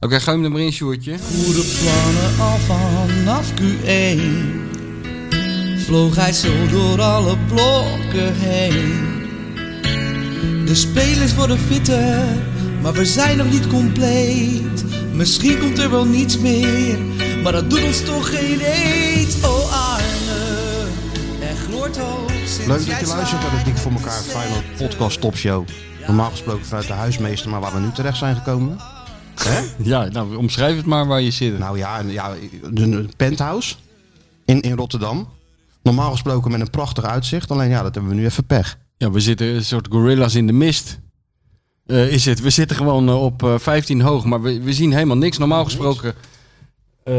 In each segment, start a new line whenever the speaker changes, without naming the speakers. Oké, gooi hem er maar in, Sjoertje.
goede plannen al vanaf Q1 Vloog hij zo door alle blokken heen De spelers worden fitter, maar we zijn nog niet compleet Misschien komt er wel niets meer, maar dat doet ons toch geen eet Oh Arne, er gloort hoop sinds
Leuk dat
jij
je luistert naar de
zwaait
Dik voor
met
elkaar
de
Final
slechte
Podcast Top Show. Normaal gesproken vanuit de huismeester, maar waar we nu terecht zijn gekomen. Hè?
Ja, nou, omschrijf het maar waar je zit.
Nou ja, en ja een een penthouse in, in Rotterdam. Normaal gesproken met een prachtig uitzicht, alleen ja, dat hebben we nu even pech.
Ja, we zitten een soort gorillas in de mist. Eh, is het. We zitten gewoon eh, op eh, 15 hoog, maar we, we zien helemaal niks. Normaal gesproken eh,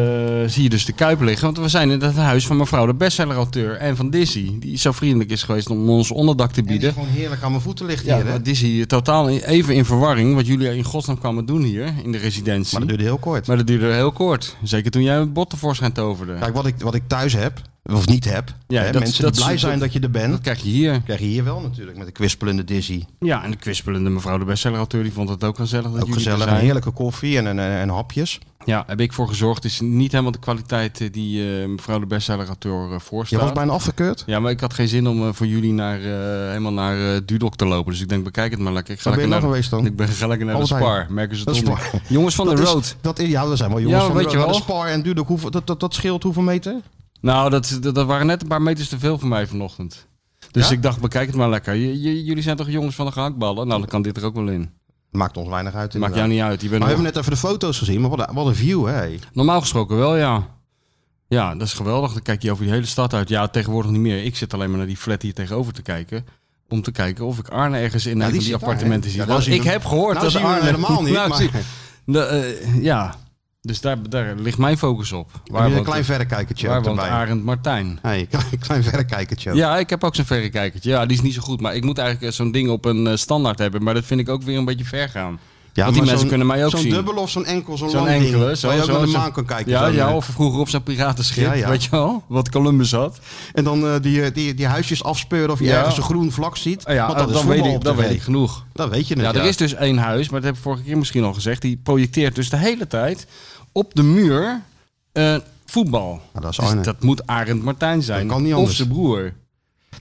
zie je dus de Kuip liggen. Want we zijn in het huis van mevrouw de bestseller-auteur en van Dizzy. Die zo vriendelijk is geweest om ons onderdak te
Die
bieden.
gewoon heerlijk aan mijn voeten ligt
Ja,
hier. hè?
maar Dizzy, totaal in- even in verwarring wat jullie in godsnaam kwamen doen hier in de residentie.
Maar dat duurde heel kort.
Maar dat duurde heel kort. Zeker toen jij het bot tevoorschijn toverde.
Kijk, wat ik, wat ik thuis heb, of niet heb,
Ja,
hè,
dat-
mensen
dat-
die blij
dat-
zijn dat je er bent,
Dat krijg je hier.
krijg je hier wel natuurlijk met de kwispelende Dizzy.
Ja, en de kwispelende mevrouw de bestseller-auteur die vond het ook gezellig dat
Ook
jullie er
gezellig, een
zijn.
heerlijke koffie en, en, en hapjes.
Ja, heb ik voor gezorgd. Het is niet helemaal de kwaliteit eh, die eh, mevrouw de bestseller-auteur eh,
Je
voorstelt.
was bijna afgekeurd.
Ja, maar ik had geen zin om eh, voor jullie naar, eh, helemaal naar eh, Dudok te lopen. Dus ik denk, bekijk het maar lekker. Ik ga
Waar ben je
lekker
nou
naar,
geweest dan?
Ik ben ga lekker naar de
Albert Heijn.
Spar. Merken ze
Dat
het
is
onder.
waar.
Jongens van de
Dat is-
road.
dat is, ja, dat zijn wel jongens
Ja,
van
weet
de,
je
road. Maar
wel.
de Spar en Dudok. Hoeveel, dat, dat, dat scheelt hoeveel meter?
Nou, dat, dat, dat waren net een paar meters te veel voor mij vanochtend. Dus
Ja?
ik dacht, bekijk het maar lekker. J- j- jullie zijn toch jongens van de gehaktballen? Nou, dan kan dit er ook wel in.
Maakt ons weinig uit
Maakt
inderdaad.
jou niet uit. Je bent
Maar we
nog-
hebben net even de foto's gezien, maar wat een, wat een view, hè.
Normaal gesproken wel, ja. Ja, dat is geweldig. Dan kijk je over die hele stad uit. Ja, tegenwoordig niet meer. Ik zit alleen maar naar die flat hier tegenover te kijken. Om te kijken of ik Arne ergens in een
die
van die
zit daar,
appartementen
hè?
zie.
Ja, daar
Want
zien
ik
we-
heb gehoord
nou
dat
zien we hem
Arne...
helemaal niet, maar-
zie- De, eh, ja, dus daar, daar ligt mijn focus op.
Waar
woont,
een klein verrekijkertje
waar
ook
woont
erbij.
Arend Martijn?
Hey, klein, klein verrekijkertje. ook.
Ja, ik heb ook zo'n verrekijkertje. Ja, die is niet zo goed. Maar ik moet eigenlijk eh, zo'n ding op een eh, standaard hebben. Maar dat vind ik ook weer een beetje ver gaan.
Ja,
Want
maar
die mensen
zo'n-
kunnen mij ook
zo'n
zien.
dubbel of zo'n enkel, zo'n
Zo'n
lang ding,
enkele. Zo,
waar je ook
zo,
naar de
zo.
maan kan kijken.
Ja,
zo'n,
ja,
eh,
of vroeger op zo'n piratenschip,
Ja, ja.
weet je wel? Wat Columbus had.
En dan eh, die, die, die huisjes afspeuren of je
Ja.
ergens een groen vlak ziet.
Ah ja,
want dat
eh,
is
dan, weet
voetbal
ik,
op
dan
tv.
weet ik genoeg.
Dan weet je het,
Ja,
ja.
er is dus één huis, maar dat heb ik vorige keer misschien al gezegd. Die projecteert dus de hele tijd op de muur eh, voetbal.
Nou, dat is
Dus
Arne.
dat moet Arend Martijn zijn.
kan niet
of
anders.
zijn broer.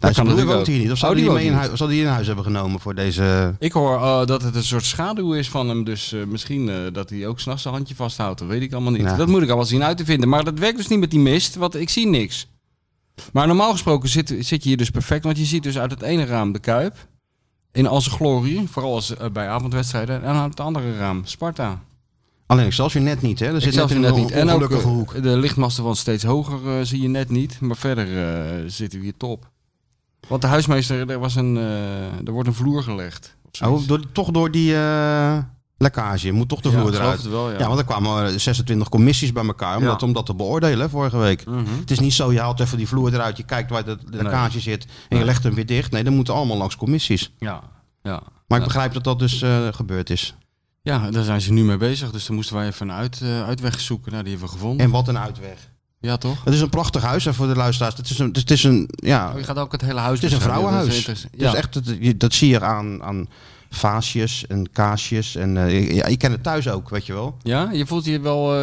nou,
kan
zijn broer
natuurlijk
woont
ook.
hier niet. Of
Oh,
zouden
die
die, mee in
woont
huis, zou die in huis hebben genomen voor deze...
Ik hoor eh, dat het een soort schaduw is van hem. Dus eh, misschien eh, dat hij ook s'nachts een handje vasthoudt. Dat weet ik allemaal niet.
Ja.
Dat moet ik al wel zien uit te vinden. Maar dat werkt dus niet met die mist, want ik zie niks. Maar normaal gesproken zit, zit je hier dus perfect. Want je ziet dus uit het ene raam de Kuip. In al zijn glorie. Vooral als, eh, bij avondwedstrijden. En uit het andere raam Sparta.
Alleen Excelsior net niet, hè? Er zit net
Excelsior
in een on-
En ook
ongelukkige
eh,
hoek.
de lichtmasten van steeds hoger eh, zie je net niet. Maar verder eh, zitten we hier top. Want de huismeester, er, was een, eh, er wordt een vloer gelegd. Of zoiets.
Oh, door, toch door die eh, lekkage. Moet toch de
Ja,
vloer
ik geloof
eruit.
het wel, ja.
want er kwamen eh, 26 commissies bij elkaar om,
Ja.
dat, om dat te beoordelen hè, vorige week.
Mhm.
Het is niet zo, je haalt even die vloer eruit, je kijkt waar de de lekkage zit en je
Nee.
legt hem weer dicht. Nee, dan moeten allemaal langs commissies.
Ja, ja.
Maar
Ja.
ik begrijp dat dat dus eh, gebeurd is.
Ja, daar zijn ze nu mee bezig. Dus daar moesten wij even een uit, eh, uitweg zoeken. Nou, die hebben we gevonden.
En wat een uitweg.
Ja, toch?
Het is een prachtig huis hè, voor de luisteraars. Het is een, het is een, ja,
Oh, je gaat ook het hele huis
het is een
beschrijven. Dat
vrouwenhuis.
interess-
Het is echt, het- je- dat zie je aan, aan vaasjes en kaasjes. En, eh, ja, je kent het thuis ook, weet je wel.
Ja, je voelt hier wel... eh,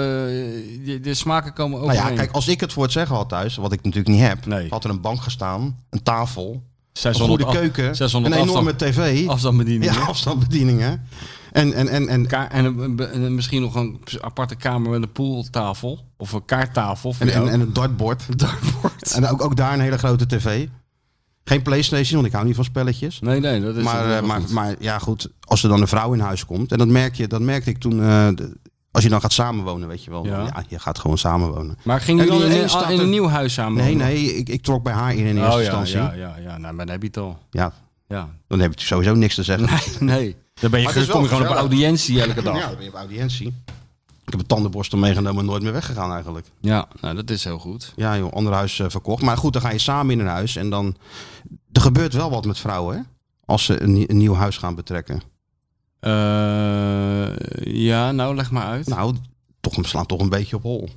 je- de smaken komen ook
Nou ja, kijk, als ik het voor het zeggen had thuis, wat ik natuurlijk niet heb,
Nee.
had er een bank gestaan, een tafel, een
600
goede
af-
keuken, een
600
enorme
afstand,
tv,
afstandsbediening.
ja, afstandsbedieningen. En, en, en, en,
Ka- en, een- een- een- misschien nog een aparte kamer met een pooltafel. Of een kaarttafel. voor
en, en,
jou.
en een dartbord. En ook, ook daar een hele grote tv. Geen Playstation, want ik hou niet van spelletjes.
nee, nee, dat is...
Maar,
Dus dat is
eh,
wel
maar,
goed.
maar ja, goed, als er dan een vrouw in huis komt, en dat, merk je, dat merkte ik toen, eh, de- als je dan gaat samenwonen, weet je wel.
Ja.
Ja, je gaat gewoon samenwonen.
Maar gingen
En dan
jullie in,
ineens
een-
staat
in
er-
een nieuw huis samen?
Nee,
wonen?
nee, ik, ik trok bij haar in in
Oh
eerste
ja,
instantie.
ja, ja, ja. Nou, maar dan heb je het al.
ja,
Ja.
dan heb ik dus sowieso niks te zeggen.
Nee. Dan ben je,
Maar het is
kom je
wel
gewoon op
gezellig.
audiëntie elke dag.
Ja, dan ben je op audiëntie. Ik heb een tandenborstel meegenomen en nooit meer weggegaan eigenlijk.
Ja, nou, dat is heel goed.
Ja joh, ander huis eh, verkocht. Maar goed, dan ga je samen in een huis en dan... Er gebeurt wel wat met vrouwen, hè? Als ze een, nie- een nieuw huis gaan betrekken.
Eh, ja, nou, leg maar uit.
Nou, toch, we slaan toch een beetje op hol.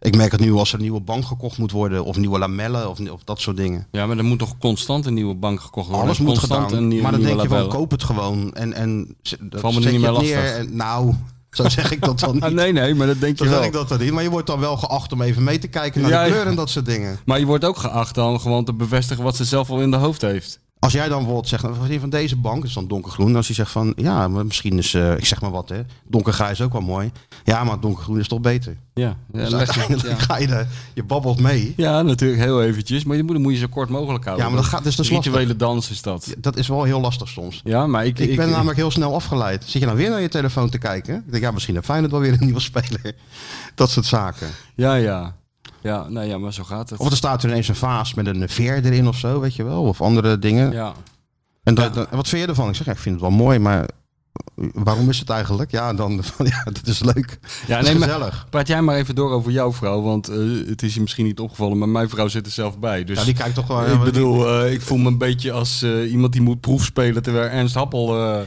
Ik merk het nu als er een nieuwe bank gekocht moet worden. Of nieuwe lamellen of, of dat soort dingen.
Ja, maar er moet toch constant een nieuwe bank gekocht worden?
Alles moet
constant
gedaan.
een nieuwe-
maar dan
nieuwe
denk je van,
label.
koop het gewoon. En, en z- dat
Valt me
zet
niet
je
meer
het neer
lastig.
en- nou, Zo zeg ik dat dan niet.
Ah, nee, nee, maar dat denk
Zo
je
zeg
wel.
ik dat dan niet. Maar je wordt dan wel geacht om even mee te kijken naar
Ja,
de
ja.
kleur en dat soort dingen.
Maar je wordt ook geacht dan gewoon te bevestigen wat ze zelf al in de hoofd heeft.
Als jij dan bijvoorbeeld zegt, nou, wat is hier van deze bank, is dan donkergroen. Als je zegt van, ja, maar misschien is, eh, ik zeg maar wat, hè, donkergrijs ook wel mooi. Ja, maar donkergroen is toch beter.
Ja, ja,
dus
leg je-
uiteindelijk
ja.
ga je, de, je babbelt mee.
Ja, natuurlijk heel eventjes. Maar je moet, moet je zo kort mogelijk houden.
Ja, maar dat gaat dus dat is lastig.
Rituele dans is dat.
Dat is wel heel lastig soms.
Ja, maar ik... eh,
Ik, ben namelijk heel snel afgeleid. Zit je nou weer naar je telefoon te kijken? Ik denk, ja, misschien heeft Feyenoord wel weer een nieuwe speler. Dat soort zaken.
Ja, ja. Ja, nou ja, maar zo gaat het.
Of er staat er ineens een vaas met een veer erin of zo, weet je wel. Of andere dingen.
ja.
En dat, dat- wat vind je ervan? Ik zeg, ja, ik vind het wel mooi, maar waarom is het eigenlijk? Ja, dan, van, ja dat is leuk.
Ja,
dat is
nee, maar-
gezellig.
Praat jij maar even door over jouw vrouw, want eh, het is je misschien niet opgevallen, maar mijn vrouw zit er zelf bij. Dus
Ja, die kijkt toch wel...
ik bedoel, eh, ik voel me een beetje als eh, iemand die moet proefspelen terwijl Ernst Happel eh,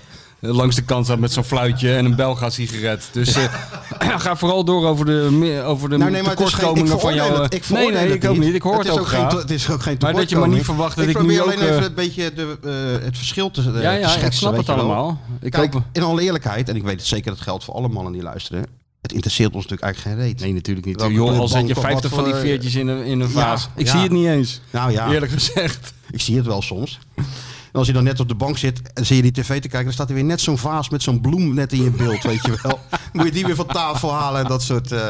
langs de kant staat met zo'n fluitje en een Belga sigaret. Dus eh, ga vooral door over de, me- over de
Nou, nee, maar het is geen- ik
tekortkomingen van
veroordeel
jou.
het-
eh,
ik
nee,
veroordeel
nee,
het
ik ook niet. Ik hoor het,
is
ook
geen
graag.
to- Het is ook geen
Maar dat je maar
tekortkoming.
niet verwacht dat ik, nu
probeer
ook...
alleen even
eh,
een beetje de, eh, het verschil te, eh,
ja,
te
ja,
schetsen.
ik snap
weet
het
je wel.
allemaal. Ik
Kijk,
hoop...
in alle eerlijkheid, en ik weet het zeker, dat geldt voor alle mannen die luisteren. Het interesseert ons natuurlijk eigenlijk geen reet.
Nee, natuurlijk niet.
Welke
Joh, al zet je
bank- wat
50 van die
voor-
veertjes in een, in een
Ja,
vaas. ik
ja.
zie het niet eens,
Nou ja,
eerlijk gezegd.
ik zie het wel soms. En als je dan net op de bank zit en zie je die tv te kijken, dan staat er weer net zo'n vaas met zo'n bloem net in je beeld, weet je wel. Moet je die weer van tafel halen en dat soort. eh.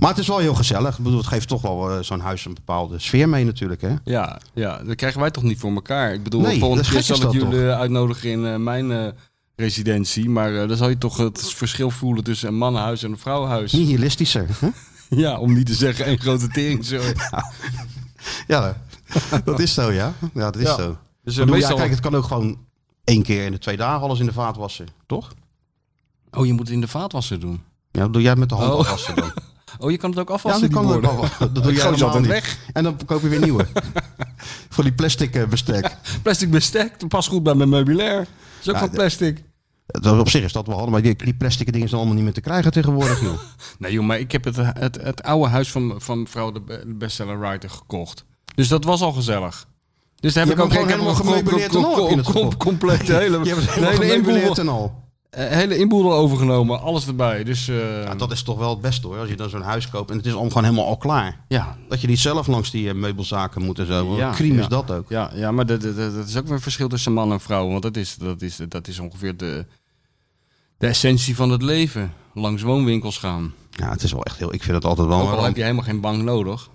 Maar het is wel heel gezellig. Ik bedoel, het geeft toch wel eh, zo'n huis een bepaalde sfeer mee natuurlijk, hè?
Ja, ja, dat krijgen wij toch niet voor elkaar. Ik bedoel,
Nee,
volgende
dat is
keer
gek
zal
is
ik
dat
jullie uitnodigen in eh, mijn eh, residentie. Maar eh, dan zal je toch het verschil voelen tussen een mannenhuis en een vrouwenhuis.
Nihilistischer. hè?
Ja, om niet te zeggen één grote tering.
Ja, dat is zo, ja. Ja, dat is
Ja.
zo.
Dus eh,
Bedoel, ja,
meestal...
kijk, het kan ook gewoon één keer in de twee dagen alles in de vaat wassen, toch?
Oh, je moet het in de vaatwasser doen.
Ja, dat doe jij met de hand
Oh.
al wassen dan.
Oh, je kan het ook
Ja,
afwassen,
dat
die
kan ook
borden.
wel. Dat doe
Ik
jij
gooi ze
helemaal
altijd
niet.
weg.
En dan koop je weer nieuwe. Voor die plastic eh, bestek.
Plastic bestek, dat past goed bij mijn meubilair. is ook
Ja,
van
de-
plastic.
Dat op zich is dat wel handig, maar die, die plastic dingen zijn allemaal niet meer te krijgen tegenwoordig, joh.
Nee joh, maar ik heb het, het, het oude huis van, van mevrouw de be- bestseller writer gekocht. Dus dat was al gezellig. Dus daar heb
Je
ik ook
hebt hem gewoon
ik heb
helemaal
hem
gemeubileerd en al heb je het gekocht.
compleet de hele,
Je hebt
de
het helemaal
hele,
gemeubileerd
inboedel,
en al.
eh, hele inboedel overgenomen. Alles erbij. Dus eh,
Ja, dat is toch wel het beste hoor, als je dan zo'n huis koopt en het is allemaal gewoon helemaal al klaar.
ja,
Dat je niet zelf langs die eh, meubelzaken moet en zo. Wat
Ja,
crime
ja.
is dat ook.
ja, ja, maar dat, dat, dat dat is ook weer een verschil tussen man en vrouw. Want dat is, dat is, dat is ongeveer de, de essentie van het leven. Langs woonwinkels gaan.
Ja, het is wel echt heel, ik vind het altijd wel.
Ook al
wel-
heb je helemaal geen bank nodig.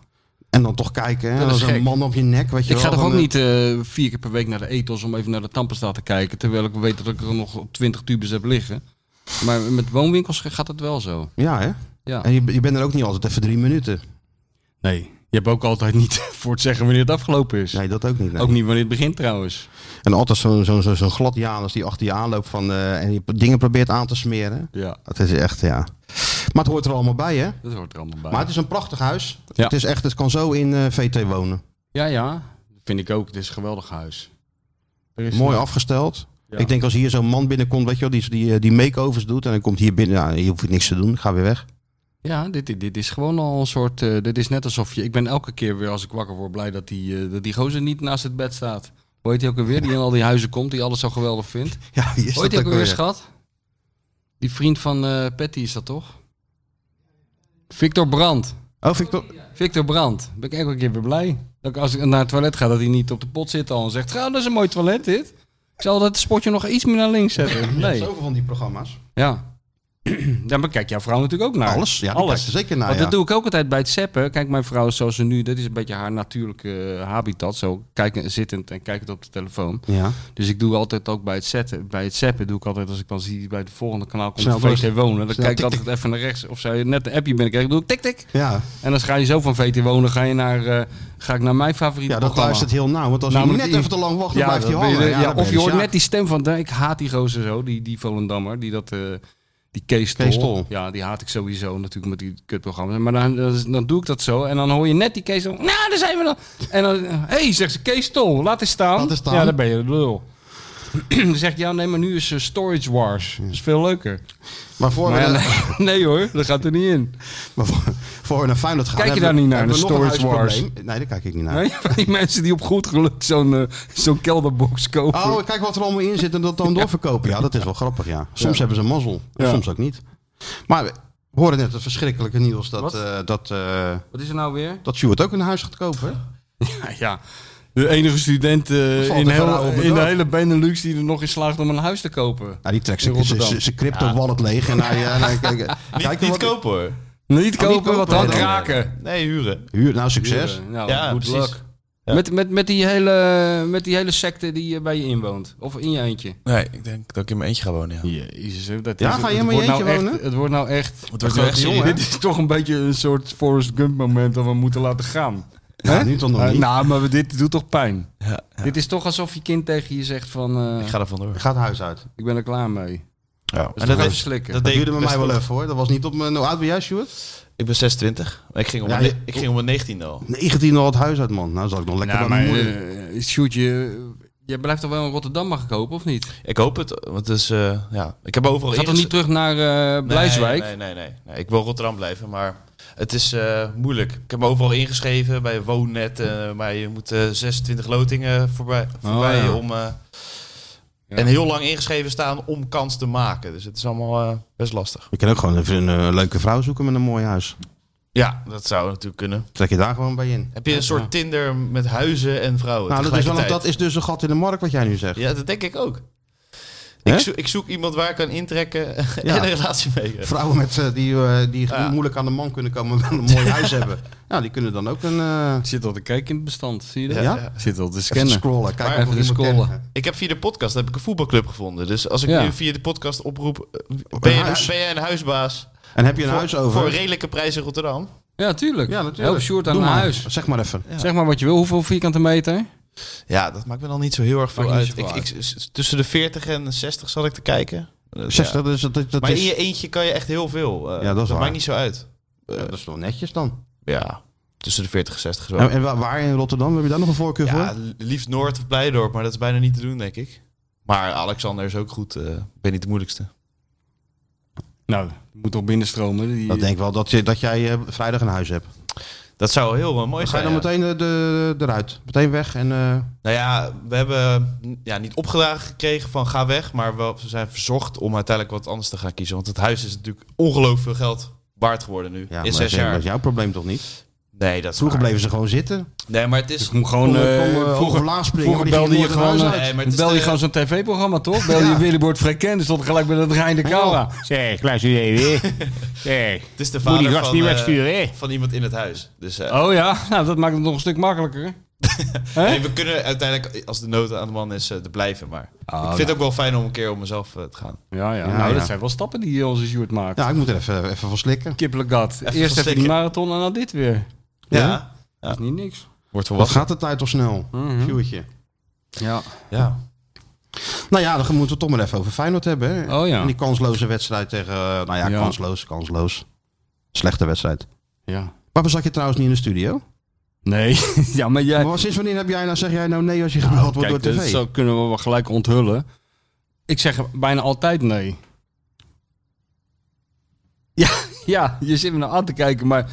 En dan toch kijken, hè,
Dat is
als een
gek.
man op je nek, weet je
Ik
wel.
ga toch
van,
ook
eh,
niet eh, vier keer per week naar de ethos om even naar de tandpasta te kijken. Terwijl ik weet dat ik er nog op 20 tubes heb liggen. Maar met woonwinkels gaat het wel zo.
Ja, hè?
Ja.
En je, je bent er ook niet altijd even drie minuten.
Nee, je hebt ook altijd niet voor het zeggen wanneer het afgelopen is.
Nee, dat ook niet. nee.
Ook niet wanneer het begint trouwens.
En altijd zo'n zo'n zo'n zo'n glad Janus die achter je aanloopt van, eh, en je dingen probeert aan te smeren.
Ja,
Dat is echt, ja. Maar het hoort er allemaal bij, hè?
dat hoort er allemaal bij.
Maar het is een prachtig huis.
Ja.
Het, is echt, het kan zo in eh, VT wonen.
Ja, ja, vind ik ook. Het is een geweldig huis. Er is
Mooi afgesteld.
Ja.
Ik denk als hier zo'n man binnenkomt, weet je wel, die, die, eh, die make-overs doet. En dan komt hier binnen, ja, hier hoef ik niks te doen, ga weer weg.
Ja, dit, dit, dit is gewoon al een soort... eh, dit is net alsof je... Ik ben elke keer weer als ik wakker word blij dat die, eh, dat die gozer niet naast het bed staat. Hoe heet hij ook alweer? Die in al die huizen komt, die alles zo geweldig vindt.
Ja, hier is
Ooit
dat
heb
ook
ik weer
weer.
schat. Die vriend van eh, Patty is dat toch? Victor Brandt.
Oh, Victor.
Victor Brandt. Ben ik elke keer weer blij. Dat ik als ik naar het toilet ga, dat hij niet op de pot zit al en zegt... "Ga, dat is een mooi toilet dit. Ik zal dat spotje nog iets meer naar links zetten. Nee.
Zoveel van die programma's.
Ja. Daar bekijkt jouw vrouw natuurlijk ook naar.
Alles, ja, alles.
Alles.
Kijkt er zeker naar.
Want
Ja.
dat doe ik ook altijd bij het zeppen. Kijk, mijn vrouw is zoals ze nu... Dat is een beetje haar natuurlijke eh, habitat. Zo kijken, zittend en kijkend op de telefoon.
ja.
Dus ik doe altijd ook bij het zetten, bij het zappen doe ik altijd als ik dan zie bij het volgende kanaal komt
Snel
Snel
door.
VT wonen, dan
Snel
kijk ik
tik, tik.
altijd even naar rechts of zij net een appje binnenkrijgt, doe ik tik tik.
Ja.
En dan ga je zo van VT wonen, ga je naar, eh, ga ik naar mijn favoriete
ja, dat
programma.
luistert heel nauw. Want als je
Namelijk
net
die-
even te lang wacht, dan blijft
dan
hij
ben je
hangen.
de-
Ja,
ja,
dan ben
of je hoort
ja.
net die stem van, ik haat die gozer zo, die, die Volendammer, die dat... eh, die Kees Tol.
Kees Tol.
Ja, die haat ik sowieso natuurlijk met die kutprogramma's. Maar dan, dan, dan doe ik dat zo. En dan hoor je net die Kees Tol. Nou, daar zijn we dan. En dan, hé, hey, zegt ze, Kees Tol, laat eens staan.
Laat eens staan.
Ja, dan ben je de lul. dan zegt hij, ja, nee, maar nu is eh, Storage Wars. Dat is veel leuker.
Maar voor
Maar ja,
we-
nee, nee hoor, dat gaat er niet in.
Maar voor, voor we naar Feyenoord gaan...
Kijk je
hebben
daar
we-
niet naar,
hebben
de
we nog een
Storage Wars?
huisprobleem. Nee, daar kijk ik niet naar.
Nee, van die mensen die op goed geluk zo'n eh, zo'n kelderbox kopen.
Oh, kijk wat er allemaal in zit en dat dan doorverkopen. Ja, dat is wel grappig, ja. Soms hebben ze mazzel, en
Ja.
soms ook niet. Maar we hoorden net het verschrikkelijke nieuws dat,
Wat?
eh dat, eh
Wat is er nou weer?
dat Stuart ook een huis gaat kopen. hè?
Ja, ja. De enige student eh,
valt
in,
er
heel-
wel over
in de
door.
hele Benelux die er nog in slaagt om een huis te kopen.
Nou, die trekt
In Rotterdam.
zijn crypto-wallet leeg. En hij, eh, en hij kijkt-
Niet,
kijkt
niet
wat-
kopen hoor.
Niet kopen,
kopen,
wat dan
nee.
kraken.
Nee, huren.
Huur, nou succes.
Nou,
Ja,
good
precies.
luck.
Ja.
Met, met, met, die hele, met die hele secte die je bij je inwoont. Of in je eentje.
Nee, ik denk dat ik in mijn eentje ga wonen. Ja.
Jezus, hè, dat
Ja,
is,
ga
het
je in
wordt
je
nou
eentje
echt-
wonen?
Het wordt nou echt...
Het wordt wel echt serieus.
Dit is toch een beetje een soort Forrest Gump moment dat we moeten laten gaan.
Ja, nu toch nog
Eh,
niet.
nou, maar dit doet toch pijn.
Ja, ja.
Dit is toch alsof je kind tegen je zegt van... eh,
Ik ga er vandoor.
Gaat het huis uit.
ik ben er klaar mee.
Ja.
Dus dat even slikken.
dat
Dat
deed ik
duurde bij mij
best
wel even hoor. Dat was niet op mijn... Hoe oud ben jij, Stuart?
Ik ben 26. Maar ik ging om,
Ja,
mijn-
je-
ik ging om mijn 19 al.
19 al het huis uit, man. Nou, zal ik nog lekker
Nou,
bij
maar
mijn moeder.
eh, Sjoerd, je, je blijft toch wel in Rotterdam mag ik hopen, of niet?
Ik hoop het, want het is, eh, ja, ik heb overal...
Ga toch
eerst-
niet terug naar eh Blijswijk?
Nee, nee, nee, nee, nee. Ik wil Rotterdam blijven, maar het is eh, moeilijk. Ik heb me overal ingeschreven bij Woonnet, eh, maar je moet eh, 26 lotingen voorbij, voorbij
ja.
om... eh,
Ja.
En heel lang ingeschreven staan om kans te maken. Dus het is allemaal eh, best lastig.
We kunnen ook gewoon even een eh, leuke vrouw zoeken met een mooi huis.
Ja, dat zou natuurlijk kunnen.
Trek je daar gewoon bij in.
Heb je een soort Tinder met huizen en vrouwen
Nou, dat is, wel, dat
tegelijkertijd?
is dus een gat in de markt wat jij nu zegt.
Ja, dat denk ik ook.
Hè?
Ik, zo- ik zoek iemand waar ik kan intrekken en een relatie mee. heb.
Vrouwen met, eh, die, eh, die
Ja.
moeilijk aan de man kunnen komen en wel een mooi huis hebben. Ja, die kunnen dan ook een... eh,
Ik zit al te kijken in het bestand, zie je dat?
Ja?
Zit al te
even
scannen.
scrollen.
Maar
Kijken
even
of we iemand
scrollen.
kennen.
Ik heb via de podcast heb ik een voetbalclub gevonden. Dus als ik
Ja.
nu via de podcast oproep, eh, ben jij
huis.
een, ben jij een huisbaas
En heb je een
voor,
huis over?
voor een redelijke prijs in Rotterdam?
Ja, tuurlijk.
ja, natuurlijk.
Help Sjoerd aan
Doe
een
maar.
huis.
Zeg maar even.
Ja.
Zeg maar wat je wil. Hoeveel vierkante meter?
Ja, dat maakt me dan niet zo heel erg veel
Maakt niet
uit.
zoveel
Ik, ik- s- tussen de 40 en 60 zat ik te kijken. Eh,
Zes,
ja.
dat is, dat, dat
Maar
is,
in je eentje kan je echt heel veel. Eh,
Ja, dat is waar.
maakt niet zo uit.
Ja, dat is wel netjes dan.
Ja, tussen de 40 en 60 zo.
En, en wa- waar in Rotterdam? Heb je daar nog een voorkeur
ja,
voor?
liefst Noord of Blijdorp, maar dat is bijna niet te doen, denk ik. Maar Alexander is ook goed. eh, Ik ben niet de moeilijkste.
Nou, moet toch binnenstromen? Die,
Dat denk ik wel, dat, je, dat jij eh, vrijdag een huis hebt.
Dat zou heel eh, mooi
Dan ga je
zijn.
dan
ja.
meteen de, de, eruit. Meteen weg en... eh,
Nou ja, we hebben mm, ja, niet opgedragen gekregen van ga weg, maar wel, we zijn verzocht om uiteindelijk wat anders te gaan kiezen. Want het huis is natuurlijk ongelooflijk veel geld waard geworden nu.
ja, maar
in
dat
zes
is- Dat
jaar.
is jouw probleem toch niet?
Nee, dat is
Vroeger
waar.
bleven ze gewoon zitten.
Nee, maar het is.
ik moet gewoon...
Kom,
eh,
kom, eh,
vroeger
overlaag springen,
vroeger
maar die
belde je
gingen nooit
gewoon...
het huis
eh,
uit. Nee, maar het is
belde je
de-
gewoon zo'n tv-programma, toch? Belde je Willeboard Frequent. stond gelijk bij dat Rijn de Kouwa.
Zeg, luister jullie weer. Zeg,
Het is de
moet die
vader
gast
van,
niet
eh,
wegsturen, hè?
van iemand in het huis. Dus eh,
Oh ja, nou, dat maakt het nog een stuk makkelijker. Hè?
nee, we kunnen uiteindelijk, als de nood aan de man is, eh, er blijven. Maar
Oh,
nou.
ik vind het ook wel fijn om een keer om mezelf eh, te gaan.
Ja, ja.
Ja,
nou,
ja.
dat zijn wel stappen die onze Sjoerd maakt.
Ja, ik moet er even, even van slikken.
Kippelijk gat.
Even
Eerst even die
slikken.
marathon en dan dit weer.
Ja.
Dat is niet niks.
Wordt
Wat
volwassen.
gaat de tijd toch snel?
Mhm.
Sjoerdje.
Ja.
Ja.
Nou ja, dan moeten we het toch maar even over Feyenoord hebben. Hè?
Oh ja.
En die kansloze wedstrijd tegen... eh, nou ja,
Ja.
kansloos, kansloos. Slechte wedstrijd.
ja.
Waarom zat je trouwens niet in de studio?
Nee, ja, maar jij...
Maar sinds wanneer heb jij nou, zeg jij nou nee als je gebeld wordt door
Kijk,
tv?
dat zo kunnen we wel gelijk onthullen. Ik zeg bijna altijd nee. Ja, ja, je zit me nou aan te kijken, maar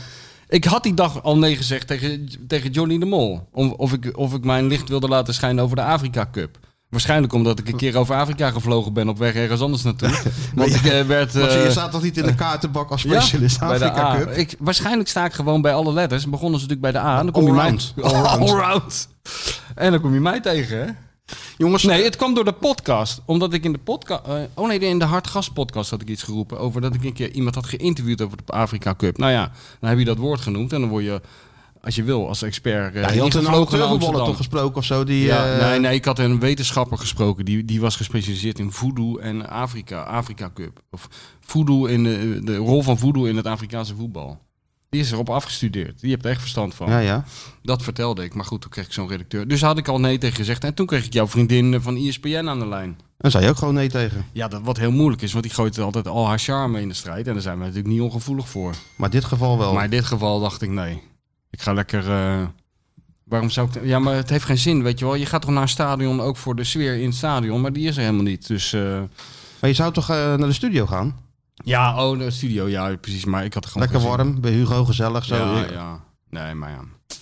ik had die dag al nee gezegd tegen, tegen Johnny de Mol. Om, of, ik, of ik mijn licht wilde laten schijnen over de Afrika Cup. Waarschijnlijk omdat ik een keer over Afrika gevlogen ben op weg ergens anders naartoe. Want ik eh, werd...
Want
eh,
je staat toch niet in de kaartenbak als specialist
bij de
Afrika
A.
Cup?
Ik, waarschijnlijk sta ik gewoon bij alle letters. Begonnen ze natuurlijk bij de A. En dan kom
Allround.
je mij...
Allround.
Allround. En dan kom je mij tegen, hè? Jongens, nee, het kwam door de podcast. Omdat ik in de podcast. oh nee, in de Hartgas podcast had ik iets geroepen. Over dat ik een keer iemand had geïnterviewd over de Afrika Cup. Nou ja, dan heb je dat woord genoemd. En dan word je, als je wil, als expert. eh,
Ja, je had een
ingevlogen naar
amateurvoetballer
Amsterdam.
toch gesproken of zo? Die,
Ja,
eh,
nee, nee, ik had een wetenschapper gesproken. Die, die was gespecialiseerd in voodoo en Afrika, Afrika Cup. Of voodoo in de, de rol van voodoo in het Afrikaanse voetbal. Die is erop afgestudeerd. Die hebt er echt verstand van.
Ja, ja.
Dat vertelde ik. Maar goed, toen kreeg ik zo'n redacteur. Dus daar had ik al nee tegen gezegd. En toen kreeg ik jouw vriendin eh, van ESPN aan de lijn.
Dan zei je ook gewoon nee tegen.
Ja, dat, wat heel moeilijk is. Want die gooit altijd al haar charme in de strijd. En daar zijn we natuurlijk niet ongevoelig voor.
Maar in dit geval wel.
Maar in dit geval dacht ik nee. Ik ga lekker. eh, waarom zou ik. Ja, maar het heeft geen zin, weet je wel. Je gaat toch naar een stadion ook voor de sfeer in het stadion, maar die is er helemaal niet. Dus. eh,
Maar je zou toch eh, naar de studio gaan?
ja, oh, de studio, ja, precies. Maar ik had er gewoon.
Lekker
geen zin.
warm, bij Hugo gezellig. Zo.
Ja, ja. Nee, maar ja.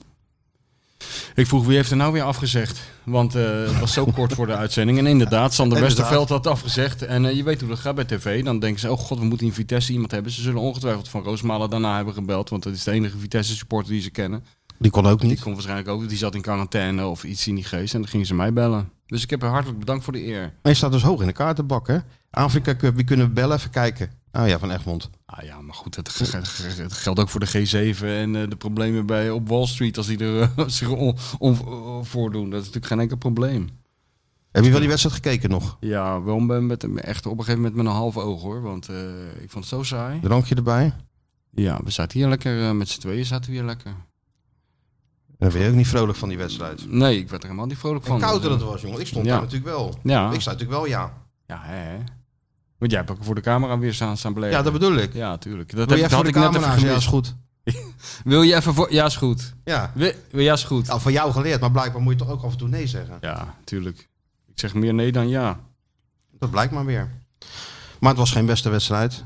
Ik vroeg wie heeft er nou weer afgezegd? Want eh, het was zo kort voor de uitzending. En inderdaad, Sander
Inderdaad.
Westerveld had afgezegd. En eh, je weet hoe dat gaat bij tv. Dan denken ze, oh god, we moeten in Vitesse iemand hebben. Ze zullen ongetwijfeld van Roosmalen daarna hebben gebeld. Want dat is de enige Vitesse supporter die ze kennen.
Die kon ook
Die
niet.
kon waarschijnlijk ook, die zat in quarantaine of iets in die geest. En dan gingen ze mij bellen. Dus ik heb haar hartelijk bedankt voor de eer.
Hij staat dus hoog in de kaartenbak, hè? Afrika Cup, wie kunnen we bellen? Even kijken. Oh ja, van Egmond.
Ah ja, maar goed, het, ge- ge- ge- het geldt ook voor de G7 en eh, de problemen bij, op Wall Street als die er eh, zich on, on- eh, voordoen. Dat is natuurlijk geen enkel probleem.
Heb je wel die wedstrijd gekeken nog?
Ja, wel met, met, echt op een gegeven moment met een half oog hoor, want eh, ik vond het zo saai.
Drankje erbij?
Ja, we zaten hier lekker, eh, met z'n tweeën zaten we hier lekker.
Dan ben je ook niet vrolijk van die wedstrijd.
Nee, ik werd er helemaal niet vrolijk
En
van.
koud dat het was, jongen. Ik stond
Ja.
daar natuurlijk wel.
Ja,
Ik zei natuurlijk wel ja.
ja hè, hè. Want jij hebt ook voor de camera weer staan, staan blijven.
Ja, dat bedoel ik.
Ja, tuurlijk. Dat
Wil
heb,
je
ik-
even voor
had
de
ik net even
camera? Ja, is
gemist.
goed.
Wil je even voor... Ja, is goed.
Ja.
Wil, wil- ja, is goed.
Nou, van jou geleerd, maar blijkbaar moet je toch ook af en toe nee zeggen.
Ja, tuurlijk. Ik zeg meer nee dan ja.
Dat blijkt maar weer. Maar het was geen beste wedstrijd.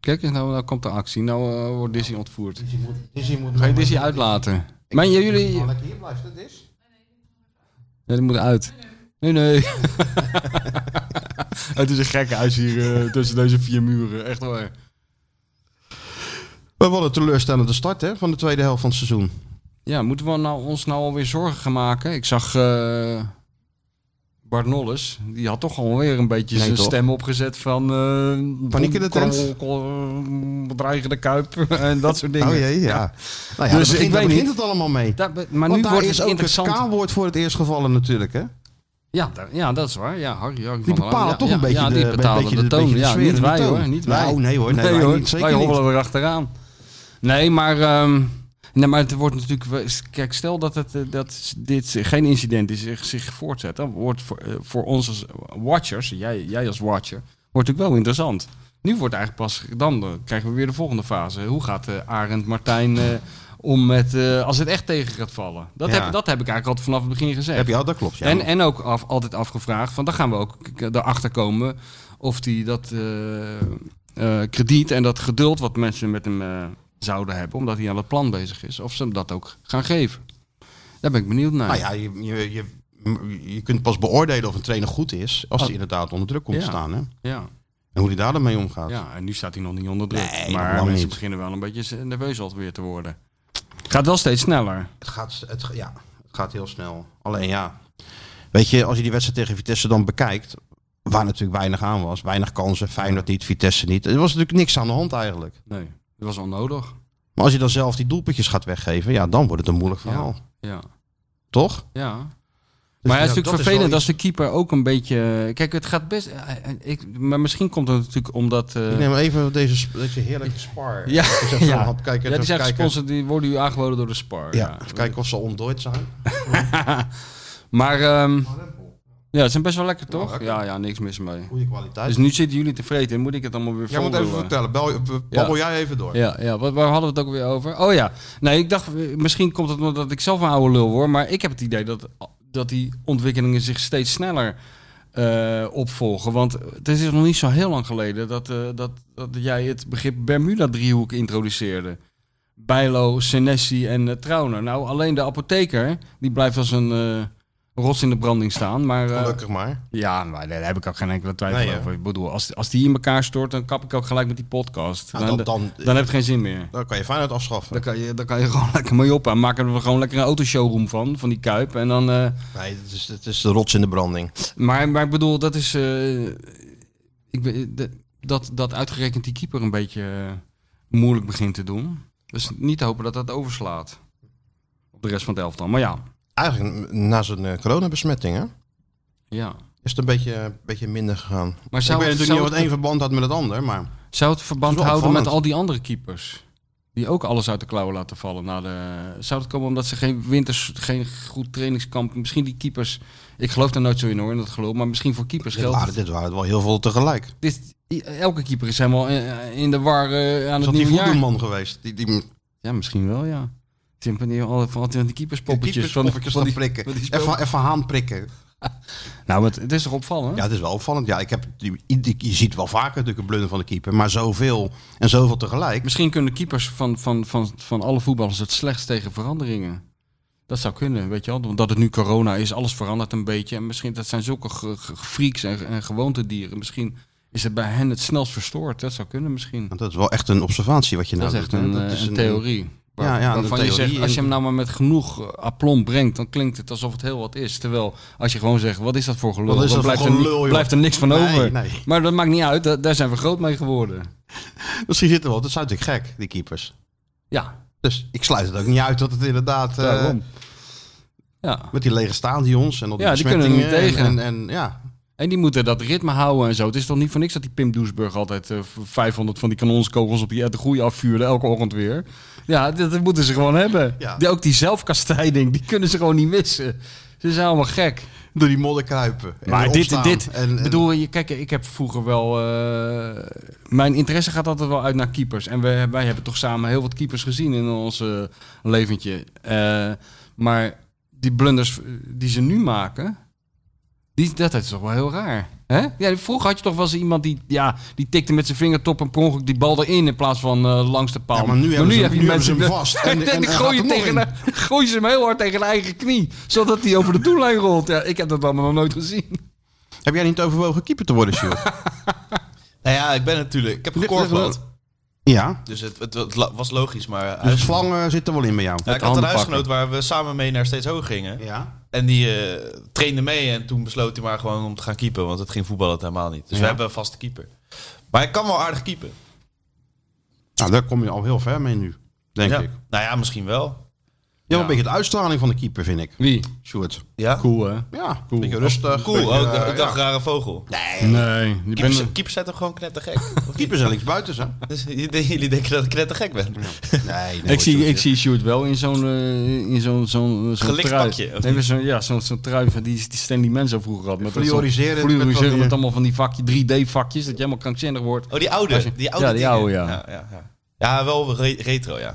Kijk eens, nou, nou komt de actie. Nou eh, wordt Disney ontvoerd.
Disney moet
Ga je Disney uitlaten? Maar jullie... Ja,
lekker hier blijven, dat is.
die moet uit. Nee, nee. Het is een gekke huis hier eh, tussen deze vier muren. Echt waar.
We hadden een teleurstellende start hè, van de tweede helft van het seizoen.
Ja, moeten we nou, ons nou alweer zorgen gaan maken? Ik zag eh Bart Nolles. Die had toch alweer een beetje
Nee,
zijn
toch?
stem opgezet van... eh,
Paniek in de tent.
kol- kol- Bedreigende kuip en dat soort dingen.
Oh jee, ja. Nou ja,
Dus
daar
ik
begint, daar
weet
begint
niet.
het allemaal mee.
Daar be- maar
Want
nu
daar
wordt
is
het
ook
interessant.
het K-woord voor het eerst gevallen natuurlijk. Hè?
Ja, daar- ja, dat is waar. Ja, Harry, Harry
Die
van der Laan.
bepalen
Ja,
toch
ja,
een beetje
ja, die
de, een
bepalen
beetje
de toon.
beetje de
ja,
sfeer en
niet
de
wij
toon.
hoor. Niet wij.
Nou, nee hoor, nee, wij
hoor.
niet, zeker
wij
niet.
hobbelen er achteraan. Nee, maar, ehm, nee, maar het wordt natuurlijk... wel- Kijk, stel dat, het, eh, dat dit geen incident is, zich, zich voortzet. Dan wordt voor, eh, voor ons als watchers, jij, jij als watcher, wordt natuurlijk wel interessant. Nu wordt eigenlijk pas... Dan eh, krijgen we weer de volgende fase. Hoe gaat eh, Arend, Martijn... eh, om met, eh, als het echt tegen gaat vallen. Dat,
Ja.
heb, dat heb ik eigenlijk al vanaf het begin gezegd.
Heb je al, dat klopt. Ja.
En, en ook af, altijd afgevraagd van, dan gaan we ook k- erachter komen of die dat eh, eh, krediet en dat geduld wat mensen met hem eh, zouden hebben, omdat hij aan het plan bezig is, of ze hem dat ook gaan geven. Daar ben ik benieuwd naar.
nou ja, je, je, je, je kunt pas beoordelen of een trainer goed is als hij inderdaad onder druk komt te
Oh. Ja.
staan. Hè?
ja.
En hoe hij daar dan mee omgaat.
Ja, en nu staat hij nog niet onder druk.
Nee, nog
maar
lang
mensen
niet.
beginnen wel een beetje z- nerveus altijd weer te worden. Gaat wel steeds sneller.
Het, gaat, het, ja, het gaat heel snel. Alleen ja, weet je, als je die wedstrijd tegen Vitesse dan bekijkt, waar natuurlijk weinig aan was, weinig kansen, Feyenoord niet, Vitesse niet. Er was natuurlijk niks aan de hand eigenlijk.
Nee, dat was onnodig.
Maar als je dan zelf die doelpuntjes gaat weggeven, ja, dan wordt het een moeilijk
Ja.
verhaal.
Ja.
Toch?
Ja.
Dus
maar ja, het
ja,
is
dat
natuurlijk
is
vervelend
wel
als de keeper ook een beetje... Kijk, het gaat best... eh, eh, Ik, maar misschien komt het natuurlijk omdat... eh,
Ik neem even deze, sp- deze heerlijke spar.
Ja,
Ik zeg,
ja.
Even kijken,
ja, die
even
zijn
kijken.
gesponsord, die worden u aangeboden door de Spar.
Ja, even kijken of ze ontdooid zijn.
Maar ehm, ja, ze zijn best wel lekker, toch?
lekker.
Ja, ja, niks mis mee.
Goede kwaliteit.
Dus nu zitten jullie tevreden en moet ik het allemaal weer
Jij moet even
voordoen?
vertellen. Bel, b- babbel jij even door.
Ja, ja. Wat, waar hadden we het ook weer over? Oh ja, nee, ik dacht, eh, misschien komt het omdat ik zelf een oude lul word, maar ik heb het idee dat, eh, dat die ontwikkelingen zich steeds sneller eh, opvolgen. Want het is nog niet zo heel lang geleden dat, eh, dat, dat jij het begrip Bermuda-driehoek introduceerde. Bijlo, Senesi en eh, Trauner. Nou, alleen de apotheker, die blijft als een eh, rots in de branding staan. Maar, eh,
Gelukkig maar.
ja, maar daar heb ik ook geen enkele twijfel
Nee, hè?
over. Ik bedoel, als, als die in elkaar stort, dan kap ik ook gelijk met die podcast.
Nou,
dan,
dan, dan,
dan heb je geen zin meer.
dan kan je Feyenoord afschaffen.
Dan kan, je, dan kan je gewoon lekker mee op. En maken we gewoon lekker een autoshowroom van, van die Kuip. En dan, eh,
Nee, het is, het is de rots in de branding.
maar, maar ik bedoel, dat is... eh, ik ben, de- dat, dat uitgerekend die keeper een beetje eh, moeilijk begint te doen. Dus niet te hopen dat dat overslaat. Op de rest van het elftal. Maar ja,
Eigenlijk na zijn eh, coronabesmetting hè,
ja.
is het een beetje, een beetje minder gegaan.
Maar
ik
zou,
weet
het,
natuurlijk
zou,
niet wat
het,
één verband had met het ander, maar...
zou het verband
Het is wel
houden met al
opvallend.
die andere keepers? Die ook alles uit de klauwen laten vallen. Na de, zou het komen omdat ze geen winters, geen goed trainingskamp... Misschien die keepers... Ik geloof daar nooit zo in hoor, in dat geloof. Maar misschien voor keepers
Dit
geldt het
waren, dit waren wel heel veel tegelijk. Is
Dit, i- elke keeper is helemaal eh, in de war eh, aan
dat
het
die
nieuwe jaar.
voetbalman geweest? Die, die, die
Ja, misschien wel, ja. Tim van die, al- van die keeperspoppertjes. Van,
keeperspoppertjes
van
gaan
die-
prikken.
van die spel-
Even, even haan prikken.
Nou, het, het is toch opvallend?
Ja, het is wel opvallend. Ja, ik heb, die- die- je ziet wel vaker natuurlijk een blunder van de keeper, maar zoveel en zoveel tegelijk.
Misschien kunnen keepers van, van, van, van alle voetballers het slechtst tegen veranderingen. Dat zou kunnen, weet je wel. Omdat het nu corona is, alles verandert een beetje. En misschien, dat zijn zulke ge- ge- freaks en, en gewoontedieren. Misschien is het bij hen het snelst verstoord. Dat zou kunnen misschien.
Want dat is wel echt een observatie wat je
dat
nou
is echt
doet,
een,
Nou, hè.
eh, een theorie. Waar-
Ja, ja, een
waarvan je
theorie
zegt, als je
en-
hem nou maar met genoeg eh, aplomb brengt, dan klinkt het alsof het heel wat is. Terwijl, als je gewoon zegt, wat is dat voor gelul?
Wat is
dan
dat
blijft,
voor
er, ni-
gelul, joh?
blijft er niks van
Nee,
over.
nee.
Maar dat maakt niet uit, da- daar zijn we groot mee geworden.
Misschien zit er wel. Dat zijn natuurlijk gek, die keepers.
Ja,
Dus ik sluit het ook niet uit dat het inderdaad... eh,
daarom. Ja.
met die lege stadions en al die
Ja, die kunnen er niet
besmettingen
tegen.
En, en, en ja,
En die moeten dat ritme houden en zo. Het is toch niet voor niks dat die Pim Doesburg altijd eh, 500 van die kanonskogels op die de groei afvuurde elke ochtend weer. Ja, dat, dat moeten ze gewoon hebben.
Ja.
Die, ook die zelfkastijding, die kunnen ze gewoon niet missen. Ze zijn allemaal gek.
door die modder kruipen. En
maar
weer
dit,
opstaan.
dit
En- en-
bedoel je, kijk, ik heb vroeger wel, eh, mijn interesse gaat altijd wel uit naar keepers. En wij, wij hebben toch samen heel wat keepers gezien in ons eh, leventje. Eh, maar die blunders eh, die ze nu maken, die, dat is toch wel heel raar. Hè? Ja, vroeger had je toch wel eens iemand die, ja, die tikte met zijn vingertop en per ongeluk die bal erin in plaats van eh, langs de paal.
Ja, maar nu hebben ze-
heb je
nu hebben ze hem
die-
vast.
En,
En-
dan
en- en
gooi, je
gaat er nog
tegen,
in.
de- gooi ze hem heel hard tegen de eigen knie, zodat hij over de doellijn rolt. Ja, ik heb dat allemaal nog nooit gezien.
Heb jij niet overwogen keeper te worden, Sjoerd?
Nou ja, ik ben natuurlijk... Ik heb
Ligt-
gekorfbald.
ligt- ja.
Dus het, het, het la- was logisch, maar...
Dus
huis-
de slang eh, zit er wel in bij jou.
Ja, ik had een
handen
huisgenoot waar we samen mee naar steeds hoger gingen.
Ja.
En die eh, trainde mee en toen besloot hij maar gewoon om te gaan keepen. Want het ging voetballen het helemaal niet. Dus
Ja.
we hebben een vaste keeper. Maar ik kan wel aardig keepen.
Nou, daar kom je al heel ver mee nu, denk
ja.
ik.
Nou ja, misschien wel.
Ja, maar een beetje de uitstraling van de keeper, vind ik.
Wie?
Sjoerd.
Ja?
Cool, hè?
Ja, cool. beetje rustig.
Cool,
beetje,
oh, ik
eh,
dacht, ik dacht
ja.
rare vogel.
Nee, die
Keepers,
ben...
keepers zijn toch gewoon knettergek? Of niet?
Keepers zijn linksbuiten, hè?
Dus jullie jullie denken dat ik knettergek ben.
Nee,
ik, zie, ik zie Sjoerd wel in zo'n eh, in zo'n zo'n zo'n
Gelikt
trui.
pakje, of
Nee, maar zo'n- ja, zo'n zo'n trui van die, die Stanley Man zo vroeger had. Met dat zo'n-
Fluoriserend met
fluoriserend
wat, eh,
met allemaal van die vakje, 3D-vakjes, dat je helemaal krankzinnig wordt.
Oh, die oude. Die oude
Ja, die
dingen.
oude, ja.
Ja, ja, ja. Ja, wel re- retro, ja.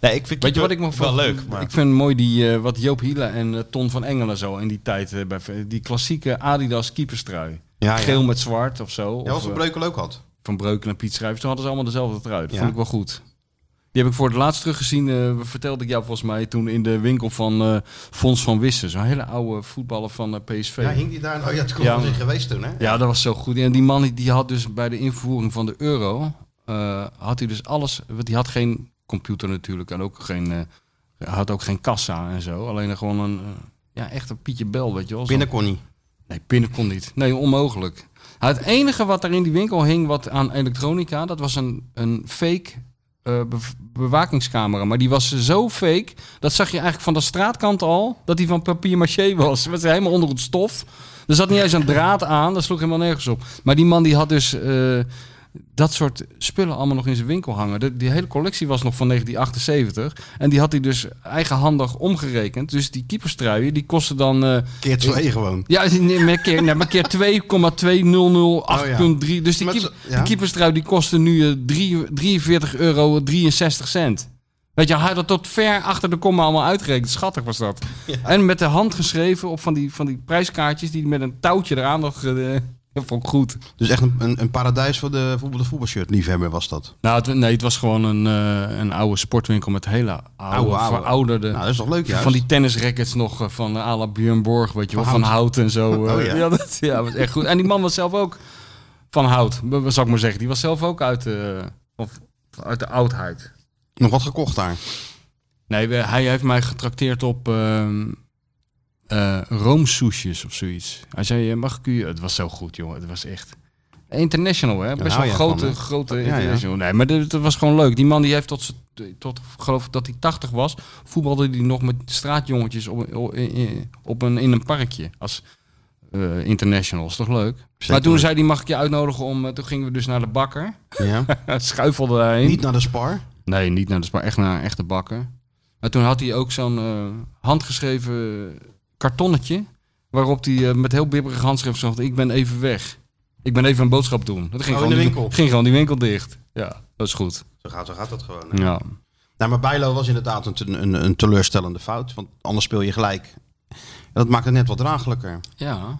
Nee, ik vind
Weet je wat ik
keeper
me
wel
van-
leuk, maar...
Ik vind mooi die, eh, wat Joop Hiele en eh, Ton van Engelen zo in die tijd eh, bij die klassieke Adidas keeperstrui.
Ja, ja.
Geel met zwart of zo.
Ja,
of,
wat een
eh,
Breukel ook had.
van Breuken en Piet Schrijvers, toen hadden ze allemaal dezelfde trui. Dat
Ja.
vond ik wel goed. Die heb ik voor het laatst teruggezien, eh, vertelde ik jou volgens mij, toen in de winkel van eh, Fons van Wissen. Zo'n hele oude voetballer van eh, PSV.
Ja,
Ja,
hing die daar... Oh ja, het kon
Ja.
wel in geweest toen, hè?
dat was zo goed. En die man die- die had dus bij de invoering van de euro, eh, had hij dus alles, want die had geen computer natuurlijk en ook geen, eh, had ook geen kassa en zo. Alleen gewoon een, eh, ja, echt een Pietje Bel, weet je wel. Zo'n-
Binnen kon niet.
Nee, pinnen kon niet. Nee, onmogelijk. Het enige wat er in die winkel hing wat aan elektronica, dat was een, een fake eh, bev- bewakingscamera. Maar die was zo fake, dat zag je eigenlijk van de straatkant al, dat die van papier maché was. Het was helemaal onder het stof. Er zat niet eens een draad aan, dat sloeg helemaal nergens op. Maar die man die had dus eh, dat soort spullen allemaal nog in zijn winkel hangen. De- die hele collectie was nog van 1978. En die had hij dus eigenhandig omgerekend. Dus die keeperstruien, die kosten dan... eh,
Keer twee gewoon.
ja, nee, maar keer, nee, maar keer 2,2008.3. Dus die,
Oh, Met
keep,
z'n- ja.
die keeperstrui die kostte nu eh, drie- 43,63 euro. Weet je, hij had dat tot ver achter de komma allemaal uitgerekend. Schattig was dat. En met de hand geschreven op van die, van die prijskaartjes die met een touwtje eraan nog... eh, dat vond ik goed.
Dus echt een, een, een paradijs voor de, voetbal, de voetbalshirt liefhebber was dat.
Nou, het, nee, het was gewoon een, eh, een oude sportwinkel met hele oude,
Oude, oude.
verouderde...
Nou, dat is toch leuk, ja.
Van die tennisrackets nog eh, van eh, à la Björn Borg, weet je wel,
Van
van hout en zo. eh.
Oh, ja.
ja. dat ja, was echt goed. En die man was zelf ook van hout, w- w- zou ik maar zeggen. Die was zelf ook uit, de of, uit de oudheid.
Nog wat gekocht daar.
Nee, we- hij heeft mij getrakteerd op ehm eh, roomsoesjes of zoiets. Hij zei, eh, mag ik u... Het was zo goed, jongen. Het was echt... International, hè? Best
hou
wel
jij
grote,
van, hè?
grote
ja.
international. Nee, maar dat dat was gewoon leuk. Die man die heeft tot, z'n- tot geloof ik dat hij 80 was, voetbalde hij nog met straatjongetjes op, op, in- op een, in een parkje als eh international. Is toch leuk? maar toen
leuk.
zei hij, mag ik je uitnodigen om... eh, toen gingen we dus naar de bakker.
Ja.
Schuifelde daarheen.
Niet naar de spar.
Nee, niet nou, naar de spa, echt naar een echte bakker. Maar toen had hij ook zo'n eh, handgeschreven kartonnetje. Waarop hij eh, met heel bibberig handschrift zag: Ik ben even weg. Ik ben even een boodschap doen. Dat ging,
Oh,
gewoon
in de
die-
winkel.
ging gewoon die winkel dicht. Ja, dat is goed.
Zo gaat, zo gaat dat gewoon. hè.
Ja.
Nou, maar Bijlo was inderdaad een, te- een, een teleurstellende fout. Want anders speel je gelijk. En dat maakt het net wat draaglijker.
ja,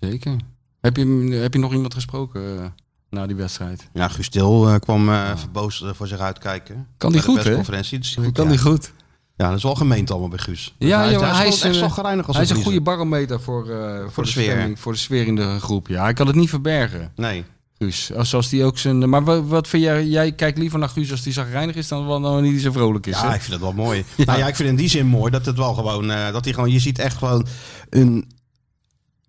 zeker. Heb je, heb je nog iemand gesproken eh, na die wedstrijd?
Ja, Guus Til eh, kwam eh verboos eh, voor zich uitkijken.
Kan
Bij
die
de
goed, hè?
persconferentie. Dus die-
Kan
ja.
die goed?
Ja, dat is wel gemeend allemaal bij Guus.
Ja,
hij,
ja, maar hij
hij
is
is echt
een-
zagrijnig als
Hij is een goede
verliezer.
barometer voor, eh, voor, de,
de sfeer.
stemming, voor de sfeer in de groep. Ja, ik kan het niet verbergen.
Nee.
Guus, als, als die ook zijn... Maar wa- wat, vind jij... Jij kijkt liever naar Guus als die zagrijnig is dan wanneer hij zo vrolijk is.
Ja,
hè?
ik vind dat wel mooi. Nou ja, ik vind in die zin mooi dat het wel gewoon, eh, dat hij gewoon, je ziet echt gewoon een,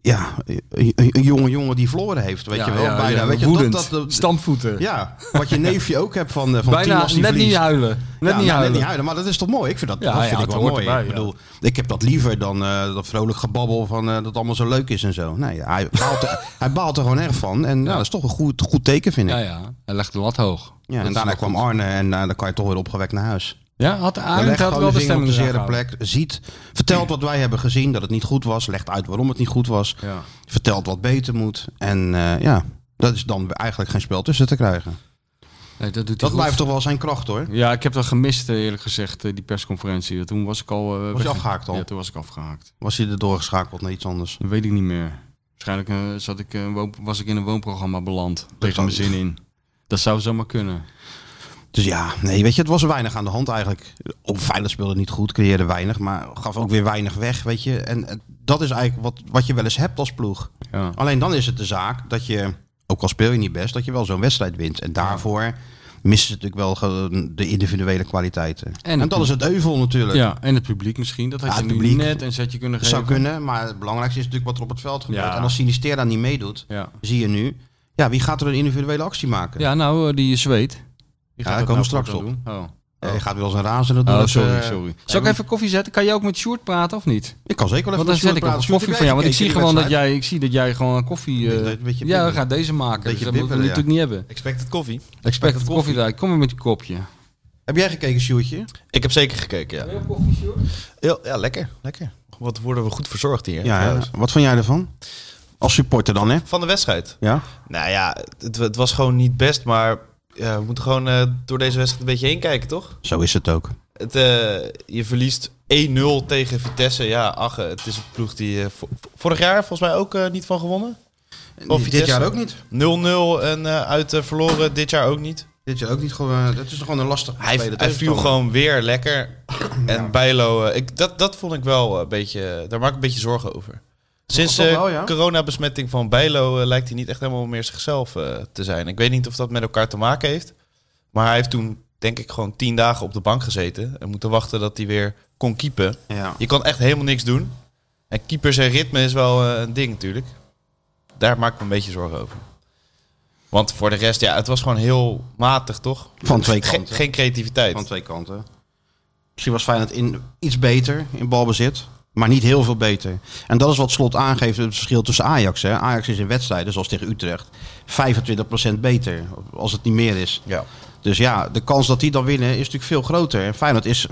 ja, een, een jonge jongen die verloren heeft, weet
Ja,
je wel,
ja,
bijna.
ja,
weet je,
woedend.
Dat, dat,
Stampvoeten.
ja, wat je neefje ook hebt van, eh, van tien
Bijna
als die
net
verliest.
niet huilen. Net
Ja,
niet
nou,
huilen.
maar dat is toch mooi? Ik vind dat,
Ja,
dat
ja,
vind ik
het
wel
hoort
mooi.
erbij,
ik
ja.
bedoel, ik heb dat liever dan eh, dat vrolijk gebabbel van eh, dat het allemaal zo leuk is en zo. Nee, hij baalt, er- hij baalt er gewoon erg van. En nou, dat is toch een goed, goed teken, vind ik.
Ja,
Ja,
ja. Hij legt de lat hoog. Dat
en
is
daarna
wel
kwam
goed.
Arne en eh, dan kan je toch weer opgewekt naar huis.
Ja, had
Hij
Arendt
legt
had
gewoon
wel
de
de
vinger op
stemming
de zere
aangehouden.
plek. Ziet, vertelt wat wij hebben gezien, dat het niet goed was. Legt uit waarom het niet goed was.
Ja.
Vertelt wat beter moet. En eh, ja, dat is dan eigenlijk geen spel tussen te krijgen.
Nee, dat doet hij
Dat
goed.
blijft toch wel zijn kracht hoor.
Ja, ik heb dat gemist eh, eerlijk gezegd, eh, die persconferentie. Toen was ik al... eh,
Was je
weg-
afgehaakt al?
Ja, toen was ik afgehaakt.
Was hij er doorgeschakeld naar iets anders.
Dat weet ik niet meer. Waarschijnlijk eh, zat ik, eh, woon- was ik in een woonprogramma beland. Tegen
kan-
mijn zin in. Dat zou zomaar kunnen.
Dus ja, nee, weet je, het was er weinig aan de hand eigenlijk. Op veilig speelde niet goed, creëerde weinig, maar gaf ook weer weinig weg, weet je. En eh, dat is eigenlijk wat, wat je wel eens hebt als ploeg.
Ja.
Alleen dan is het de zaak dat je, ook al speel je niet best, dat je wel zo'n wedstrijd wint. En daarvoor missen ze natuurlijk wel gewoon de individuele kwaliteiten. En,
het
dat is het euvel natuurlijk.
ja, en het publiek misschien. Dat had
Ja,
je
het
nu
publiek
net en zet je kunnen
Het
geven.
zou kunnen, maar het belangrijkste is natuurlijk wat er op het veld gebeurt.
Ja.
En als Sinistera niet meedoet,
Ja.
zie je nu, ja, wie gaat er een individuele actie maken?
ja, nou, eh, die zweet. Die
daar
dat
komen we
nou
straks
voortaan
op.
doen. Oh.
Eh, Je gaat wel eens een razende doen.
Oh,
Dat,
sorry,
eh,
sorry.
nee,
Zal ik
maar-
even koffie zetten? Kan je ook met Sjoerd praten of niet?
Ik kan zeker wel even
Want dan
met
zet
Sjoerd
ik nog een
praten. Sjoerd,
koffie van
heb
jou. Want ik zie
gekeken
gewoon dat
die wedstrijd?
jij, ik zie dat jij gewoon een koffie... eh,
Beetje-
ja, we
beetje bibbelen.
gaan deze maken.
Beetje
dus dat moeten we
bibbelen, ja.
natuurlijk niet hebben.
Expected koffie.
Expect het koffie daar. Kom maar met je kopje.
Heb jij gekeken, Sjoerdje?
Ik heb zeker gekeken, ja. Ja, ja, lekker, lekker. Wat worden we goed verzorgd hier.
Ja,
trouwens.
ja. wat vond jij ervan? Als supporter dan, hè?
Van de wedstrijd.
Ja.
Nou ja, het, het was gewoon niet best, maar ja, we moeten gewoon eh, door deze wedstrijd een beetje heen kijken, toch?
Zo is het ook.
Het, eh, je verliest 1-0 tegen Vitesse. Ja, ach, eh, het is een ploeg die eh, vo- vorig jaar volgens mij ook eh, niet van gewonnen. Of
dit
Vitesse.
jaar ook niet.
0-0 en eh, uit eh, verloren, dit jaar ook niet.
Dit jaar ook niet gewoon. eh, Dat is gewoon een lastig.
Hij, hij viel gewoon weer lekker. En Bijlo, eh, ik, dat, dat vond ik wel een beetje... Daar maak ik een beetje zorgen over. Sinds
Toch
de
wel, ja?
coronabesmetting van Bijlo eh, lijkt hij niet echt helemaal meer zichzelf eh, te zijn. Ik weet niet of dat met elkaar te maken heeft. Maar hij heeft toen, denk ik, gewoon tien dagen op de bank gezeten. En moeten wachten dat hij weer kon keepen.
Ja.
Je kan echt helemaal niks doen. En keepers en ritme is wel eh, een ding natuurlijk. Daar maak ik me een beetje zorgen over. Want voor de rest, ja, het was gewoon heel matig, toch?
Van twee
Ge-
kanten.
geen creativiteit.
Van twee kanten. Misschien was Feyenoord in, iets beter in balbezit. Maar niet heel veel beter. En dat is wat Slot aangeeft, het verschil tussen Ajax. Hè. Ajax is in wedstrijden, zoals tegen Utrecht, 25% beter. Als het niet meer is.
ja.
Dus ja, de kans dat die dan winnen is natuurlijk veel groter. En Feyenoord is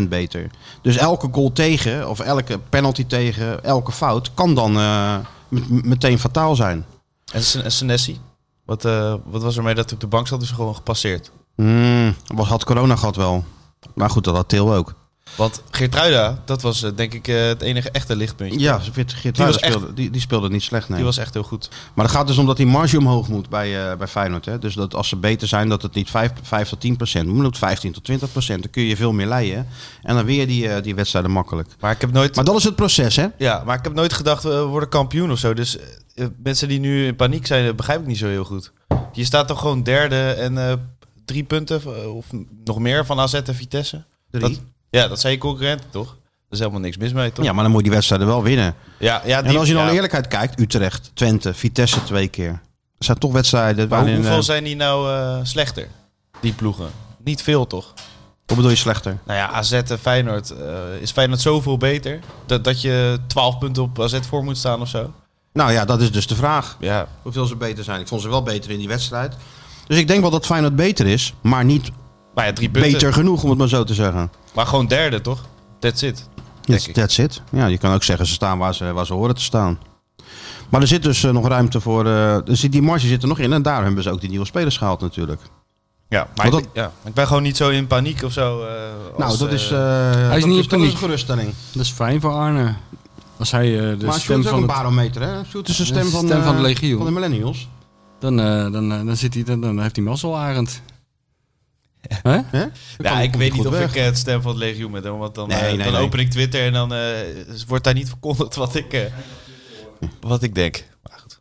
5%, 10% beter. Dus elke goal tegen, of elke penalty tegen, elke fout... kan dan eh, met- meteen fataal zijn.
En, Sen- en Senesi? Wat, eh, wat was er mee dat hij op de bank zat? Is gewoon gepasseerd.
Hmm, was, had corona gehad wel. Maar goed, dat had Til ook.
Want Geertruida, dat was eh, denk ik eh, het enige echte lichtpuntje.
Ja, Geert Geertruida
was echt-
speelde, die, die speelde niet slecht, nee.
Die was echt heel goed.
Maar het gaat dus om dat die marge omhoog moet bij, eh, bij Feyenoord. Hè? Dus dat als ze beter zijn, dat het niet 5, 5 tot 10 procent moet, maar moet 15 tot 20 procent. Dan kun je veel meer leiden. En dan weer die, eh, die wedstrijden makkelijk.
Maar ik heb nooit...
Maar dat is het proces, hè?
Ja, maar ik heb nooit gedacht, we worden kampioen of zo. Dus eh, mensen die nu in paniek zijn, dat begrijp ik niet zo heel goed. Je staat toch gewoon derde en eh, drie punten eh, of nog meer van AZ en Vitesse?
Drie.
Dat- ja, dat zijn je concurrenten, toch? Er is helemaal niks mis mee, toch?
Ja, maar dan moet je die wedstrijden wel winnen.
ja, ja
en als je
dan
naar de eerlijkheid kijkt, Utrecht, Twente, Vitesse twee keer. Dat zijn toch wedstrijden
Maar hoe-
waarin... eh,
hoeveel zijn die nou eh, slechter, die ploegen? Niet veel, toch?
Wat bedoel je slechter?
Nou ja, AZ en Feyenoord. eh, is Feyenoord zoveel beter dat, dat je 12 punten op AZ voor moet staan of zo?
Nou ja, dat is dus de vraag.
Ja,
hoeveel ze beter zijn. Ik vond ze wel beter in die wedstrijd. Dus ik denk wel dat Feyenoord beter is, maar niet
maar ja, drie punten.
beter genoeg om het maar zo te zeggen.
Maar gewoon derde, toch? That's it.
That's,
ik.
that's it. Ja, je kan ook zeggen ze staan waar ze, waar ze horen te staan. Maar er zit dus eh, nog ruimte voor. eh, er zit, die marge zit er nog in en daar hebben ze ook die nieuwe spelers gehaald natuurlijk.
Ja, maar
Want
ik,
dat-
ben- ja, ik ben gewoon niet zo in paniek of zo. eh,
nou,
als,
dat
eh,
is. eh,
is
dat
niet
is
in
toch
paniek.
een geruststelling.
Dat is fijn voor Arne. Als hij eh, de
maar Sjoerd
stem
is ook
van
een
het...
barometer, hè? Sjoerd is de
Dat
stem
is de
van,
stem van
eh,
de legio.
Van de millennials.
Dan, eh, dan, eh, dan, zit hij, dan, dan heeft hij mazzel, Arend. Hè?
Ja, ik
komt
weet
goed
niet of
weg.
ik eh, het stem van het legioen ben, hoor, want dan, eh,
Nee, nee,
dan
nee.
open ik Twitter en dan eh, wordt daar niet verkondigd wat ik, eh, wat ik denk. Maar goed.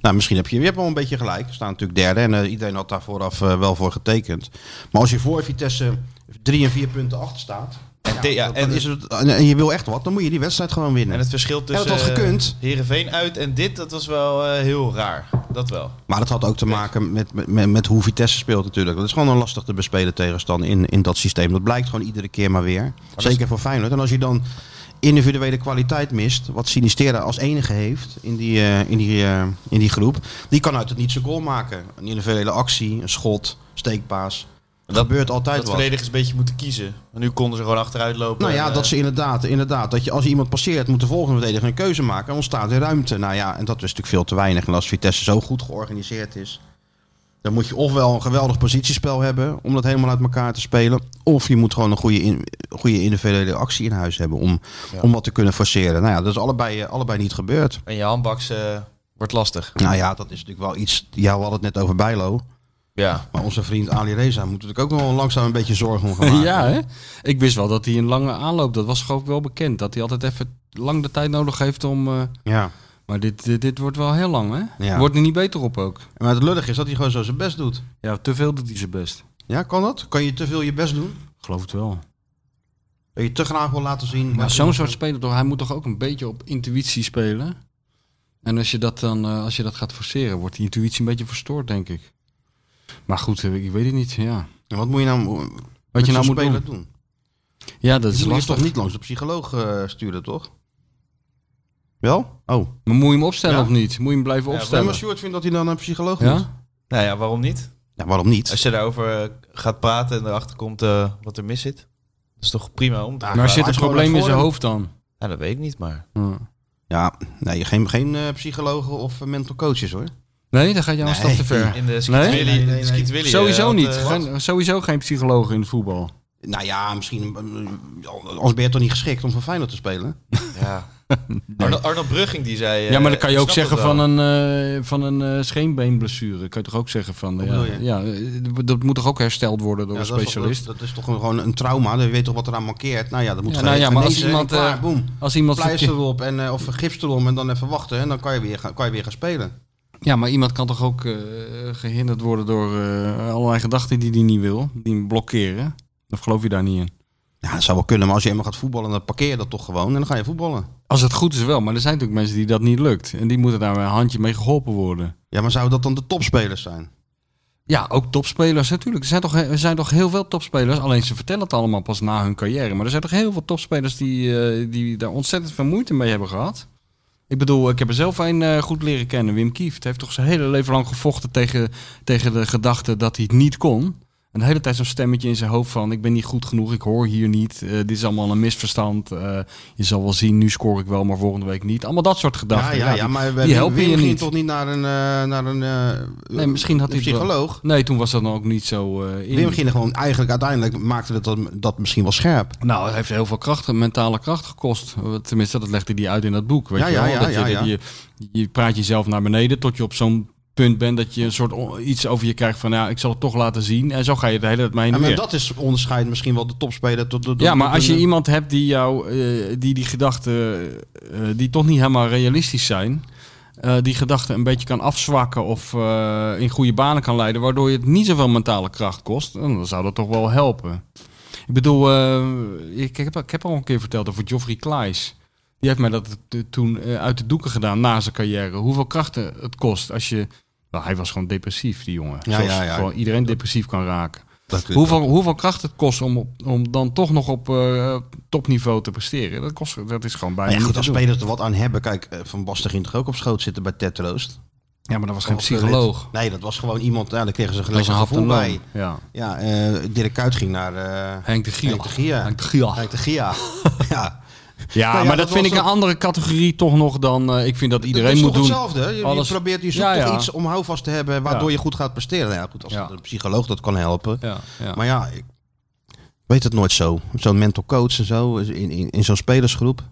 Nou, misschien heb je, je hebt wel een beetje gelijk. We staan natuurlijk derde en eh, iedereen had daar vooraf eh, wel voor getekend. Maar als je voor Vitesse drie en vier punten achter staat...
En, de- ja, en,
en, is het, en je wil echt wat, dan moet je die wedstrijd gewoon winnen.
en het verschil tussen
had gekund.
eh, Heerenveen uit en dit, dat was wel eh, heel raar. Dat wel.
Maar dat had ook te maken met, met- met, met hoe Vitesse speelt natuurlijk. Dat is gewoon een lastig te bespelen tegenstander in, in dat systeem. Dat blijkt gewoon iedere keer maar weer. Zeker voor Feyenoord. En als je dan individuele kwaliteit mist, wat Sinistera als enige heeft in die, eh, in die, eh, in die groep, die kan uit het niet zijn goal maken. Een individuele actie, een schot, steekpaas. Dat gebeurt altijd
Dat
wat.
verdedigers een beetje moeten kiezen. En nu konden ze gewoon achteruit lopen.
Nou
en,
ja,
eh,
dat ze inderdaad, inderdaad. Dat je als je iemand passeert, moet de volgende verdediger een keuze maken. En ontstaat er ruimte. Nou ja, en dat is natuurlijk veel te weinig. En als Vitesse zo goed georganiseerd is, dan moet je ofwel een geweldig positiespel hebben om dat helemaal uit elkaar te spelen. Of je moet gewoon een goede, in, goede individuele actie in huis hebben om, om wat te kunnen forceren. Nou ja, dat is allebei, eh, allebei niet gebeurd.
En je handbaks eh, wordt lastig.
Nou ja, dat is natuurlijk wel iets. Ja, we hadden het net over Bijlo.
Ja.
Maar onze vriend Ali Reza moet natuurlijk ook nog wel langzaam een beetje zorgen om gaan maken.
ja, hè? Ik wist wel dat hij een lange aanloop, dat was gewoon wel bekend. Dat hij altijd even lang de tijd nodig heeft om... eh,
ja.
maar dit, dit, dit wordt wel heel lang, hè?
Ja.
Wordt er niet beter op ook.
Maar het lullig is dat hij gewoon zo zijn best doet.
Ja, te veel doet hij zijn best.
Ja, kan dat? Kan je te veel je best doen?
Geloof het wel.
Dat je te graag wil laten zien.
Maar
wat-
zo'n soort speler, toch, hij moet toch ook een beetje op intuïtie spelen? En als je dat dan eh, als je dat gaat forceren, wordt die intuïtie een beetje verstoord, denk ik. Maar goed, eh, ik weet het niet, ja.
En Wat moet je nou,
Wat je nou moet
spelen
doen.
doen?
Ja, dat is
je moet je
lastig.
toch niet langs de psycholoog eh, sturen, toch? Wel? Oh.
Maar moet je hem opstellen
Ja.
of niet? Moet je hem blijven
Ja,
Stel
opstellen?
maar Sjoerd vindt dat hij dan een psycholoog
Ja?
moet.
Nou ja, waarom niet?
Ja, waarom niet?
Als je daarover eh, gaat praten en erachter komt eh, wat er mis zit. Dat is toch prima
Ja,
om te gaan
Maar
Ah, Maar
er zit
hij
een
is gewoon
probleem in
voor
zijn
hem.
hoofd dan.
praten. Ja, Nou, dat weet ik niet, maar...
Ja.
Ja, nee, geen, geen eh, psychologen of eh, mental coaches hoor.
Nee, dan ga je al een
Nee.
stap te ver.
In de Skeet
Nee?
Willy-
Nee, nee,
in de Skeet
nee.
Willy, eh,
Sowieso
had,
niet.
eh,
Geen- sowieso geen psycholoog in het voetbal.
Nou ja, misschien. eh, Als ben je toch niet geschikt om voor Feyenoord te spelen?
Ja. Arno, Arno Brugging die zei... eh,
ja, maar dan kan je
ik
ook
snap
zeggen
het wel.
van een, eh, van een eh, scheenbeenblessure. Kan je toch ook zeggen van...
Wat
Ja,
bedoel je?
ja, eh, dat moet toch ook hersteld worden door
Ja,
een
dat is toch-
specialist?
Dat, dat is toch gewoon een trauma. Dan weet toch wat eraan mankeert. Nou ja, dat moet
Ja,
gewoon
nou ja, maar als
genezen en
iemand, eh,
klaar, boem.
Als iemand
Pleister
verkeer-
erop en, eh, of gips erom en dan even wachten. En dan kan je weer, gaan- kan je weer gaan spelen.
Ja, maar iemand kan toch ook eh, gehinderd worden door eh, allerlei gedachten die hij niet wil. Die hem blokkeren. Of geloof je daar niet in?
Ja, dat zou wel kunnen, maar als je eenmaal gaat voetballen, dan parkeer je dat toch gewoon en dan ga je voetballen.
Als het goed is wel, maar er zijn natuurlijk mensen die dat niet lukt. En die moeten daar een handje mee geholpen worden.
Ja, maar zouden dat dan de topspelers zijn?
Ja, ook topspelers natuurlijk. Er zijn toch, er zijn toch heel veel topspelers. Alleen ze vertellen het allemaal pas na hun carrière. Maar er zijn toch heel veel topspelers die, eh, die daar ontzettend veel moeite mee hebben gehad. Ik bedoel, ik heb er zelf een eh, goed leren kennen. Wim Kieft heeft toch zijn hele leven lang gevochten tegen, tegen de gedachte dat hij het niet kon. En de hele tijd zo'n stemmetje in zijn hoofd van... ik ben niet goed genoeg, ik hoor hier niet. eh, dit is allemaal een misverstand. eh, je zal wel zien, nu scoor ik wel, maar volgende week niet. Allemaal dat soort gedachten. Ja, die-
maar
die helpen je
Wim ging
niet.
toch niet naar een, eh, naar een, eh,
Nee, misschien had
een
hij het wel.
psycholoog.
Nee, toen was dat dan ook niet zo eh in.
Wim ging er gewoon eigenlijk uiteindelijk maakte dat, dat, dat misschien wel scherp.
Nou, het heeft heel veel kracht, mentale kracht gekost. Tenminste, dat legde hij uit in dat boek. Weet
Ja,
je,
ja,
wel?
ja,
dat
ja,
je,
ja.
Je, je praat jezelf naar beneden tot je op zo'n punt bent dat je een soort o- iets over je krijgt van, ja, ik zal het toch laten zien. En zo ga je de hele tijd mee
En
en weer.
dat is onderscheid misschien wel de topspeler tot de.
Ja, maar als je
iemand.
iemand hebt die jou, eh, die die gedachten, eh, die toch niet helemaal realistisch zijn, eh, die gedachten een beetje kan afzwakken of eh, in goede banen kan leiden, waardoor je het niet zoveel mentale kracht kost, dan zou dat toch wel helpen. Ik bedoel, eh, ik, ik heb, ik heb al een keer verteld over Geoffrey Claes. Die heeft mij dat eh, toen eh, uit de doeken gedaan na zijn carrière. Hoeveel krachten het kost als je... Nou, hij was gewoon depressief, die jongen.
Ja,
Zoals
ja, ja.
Gewoon iedereen depressief kan raken. Hoeveel, hoeveel kracht het kost om, op, om dan toch nog op eh, topniveau te presteren. Dat, kost, dat is gewoon bijna
ja,
niet
goed,
te
als
doen.
spelers er wat aan hebben. Kijk, eh, Van Basten ging toch ook op schoot zitten bij Ted Troost.
Ja, maar dat was geen
Of, eh,
psycholoog.
Nee, dat was gewoon iemand. Ja, daar kregen ze
Dat
gelijk
was een
een
hap en
gevoel
loon.
bij.
Ja.
Ja, eh, Dirk Kuyt ging naar eh
Henk de Giel.
Henk de Gier.
Henk de Giel.
Henk de Gia. ja.
Ja,
Nou ja,
maar dat,
dat
vind
was
ik een
ook-
andere categorie toch nog dan... eh, ik vind dat iedereen
dat is
moet
toch
doen.
hetzelfde. hè? Je, je
Alles-
probeert je zoekt
Ja, ja.
toch iets om houvast te hebben waardoor
Ja.
je goed gaat presteren. Nou ja, goed, als
Ja.
een psycholoog dat kan helpen.
Ja, ja.
Maar ja, ik weet het nooit zo. Zo'n mental coach en zo in, in, in zo'n spelersgroep.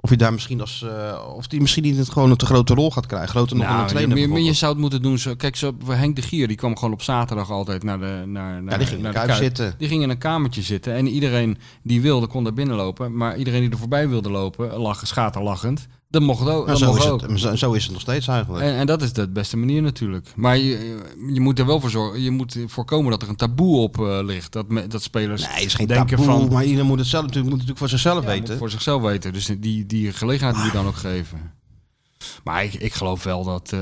Of Of hij daar misschien als. eh, of die misschien niet het gewoon een te grote rol gaat krijgen. Groter nog dan een
Nou, je,
trainer.
maar je,
bijvoorbeeld.
zou het moeten doen. Zo, kijk, zo, Henk de Gier die kwam gewoon op zaterdag altijd naar de naar, naar,
ja, die ging in
naar
de
de
kuip
Kuip.
zitten.
Die ging in een kamertje zitten en iedereen die wilde kon daar binnenlopen. Maar iedereen die er voorbij wilde lopen, lag schaterlachend. Dat mocht ook.
Maar
Dat
zo
mocht
is,
ook.
het, zo, zo is het nog steeds eigenlijk.
En, en dat is de beste manier natuurlijk. Maar je, je moet er wel voor zorgen. Je moet voorkomen dat er een taboe op eh, ligt. Dat, me- dat spelers
nee, het is geen
denken
taboe,
van-
maar iedereen moet het zelf natuurlijk, moet het natuurlijk voor zichzelf
Ja, moet
weten.
voor zichzelf weten. Dus die, die gelegenheid moet je
Ah.
dan ook geven. Maar ik, ik geloof wel dat, eh,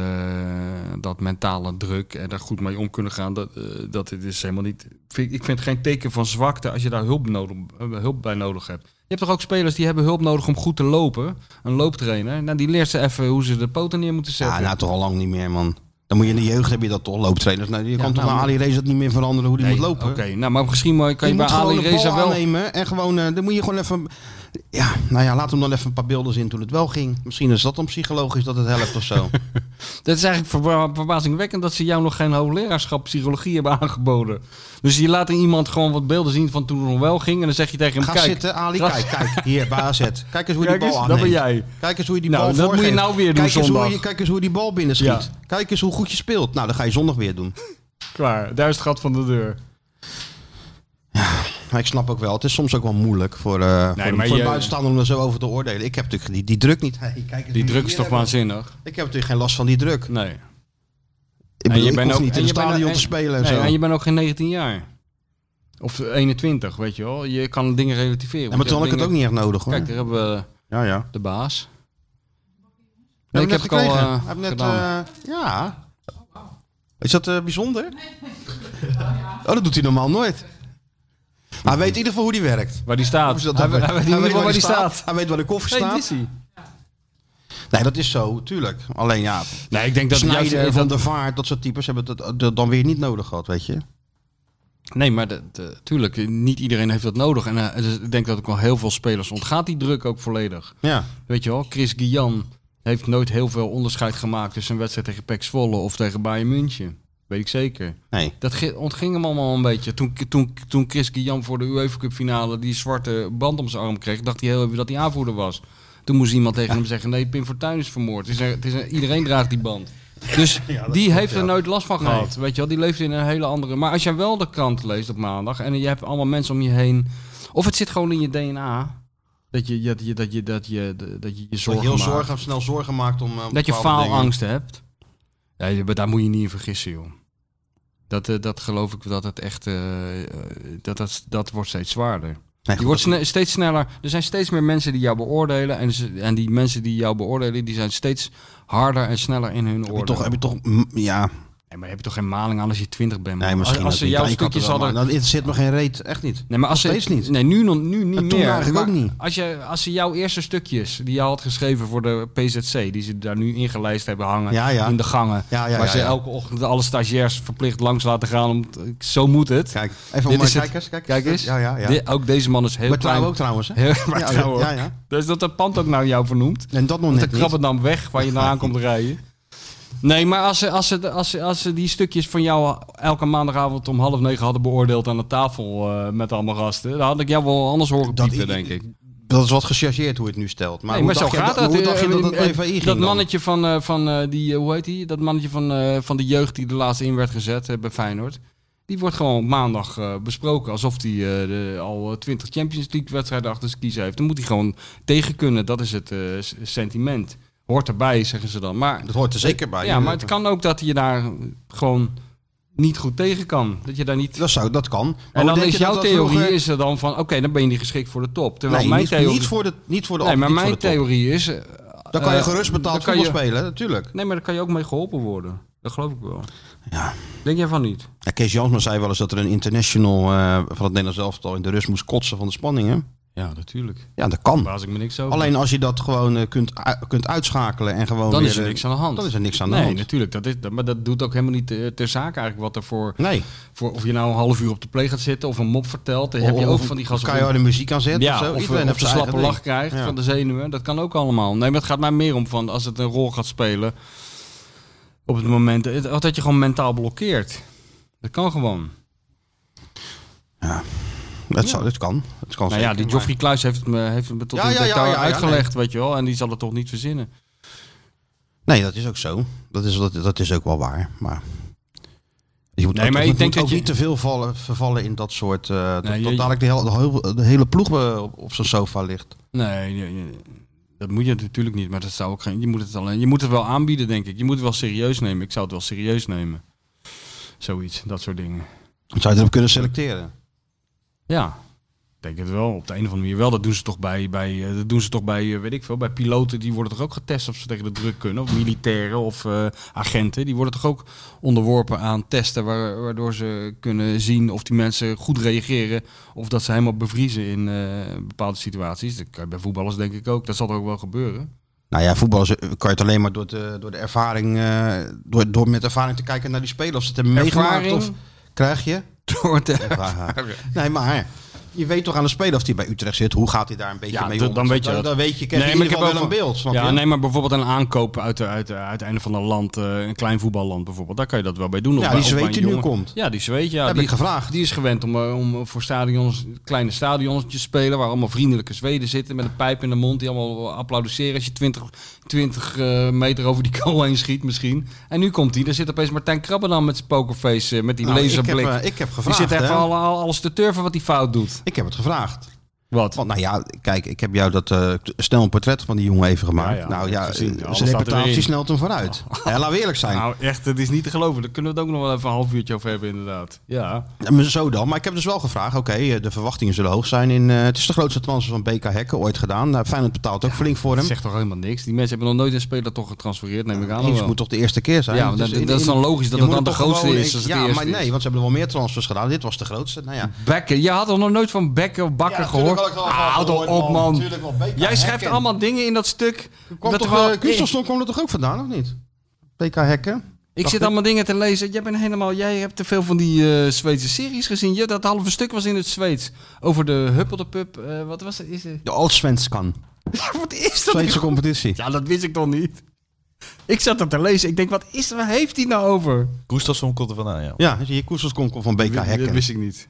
dat mentale druk en daar goed mee om kunnen gaan, dat, eh, dat het is helemaal niet. vind- Ik vind het geen teken van zwakte als je daar hulp, nodig, eh, hulp bij nodig hebt. Je hebt toch ook spelers die hebben hulp nodig om goed te lopen. Een looptrainer. Nou, die leert ze even hoe ze de poten neer moeten zetten.
Ja, nou toch al lang niet meer, man. Dan moet je in de jeugd heb je dat toch, looptrainers. Nou, je kan toch
nou,
bij Ali Reza dat niet meer veranderen hoe die
Nee,
moet lopen.
Oké, nou, maar misschien maar kan je,
je
bij
moet gewoon
Ali
de bal
Reza wel.
aannemen en gewoon, eh, dan moet je gewoon even... Ja, nou ja, laat hem dan even een paar beelden zien toen het wel ging. Misschien is dat dan psychologisch dat het helpt of zo.
Dat is eigenlijk verba- verbazingwekkend dat ze jou nog geen hoogleraarschap psychologie hebben aangeboden. Dus je laat iemand gewoon wat beelden zien van toen het nog wel ging. En dan zeg je tegen hem,
Ga
kijk,
zitten, Ali,
ga-
kijk, kijk. Hier, bij AZ. Kijk eens hoe je
kijk
die
eens,
bal
dat ben
aanneemt.
jij.
Kijk eens hoe je die
Nou,
bal
dat moet je
voorgeeft.
nou weer doen
kijk eens, hoe
zondag.
je, kijk eens hoe die bal binnen schiet.
Ja.
Kijk eens hoe goed je speelt. Nou, dan ga je zondag weer doen.
Klaar, daar is het gat van de deur.
Maar ik snap ook wel, het is soms ook wel moeilijk voor, eh
Nee,
voor,
maar
voor
je-
buitenstaander om er zo over te oordelen. Ik heb natuurlijk die, die druk niet. Hey, kijk eens hoe
Die
je
druk
hier
is toch
hebben.
waanzinnig?
Ik heb natuurlijk geen last van die druk.
Nee.
Ik bedoel,
je
ik
bent
hoef
ook-
niet
en
in het
je bent-
stadion
en-
te spelen en
nee
zo.
en je bent ook geen 19 jaar. Of 21, weet je wel. Je kan dingen relativeren.
Ja, maar toen had ik het ook niet echt nodig hoor.
Kijk, daar hebben we
ja, ja.
de baas.
Ja,
ik heb het al
gekregen.
eh,
Heb net,
gedaan.
eh, ja. Is dat eh, bijzonder? Oh, dat doet hij normaal nooit. Hij weet in ieder geval hoe die werkt.
waar die staat.
Hoe ze dat
hij,
doen.
hij weet niet meer waar die staat.
Hij weet waar de koffer
Nee, dit
staat.
is hij.
Nee, dat is zo, tuurlijk. Alleen ja,
Nee, ik denk dat het juist
Snijder,
is
Van
dat-
de Vaart, dat soort types hebben dat, dat dan weer niet nodig gehad, weet je.
Nee, maar de, de- tuurlijk, niet iedereen heeft dat nodig. En eh, dus ik denk dat ook wel heel veel spelers ontgaat die druk ook volledig.
Ja.
Weet je wel, Chris Guillan heeft nooit heel veel onderscheid gemaakt tussen een wedstrijd tegen PEC Zwolle of tegen Bayern München. Weet ik zeker.
Nee.
Dat ge- ontging hem allemaal een beetje. Toen, toen, toen Chris Guillan voor de UEFA Cup finale die zwarte band om zijn arm kreeg, dacht hij heel even dat hij aanvoerder was. Toen moest iemand tegen hem zeggen, nee, Pim Fortuyn is vermoord. Het is een- het is een- iedereen draagt die band. Dus die heeft er nooit last van gehad. Weet je wel, die leeft in een hele andere... Maar als jij wel de krant leest op maandag en je hebt allemaal mensen om je heen... Of het zit gewoon in je DNA, dat je dat je, dat je, dat je, dat je, je
Zorgen
zorgen
heel
maakt.
zorgen, snel zorgen maakt om eh,
Dat je
bepaalde dingen.
faalangsten hebt. Ja, je- maar daar moet je niet in vergissen, joh. Dat, eh, dat geloof ik dat het echt. eh, eh, dat, dat, dat wordt steeds zwaarder.
Nee,
Je
goed,
wordt
dat-
sne- steeds sneller. Er zijn steeds meer mensen die jou beoordelen. En, ze- en die mensen die jou beoordelen, die zijn steeds harder en sneller in hun
heb je
oordeel.
toch, heb je toch, mm, ja,
Nee, maar heb je toch geen maling aan als je twintig bent? man?
nee, misschien
als, als
ook
ze
niet.
jouw
Ja, je kan het
stukjes
wel,
hadden.
maar Dan het zit nog geen reet, echt niet.
Nee, maar als ze,
Steeds niet.
Nee, nu, nog- nu niet
En toen
meer.
eigenlijk
Maar
ook niet.
Als, je, als ze jouw eerste stukjes die je had geschreven voor de PZC, die ze daar nu ingelijst hebben hangen
Ja, ja.
in de gangen,
Ja, ja,
waar
ja,
ze
ja.
elke ochtend alle stagiairs verplicht langs laten gaan, om, t- zo moet het.
Kijk, even om
is
maar
het.
kijkers, kijk,
Kijk eens.
Ja, ja, ja.
De- ook deze man is heel
maar
klein.
trouw ook trouwens, hè?
Heel- maar
Ja,
trouw ook.
ja, ja.
Dus dat dat pand ook nou jou vernoemd.
En dat nog
Dat de
net niet.
krabben dan weg waar je naar aan komt rijden. Nee, maar als ze, als, ze, als, ze, als ze die stukjes van jou elke maandagavond om half negen hadden beoordeeld aan de tafel eh, met allemaal gasten, dan had ik jou wel anders horen
Dat
piepen,
i-
denk ik.
Dat is wat gechargeerd hoe je het nu stelt. Maar,
Nee,
hoe,
maar zo
dacht je,
gaat dat.
hoe dacht je
Eh,
dat het
eh, eh,
PVI ging
dat
dan?
mannetje van, eh, van eh, die, eh, hoe heet die? Dat mannetje van, eh, van de jeugd die de laatste in werd gezet eh, bij Feyenoord. Die wordt gewoon op maandag eh, besproken alsof hij al eh, twintig Champions League wedstrijden achter zijn kiezen heeft. Dan moet hij gewoon tegen kunnen. Dat is het eh, s- sentiment. Hoort erbij, zeggen ze dan. Maar,
Dat hoort er zeker bij.
ja, maar het kan ook dat je daar gewoon niet goed tegen kan. Dat je daar niet...
Dat, zou, dat kan. Maar
en
hoe
dan is
denk je dat
jouw
dat
theorie
vroeger-
is er dan van, oké, dan ben je niet geschikt voor de top. Terwijl
Nee,
mijn
niet,
theorie...
niet voor de niet voor de
nee, maar
niet voor
mijn
de top.
theorie is... eh,
Dan kan je
eh,
gerust
dan
betaald
kan je-
voetbal spelen, natuurlijk.
Nee, maar daar kan je ook mee geholpen worden. Dat geloof ik wel.
Ja.
Denk jij van niet?
Ja, Kees Jansma zei wel eens dat er een international eh, van het Nederlands elftal in de rust moest kotsen van de spanningen.
Ja, natuurlijk.
Ja, dat kan.
Baas ik me niks over.
Alleen als je dat gewoon eh, kunt, u- kunt uitschakelen en gewoon
dan
weer,
is er
eh,
niks aan de hand.
Dan is er niks aan de
nee,
hand.
natuurlijk. Dat is, dat- maar dat doet ook helemaal niet eh, ter zake eigenlijk wat er voor,
Nee.
voor... Of je nou een half uur op de play gaat zitten of een mop vertelt. Dan heb je
Of-
ook
of
van die gasten...
keiharde muziek aan zetten of
ja,
zo.
of, eh,
Iedereen
of,
heeft
een
zijn
slappe
eigen
lach
ding.
krijgt
Ja.
van de zenuwen. Dat kan ook allemaal. Nee, maar het gaat mij meer om van als het een rol gaat spelen... Op het moment... het- Dat je gewoon mentaal blokkeert. Dat kan gewoon.
Dat, zou, dat kan. Dat kan
Nou ja,
zeker,
die
maar-
Joffrey Kluis heeft het me, heeft het me tot
Ja,
in
ja, ja,
detail
ja, ja,
uitgelegd, weet je wel. En die zal het toch niet verzinnen.
Nee, dat is ook zo. Dat is, dat, dat is ook wel waar. Maar je moet,
Nee,
ook,
maar
je
ik
moet
denk
ook
dat je-
niet te veel vallen, vervallen in dat soort... eh dat-
Nee,
dat
je-
dadelijk de hele, de heel- de hele ploeg eh, op, op zijn sofa ligt.
Nee, nee, nee. dat moet je natuurlijk niet. Maar dat zou ook geen. Je moet het alleen. Je moet het wel aanbieden, denk ik. Je moet het wel serieus nemen. Ik zou het wel serieus nemen. Zoiets, dat soort dingen.
Dan zou je erop kunnen selecteren.
Ja, ik denk het wel. Op de een of andere manier wel. Dat doen ze toch bij, bij, eh, dat doen ze toch bij eh, weet ik veel, bij piloten. Die worden toch ook getest of ze tegen de druk kunnen. Of militairen of eh, agenten. Die worden toch ook onderworpen aan testen. waar- waardoor ze kunnen zien of die mensen goed reageren. Of dat ze helemaal bevriezen in eh, bepaalde situaties. Dat kan je bij voetballers denk ik ook. Dat zal er ook wel gebeuren.
Nou ja, voetbal is- kan je het alleen maar door de, door de ervaring, eh, door, door met ervaring te kijken naar die spelers. Of ze het hebben meegemaakt
Ervaring?
of krijg je?
Door te-
nee, maar je weet toch aan de speler of die bij Utrecht zit, hoe gaat hij daar een beetje
Ja,
mee
dat-
om?
dan weet je
dan,
dat.
dan weet je, krijg je
Nee,
in
maar
ieder
ik
geval wel
heb
een beeld. Snap
Ja,
je?
nee, maar bijvoorbeeld een aankoop uit, de- uit, de- uit het einde van een land, eh, een klein voetballand bijvoorbeeld, daar kan je dat wel bij doen. Of
Ja,
bij-
die
of bij een
Zweed die nu
jongen.
komt.
Ja, die zweet, ja.
Heb
die,
ik gevraagd.
Die is gewend om, eh, om voor stadions, kleine stadions te spelen, waar allemaal vriendelijke Zweden zitten met een pijp in de mond, die allemaal applaudisseren als je 20, 20 eh, meter over die goal heen schiet misschien. En nu komt hij, daar zit opeens Martijn Krabben dan met zijn pokerface, eh, met die
Nou,
laserblik.
Ik heb, eh, ik heb
die
gevraagd.
zit
hè.
even al, al- alles te turven wat hij fout doet.
Ik heb het gevraagd.
Wat?
Want nou ja, kijk, ik heb jou dat eh, t- snel een portret van die jongen even gemaakt.
Ja, ja,
nou
ik
ja,
heb gezien.
eh,
Alles
zijn
staat
reputatie
erin.
snelt hem vooruit. Ja, laat we eerlijk zijn.
Nou, echt, het is niet te geloven. Daar kunnen we het ook nog wel even een half uurtje over hebben, inderdaad. Ja.
Ja, maar Zo dan. Maar ik heb dus wel gevraagd. Oké, eh, de verwachtingen zullen hoog zijn. In, eh, het is de grootste transfer van BK Hekken ooit gedaan. Nou, Feyenoord betaalt ook flink voor
Dat
hem.
zegt toch helemaal niks? Die mensen hebben nog nooit een speler toch getransfereerd, neem ik aan.
Eens
nou wel.
moet toch de eerste keer zijn?
Ja, maar
Dus
dat- dat is dan logisch dat
je
het dan
moet
de
toch
grootste
gewoon-
is als het
ja,
de eerste
maar
is.
nee, want ze hebben er wel meer transfers gedaan. Dit was de grootste. Nou ja.
Bekker, je had er nog nooit van Bekker of Bakker gehoord. Ah, Houd toch op, man. Jij schrijft allemaal dingen in dat stuk.
Kwam
dat
toch,
gewoon-
eh, Christelstorm kwam er toch ook vandaan, of niet? BK Hekken?
ik zit allemaal dingen te lezen. Jij, bent helemaal, jij hebt te veel van die eh, Zweedse series gezien. Je, dat halve stuk was in het Zweeds. Over de Huppel de Pup. eh, wat was het? Is het?
De Allsvenskan.
wat is dat?
Zweedse competitie.
Ja, dat wist ik toch niet. Ik zat dat te lezen. Ik denk, wat is er? Waar heeft hij nou over?
Gustafsson komt er vandaan, ja.
Ja, zie je, Koesterskom kwam van BK
dat
Hekken.
wist ik niet.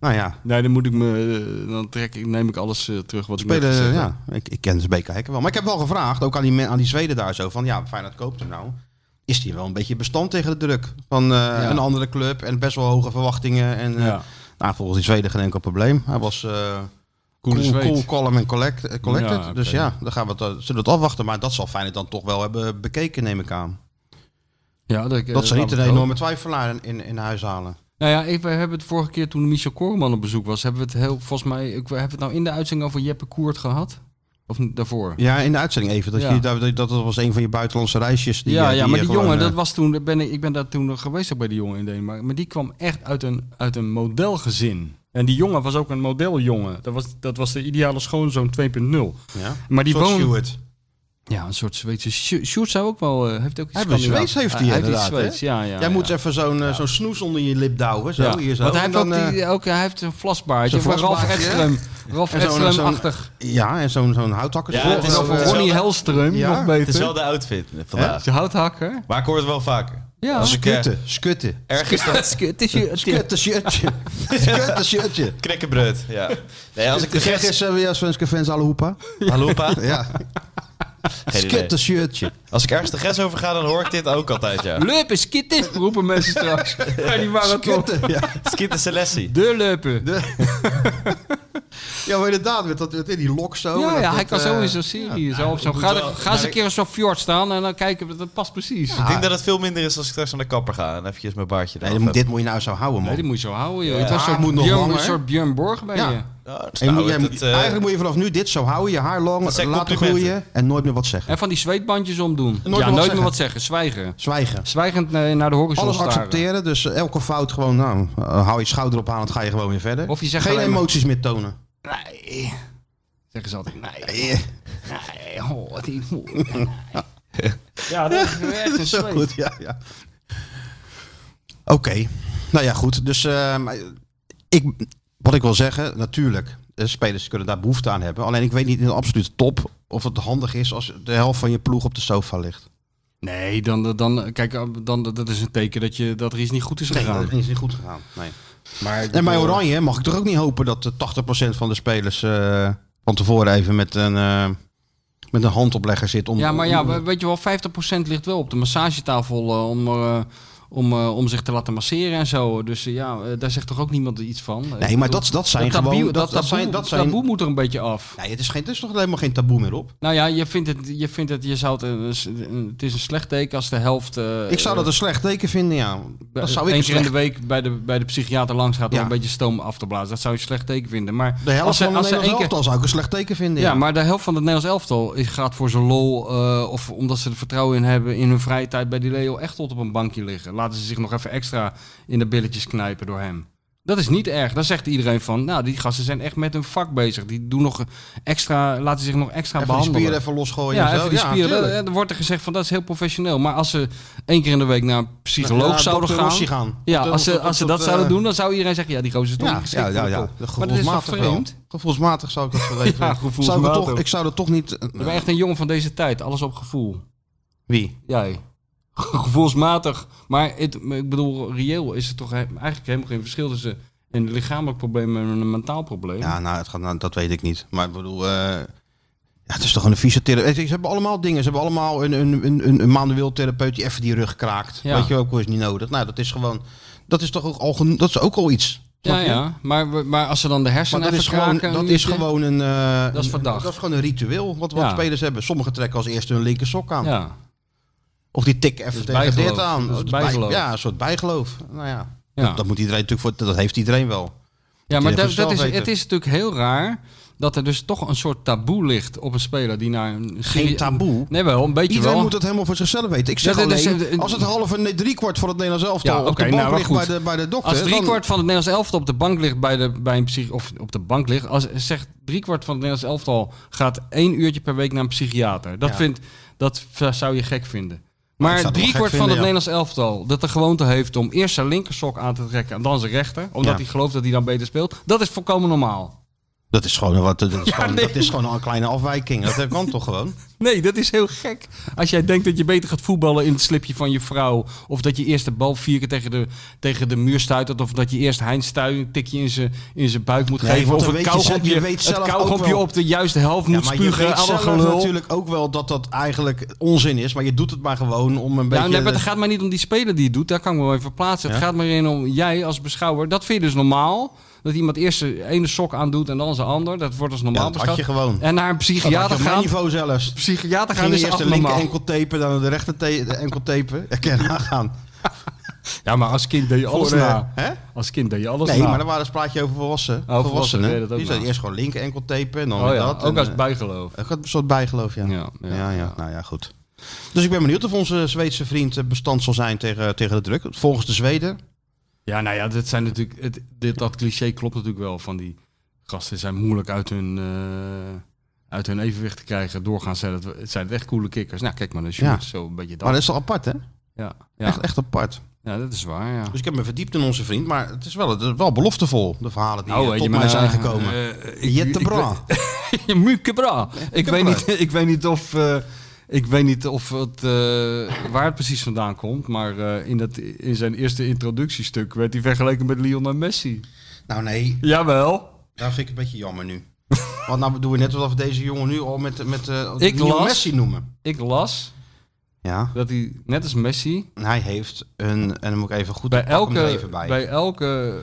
Nou ja,
Nee, dan moet ik me. eh, Dan trek ik, neem ik alles eh, terug wat ik net
spelen,
gezegd heb.
ja, ik, ik ken BK Hekken wel. Maar ik heb wel gevraagd, ook aan die, men- aan die Zweden daar zo, van ja, Feyenoord koopt hem nou. Is die wel een beetje bestand tegen de druk van eh, een andere club en best wel hoge verwachtingen. En, eh,
Ja.
Nou, volgens die Zweden geen enkel probleem. Hij was eh, cool,
Coole
cool,
Zweed.
calm en collect, eh, collected.
Ja,
Dus
oké.
ja, dan gaan we het, eh, zullen we het afwachten. Maar dat zal Feyenoord dan toch wel hebben bekeken, neem ik aan.
Ja, dat, ik, eh,
Dat ze
laat
niet een
het hopen.
enorme twijfelaar in, in, in huis halen.
Nou ja, ik, we hebben het vorige keer toen Michel Koreman op bezoek was, hebben we het heel, volgens mij, ik, hebben we het nou in de uitzending over Jeppe Koert gehad? Of niet daarvoor?
Ja, in de uitzending even. Dat,
Ja.
je, dat, dat- dat was een van je buitenlandse reisjes. Die,
ja,
eh,
ja, maar
die je
die
gewoon,
jongen,
eh,
dat was toen, ben ik, ik ben daar toen nog geweest ook bij die jongen in Denemarken. Maar die kwam echt uit een, uit een modelgezin. En die jongen was ook een modeljongen. Dat was, dat was de ideale schoonzoon 2.0.
ja.
Maar die
Soort
woon-
Stewart.
Ja, een soort Zweedse. Sjo- Sjoerd zou ook wel. eh, heeft ook iets
Hij heeft een
Scandinavisch.
Zweeds, heeft hij
Hij heeft iets
inderdaad, hè?
Zweeds, ja, ja.
Jij moet
ja.
even zo'n eh, zo'n snoes onder je lip douwen. Zo,
Ja.
hier zo.
Want hij
En
heeft
dan,
ook, die-
eh,
ook, hij heeft een vlasbaardje.
zo'n
Van Ralf
vlasbaardje.
Edström. Ralf
En zo'n-
Edström-achtig.
ja, en zo'n zo'n houthakker.
eh, Ja, het is
Of,
wel-
eh,
het is wel-
Ronnie Helström,
Ja,
nog beter.
Dezelfde outfit vandaag.
Ze houthakker.
Maar ik hoor het wel vaker.
Ja.
Als ik eh,
Skutten, skutten.
ergens dat
Het is je- het-
Skutten shirtje. Skutten shirtje.
knekkenbreud. Ja. Nee, als ik de
De gek
gers...
is eh, weer Svenske fans alle hoepa.
Hallo pa.
Ja,
Geen idee.
skutten shirtje.
Als ik ergens de grens over ga, dan hoor ik dit ook altijd, ja.
Leupen, skitten, roepen mensen straks. Maar die waren toch
Skutten. Ja.
Skit de Selassie.
de leupen.
ja, maar inderdaad, met, dat, met die lok zo.
ja, ja,
dat- dat,
hij kan zo
eh,
in zo'n serie. zo op zo'n-
moet
ga,
wel-
ga eens een
maar-
keer op zo'n fjord staan en dan kijken we. Dat past precies.
Ik denk dat het veel minder is als ik straks naar de kapper ga en eventjes mijn baardje
Nee,
eraf
dit moet-
heb.
dit moet je nou zo houden,
Nee, die
man.
moet je zo houden, joh.
Ja.
Het was
Ah,
een
moet
soort,
nog
Björn,
langer.
een soort Björn Borg ben
Ja.
je.
Ja, het is
En je moet-
nou,
jij
het-
moet-
het, eh,
eigenlijk moet je vanaf nu dit zo houden, je haar lang
Dat zijn
laten
complimenten.
groeien en nooit meer wat zeggen.
En van die zweetbandjes omdoen.
meer wat
ja, nooit
zeggen.
meer wat zeggen. Zwijgen.
Zwijgen.
Zwijgend eh, naar de horizon
Alles
staren.
accepteren, dus elke fout gewoon, nou, eh, hou je schouder op aan, dan ga je gewoon weer verder.
Of je zegt
Geen
alleen maar-
emoties meer tonen.
Nee. Zeggen ze altijd. Nee. Nee. Oh, wat die moe. Nee. Ja, dat is echt een
Zo
zweet.
goed, ja. ja. Oké. Nou ja, goed. Dus ehm, ik, wat ik wil zeggen, natuurlijk, de spelers kunnen daar behoefte aan hebben. Alleen ik weet niet in de absolute top of het handig is als de helft van je ploeg op de sofa ligt.
Nee, dan, dan, kijk, dan, dat is een teken dat, je, dat er iets niet goed is
Nee,
gegaan.
dat is niet goed gegaan. Nee.
maar,
En bij Oranje mag ik toch ook niet hopen dat eh, 80% van de spelers eh, van tevoren even met een, eh, met een handoplegger zit. Om,
Ja, maar ja,
om-
we- weet je wel, 50% ligt wel op de massagetafel eh, om, eh, om, eh, om zich te laten masseren en zo. Dus eh, ja, eh, daar zegt toch ook niemand iets van? Ik
Nee,
bedoel,
maar dat, dat zijn
taboe-
gewoon...
dat, taboe,
zijn, dat zijn,
taboe moet er een beetje af.
Nee, het, is geen, het is toch helemaal geen taboe meer op?
Nou ja, je vindt het, je vindt het, je zou het, een- een- het is een slecht teken als de helft... eh,
ik zou dat een slecht teken vinden, ja. Dat zou ik
eens
een
in de
slecht...
week bij de, bij de psychiater langs gaat om
Ja.
een beetje stoom af te blazen. Dat zou je een slecht teken vinden. Maar
De helft
als ze-
van de
als ze
Nederlandse
één keer-
elftal zou ik een slecht teken vinden,
Ja, maar de helft van het Nederlands elftal is- gaat voor zijn lol. eh, of omdat ze er vertrouwen in hebben in hun vrije tijd bij die Leo echt tot op een bankje liggen. Laten ze zich nog even extra in de billetjes knijpen door hem. Dat is niet erg. Dan zegt iedereen van, nou, die gasten zijn echt met hun vak bezig. Die doen nog extra, laten zich nog extra
Even die
behandelen.
spieren even losgooien
ja,
en zo.
even die spieren.
tuurlijk.
Eh, er wordt er gezegd van, dat is heel professioneel. Maar als ze één keer in de week naar een psycholoog
Naar
zouden
dokter
gaan...
Rossi gaan.
Ja,
Tot-
als ze,
tot-
als ze
tot,
dat
eh,
zouden doen, dan zou iedereen zeggen... Ja, die gozer is toch
Ja,
niet
ja,
geschikt
ja,
voor de
ja.
top. Maar dat is toch
Gevoelsmatig wel.
vreemd?
Gevoelsmatig zou ik dat wel even... zou ik, er
gevoelsmatig.
toch, ik zou er toch niet...
Ik ben echt een jongen van deze tijd. Alles op gevoel.
Wie?
Jij. Gevoelsmatig. Maar het, ik bedoel, reëel is er toch he- eigenlijk helemaal geen verschil tussen een lichamelijk probleem en een mentaal probleem.
Ja, nou, het gaat, nou, dat weet ik niet. Maar ik bedoel, eh, ja, het is toch een fysiotherapeut. Ze hebben allemaal dingen. Ze hebben allemaal een, een, een, een- een manueel therapeut die even die rug kraakt.
Ja.
Weet je ook, is niet nodig. Nou, dat is gewoon, dat is toch ook al, geno- dat is ook al iets.
ja.
Snap je?
ja. Maar, we- maar als ze dan de
Maar
hersenen
dat is,
even
gewoon,
kraken,
dat
een
is
beetje-
gewoon een, eh,
Dat is
een-
verdacht.
dat is gewoon een ritueel wat, wat
Ja.
spelers hebben. Sommigen trekken als eerste hun linker sok aan.
Ja,
Of die tikken even
Dat is
tegen
Dus
dit
bijgeloof.
aan. Oh,
Dat is
bij-
bijgeloof.
ja, een soort bijgeloof. Nou ja,
ja.
Dat, dat moet iedereen natuurlijk voor, dat heeft iedereen wel.
ja
moet
maar
je
dat,
zelf
dat is,
weten.
het is natuurlijk heel raar dat er dus toch een soort taboe ligt op een speler die naar een...
Geen taboe.
Nee wel, een beetje
Iedereen
wel.
moet dat helemaal voor ziemzelf weten. Ik zeg
Ja, dat is-
alleen,
dat is-
als het half en nee, drie kwart van het Nederlands elftal
Ja,
op
oké,
de bank
nou, maar
ligt
goed.
bij de, bij de dokter...
Als
dan-
driekwart van het Nederlands elftal op de bank ligt bij, de, bij een psych of op de bank ligt, als zegt driekwart van het Nederlands elftal gaat één uuurtje per week naar een psychiater. Dat
Ja.
vindt, dat v- zou je gek vinden.
ik
Maar
zou het wel
driekwart
gek
van het
vinden,
Nederlands elftal dat de gewoonte heeft om eerst zijn linkersok aan te trekken en dan zijn rechter, omdat
Ja.
hij gelooft dat hij dan beter speelt, dat is volkomen normaal.
Dat is gewoon, wat, dat, is gewoon,
nee.
dat is gewoon een kleine afwijking. Dat kan toch gewoon?
Nee, dat is heel gek. Als jij denkt dat je beter gaat voetballen in het slipje van je vrouw, of dat je eerst de bal vier keer tegen de, tegen de muur stuitert, of dat je eerst Heinz Stuy een tikje in zijn in zijn buik moet
Nee,
geven,
want
of
dan
een
weet je zelf- je
kauwgompje,
weet
het
zelf ook
kauwgompje
wel.
op de juiste helft moet
je
spugen,
weet
alle
zelf
gelul.
natuurlijk ook wel dat dat eigenlijk onzin is. Maar je doet het maar gewoon om een
Ja,
beetje...
nee, maar het gaat mij niet om die speler die het doet. Daar kan ik me wel even plaatsen. Het
Ja?
gaat maar in om jij als beschouwer. Dat vind je dus normaal. Dat iemand eerst de ene sok aandoet en dan zijn ander. Dat wordt als normaal
Ja, dat had
beschouwd.
je gewoon. Oh,
En naar een
dat had je
psychiater
op mijn
gaan.
niveau zelfs.
Psychiater gaan
Ging
is
eerst de
echt
linker
normaal.
enkel tapen, dan de rechter ta- de enkel tapen. Ja, kan je nagaan.
Ja, maar als kind deed je alles
Voor, eh,
na.
hè?
Als kind deed je alles
Nee,
na.
maar dan waren een praatje over volwassenen.
volwassenen,
volwassenen.
deed dat ook
Die zeiden
nog.
eerst gewoon linker enkel tapen en dan
Oh
weer
ja,
dat.
ook
en,
als
eh,
bijgeloof.
Ook Een soort bijgeloof, ja.
Ja, ja,
ja, ja, Nou ja, goed. Dus ik ben benieuwd of onze Zweedse vriend eh, bestand zal zijn tegen, tegen de druk. Volgens de Zweden.
Ja, nou ja, dit zijn natuurlijk, het, dit, dat cliché klopt natuurlijk wel. Van die gasten zijn moeilijk uit hun, eh, uit hun evenwicht te krijgen. Doorgaan zijn het, het zijn echt coole kikkers. Nou, kijk maar naar Sjoerd,
Ja.
zo een beetje dat.
Maar dat is al apart, hè?
ja, ja.
Echt, echt apart.
ja, dat is waar, ja.
Dus ik heb me verdiept in onze vriend. Maar het is wel, het is wel beloftevol, de verhalen die eh,
weet
tot
maar,
mij zijn
eh,
gekomen.
eh, ik-
Jette
ik-
Bra.
ik- Muke Bra. Ik weet
Bra.
niet, ik weet niet of... eh, ik weet niet of het, eh, waar het precies vandaan komt, maar eh, in, dat, in zijn eerste introductiestuk werd hij vergeleken met Lionel Messi.
Nou nee,
Jawel.
daar vind ik een beetje jammer nu. Want nou doen we net alsof we deze jongen nu al met, met eh, de
Ik
nieuwe
las-
Messi noemen.
Ik las
Ja,
dat hij, net als Messi,
en hij heeft een... En dan moet ik even goed...
bij
ik pak hem er
elke,
even bij.
bij. elke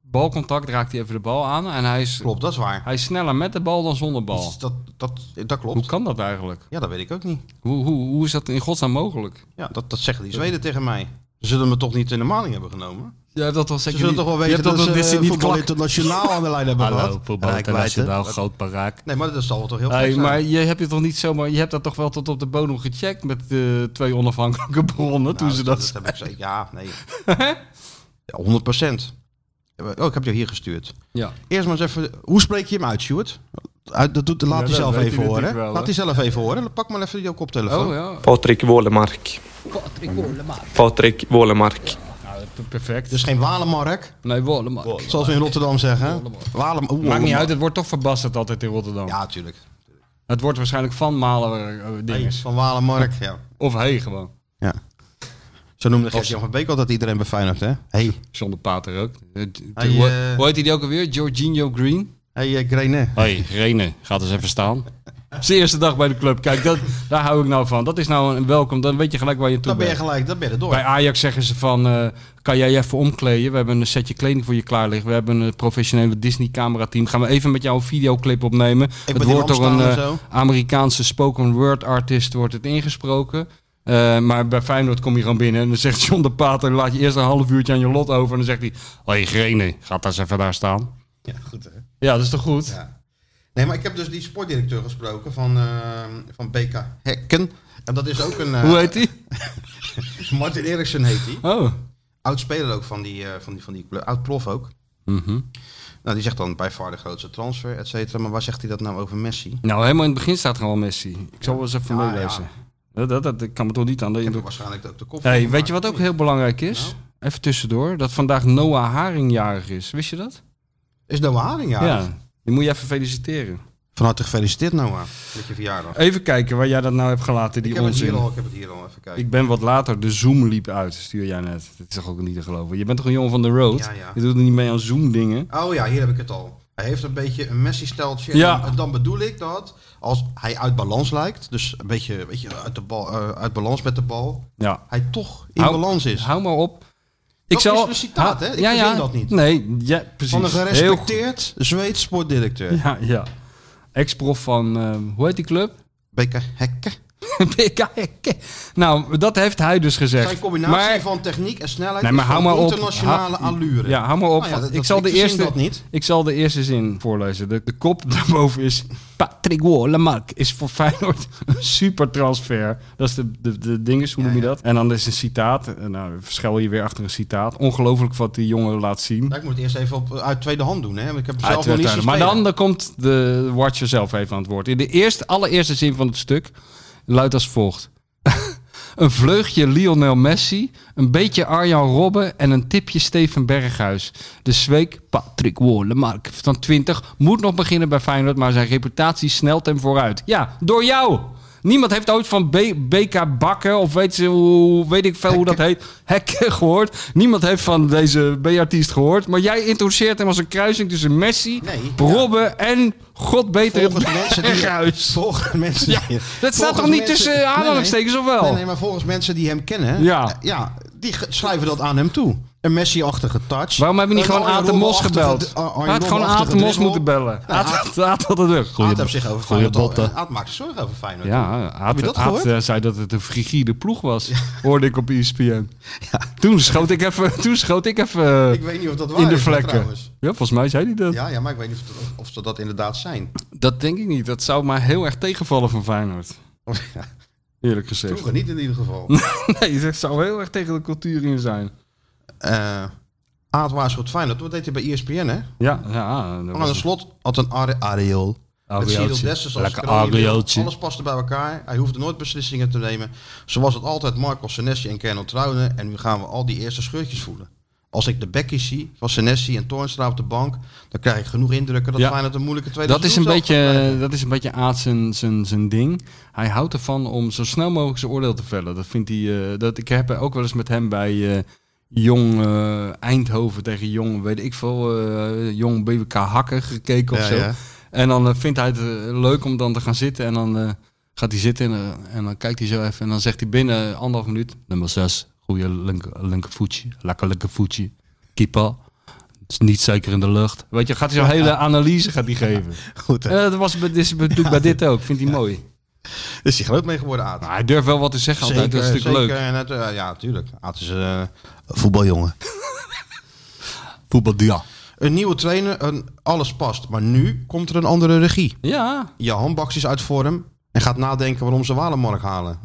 balcontact raakt hij even de bal aan. En hij is,
Klopt, dat is waar.
hij is sneller met de bal dan zonder bal.
Dus Dat, dat, dat
Oh. Hoe
klopt.
kan dat eigenlijk?
Ja, dat weet ik ook niet.
Hoe, hoe, hoe is dat in godsnaam mogelijk?
Ja, dat, dat zeggen die Zweden tegen mij. Ze zullen me toch niet in de maling hebben genomen?
Je hebt dat wel zeker
Ze zullen
niet-
toch wel
je
weten
hebt
dat,
wel-
ze
dit zit
eh,
niet
voetbal
klak-
internationaal aan de lijn hebben gehad.
Hallo, voetbal
Rijkwijde.
internationaal, groot paraak.
Nee, maar dat zal toch heel gek
Hey,
zijn.
maar je hebt, je, toch niet zomaar, je hebt dat toch wel tot op de bodem gecheckt met eh, twee onafhankelijke bronnen toen
Nou,
ze dat...
heb ik zeker. Ja, nee. ja, 100 Oh, ik heb je hier gestuurd.
ja.
Eerst maar eens even... Hoe spreek je hem uit, Stuart? Uit- Dat doet, laat
Ja,
hij
dat
zelf
weet
even
hij
horen.
natuurlijk wel,
laat hij zelf even horen. Pak maar even jouw koptelefoon.
Oh ja,
Patrik Wålemark. Patrik Wålemark.
Nou,
perfect.
Dus geen Walemark,
Nee, Wolleman.
zoals we in Rotterdam zeggen. Walem,
Maakt
oeh,
niet
Walem-
uit, het wordt toch verbasterd altijd in Rotterdam.
Ja, tuurlijk.
Het wordt waarschijnlijk van Malen eh, eh,
Hey,
dinges.
van Walemark, ja.
Of hey gewoon.
Zo noemde Gert-Jan van Beek altijd iedereen bij Feyenoord, hè? Hey,
Zonder Pater ook. Eh, d-
Hij,
hoe,
eh,
hoe heet hij die ook alweer? Jorginho Green?
hey eh, Greene.
Hé, hey, Rene, gaat eens even staan. Zijn eerste dag bij de club. Kijk, dat, daar hou ik nou van. Dat is nou een welkom. Dan weet je gelijk waar je toe
Dan ben je
bent.
gelijk, dan ben je er door.
Bij Ajax zeggen ze van, eh, kan jij je even omkleden? We hebben een setje kleding voor je klaar liggen. We hebben een professionele Disney camera team. Gaan we even met jou een videoclip opnemen.
ben
het
in
wordt door een
Amsterdam en
eh,
zo.
Amerikaanse spoken word artist wordt het ingesproken. Eh, maar bij Feyenoord kom je gewoon binnen en dan zegt John de Pater, laat je eerst een half uurtje aan je lot over. En dan zegt hij, hé hey, Grene, ga daar eens even daar staan.
Ja, goed hè.
Ja, dat is toch goed?
Nee, maar ik heb dus die sportdirecteur gesproken van, eh, van BK Hekken. En dat is ook een... eh,
Hoe heet hij?
Martin Eriksen heet hij.
Oh.
Oud speler ook van die, eh, van die, van die club. Oud prof ook.
Mhm.
Nou, die zegt dan bij far de grootste transfer, et cetera. Maar waar zegt hij dat nou over Messi?
Nou, helemaal in het begin staat gewoon Messi. Ik zal wel eens even
Ja,
meelezen. Dat, dat, dat, ik kan me toch niet aan de
Ik heb
indruk
er waarschijnlijk ook de kop
Hey,
van
weet je
gemaakt.
wat ook heel belangrijk is?
Nou?
Even tussendoor. Dat vandaag Noah Haring jarig is. Wist je dat?
Is Noah Haring, ja.
Die moet je even feliciteren.
Van harte gefeliciteerd, Noah. Met je verjaardag.
Even kijken waar jij dat nou hebt gelaten, die
ik, heb het hier
onzin.
al, ik heb het hier al, even kijken.
Ik ben wat later. De Zoom liep uit, stuur jij net. Dat is toch ook niet te geloven. Je bent toch een jongen van de road?
Ja, ja.
Je doet er niet mee aan Zoom dingen.
Oh ja, hier heb ik het al. Hij heeft een beetje een Messi-steltje.
Ja.
En dan bedoel ik dat als hij uit balans lijkt, dus een beetje, weet je, uit, de bal, eh, uit balans met de bal,
Ja.
hij toch in
Hou-
balans is.
Hou maar op. Ik
Dat is een citaat, hè? Ik verzin dat niet.
Nee, ja, precies.
Van een
Heel goed.
gerespecteerd Zweeds sportdirecteur.
Ja, ja. Ex-prof van, ehm, hoe heet die club?
Beke Hekke.
BKK. Nou, dat heeft hij dus gezegd.
Zijn combinatie
Maar-
van techniek en snelheid
Nee, maar
is
hou
van
maar op.
internationale
Ha-
allure.
Ja, hou maar op.
Nou ja, dat-
ik,
dat-
zal de
verzin
eerste,
dat niet.
ik zal de eerste zin voorlezen. De, de kop daarboven is... Patrick Wollemark is voor Feyenoord een supertransfer. Dat is de, de, de dinges, hoe noem je
Ja, ja.
dat? En dan is een citaat. En Nou, verschil je weer achter een citaat. Ongelooflijk wat die jongen laat zien.
Nou, ik moet het eerst even op, uit tweede hand doen, hè? want Ik heb hem zelf nog niet
Uiteraard.
zien
Maar
spelen.
dan, dan komt de watcher zelf even aan het woord. In de eerste, allereerste zin van het stuk luidt als volgt. een vleugje Lionel Messi, een beetje Arjan Robben en een tipje Steven Berghuis. De zweek Patrick Wollemark van 20 moet nog beginnen bij Feyenoord, maar zijn reputatie snelt hem vooruit. Ja, door jou! Niemand heeft ooit van B- BK Bakken of weet, ze, hoe, weet ik veel hoe dat heet, Hekken gehoord. Niemand heeft van deze B-artiest gehoord. Maar jij introduceert hem als een kruising tussen Messi,
Nee, ja.
Robben en God beter
Volgens mensen die-
Berghuis.
Volgens mensen.
Ja,
die-
dat staat toch niet tussen aanhalingstekens, of wel?
Nee, nee, maar volgens mensen die hem kennen,
Ja.
eh, ja die ge- schrijven dat aan hem toe. Een Messi-achtige touch.
Waarom hebben we niet
Een
gewoon
Arjen
Aad de Mos
Robben-achtige-
gebeld?
d- Arjen
Hij had gewoon Aad de
Robben-achtige
Mos
dribbel.
moeten bellen. Aad Aad had het ook.
Aad heeft zich
goeie
over Feyenoord al-
botten.
Aad maakt zich zorgen over Feyenoord.
Ja, Aad,
Heb je dat
Aad,
gehoord?
eh, zei dat het een frigide ploeg was, hoorde ik op E ESPN. Toen schoot ik even, toen schoot ik even eh,
Ik weet niet of dat waar
in de
is, maar
vlekken.
trouwens.
Ja, volgens mij zei hij dat.
Ja, ja, maar ik weet niet of, dat- of ze dat inderdaad zijn.
Dat denk ik niet. Dat zou maar heel erg tegenvallen van Feyenoord. Eerlijk gezegd.
Vroeger niet in ieder geval.
Nee, dat zou heel erg tegen de cultuur in zijn.
Eh Aad waarschuwt Feyenoord. Wat deed hij bij E ESPN, hè?
Ja, ja. dat
Oh, Maar aan
was
de slot had een Are- Ariel. Met
Arieltje.
Cyril Dessers als
Lekker
kroonjuweel.
Arieltje.
Alles paste bij elkaar. Hij hoefde nooit beslissingen te nemen. Zo was het altijd Marco Senesi en Kernel Trouwen. En nu gaan we al die eerste scheurtjes voelen. Als ik de bekkies zie van Senesi en Toornstra op de bank... dan krijg ik genoeg indrukken dat
Ja.
Feyenoord een moeilijke tweede
Dat is, een
seizoen zelf gaat
beetje,
krijgen.
dat is een beetje Aad zijn, zijn, zijn ding. Hij houdt ervan om zo snel mogelijk zijn oordeel te vellen. Dat vindt hij, eh, dat, ik heb ook wel eens met hem bij eh, Jong eh, Eindhoven tegen Jong, weet ik veel, eh, Jong BBK Hakken gekeken of
Ja,
zo.
ja.
En dan eh, vindt hij het eh, leuk om dan te gaan zitten. En dan eh, gaat hij zitten en, eh, en dan kijkt hij zo even. En dan zegt hij binnen anderhalf minuut, nummer zes, goede linker, linkervoetje, lekker linkervoetje, keeper. Het is niet zeker in de lucht. Weet je, gaat hij zo'n hele analyse gaat hij geven.
Goed, hè?
Eh, dat was bij, dit, is- doe ik bij dit ook. Vindt hij mooi.
Is hij groot mee geworden, Aad?
Maar hij durft wel wat te zeggen altijd. dat is natuurlijk
zeker.
leuk.
En het, eh, ja, natuurlijk. Aad is eh, een voetbaljongen.
Voetbal, ja.
Een nieuwe trainer, een, alles past. Maar nu komt er een andere regie.
Ja.
je handbaks is uit vorm en gaat nadenken waarom ze Walemark halen.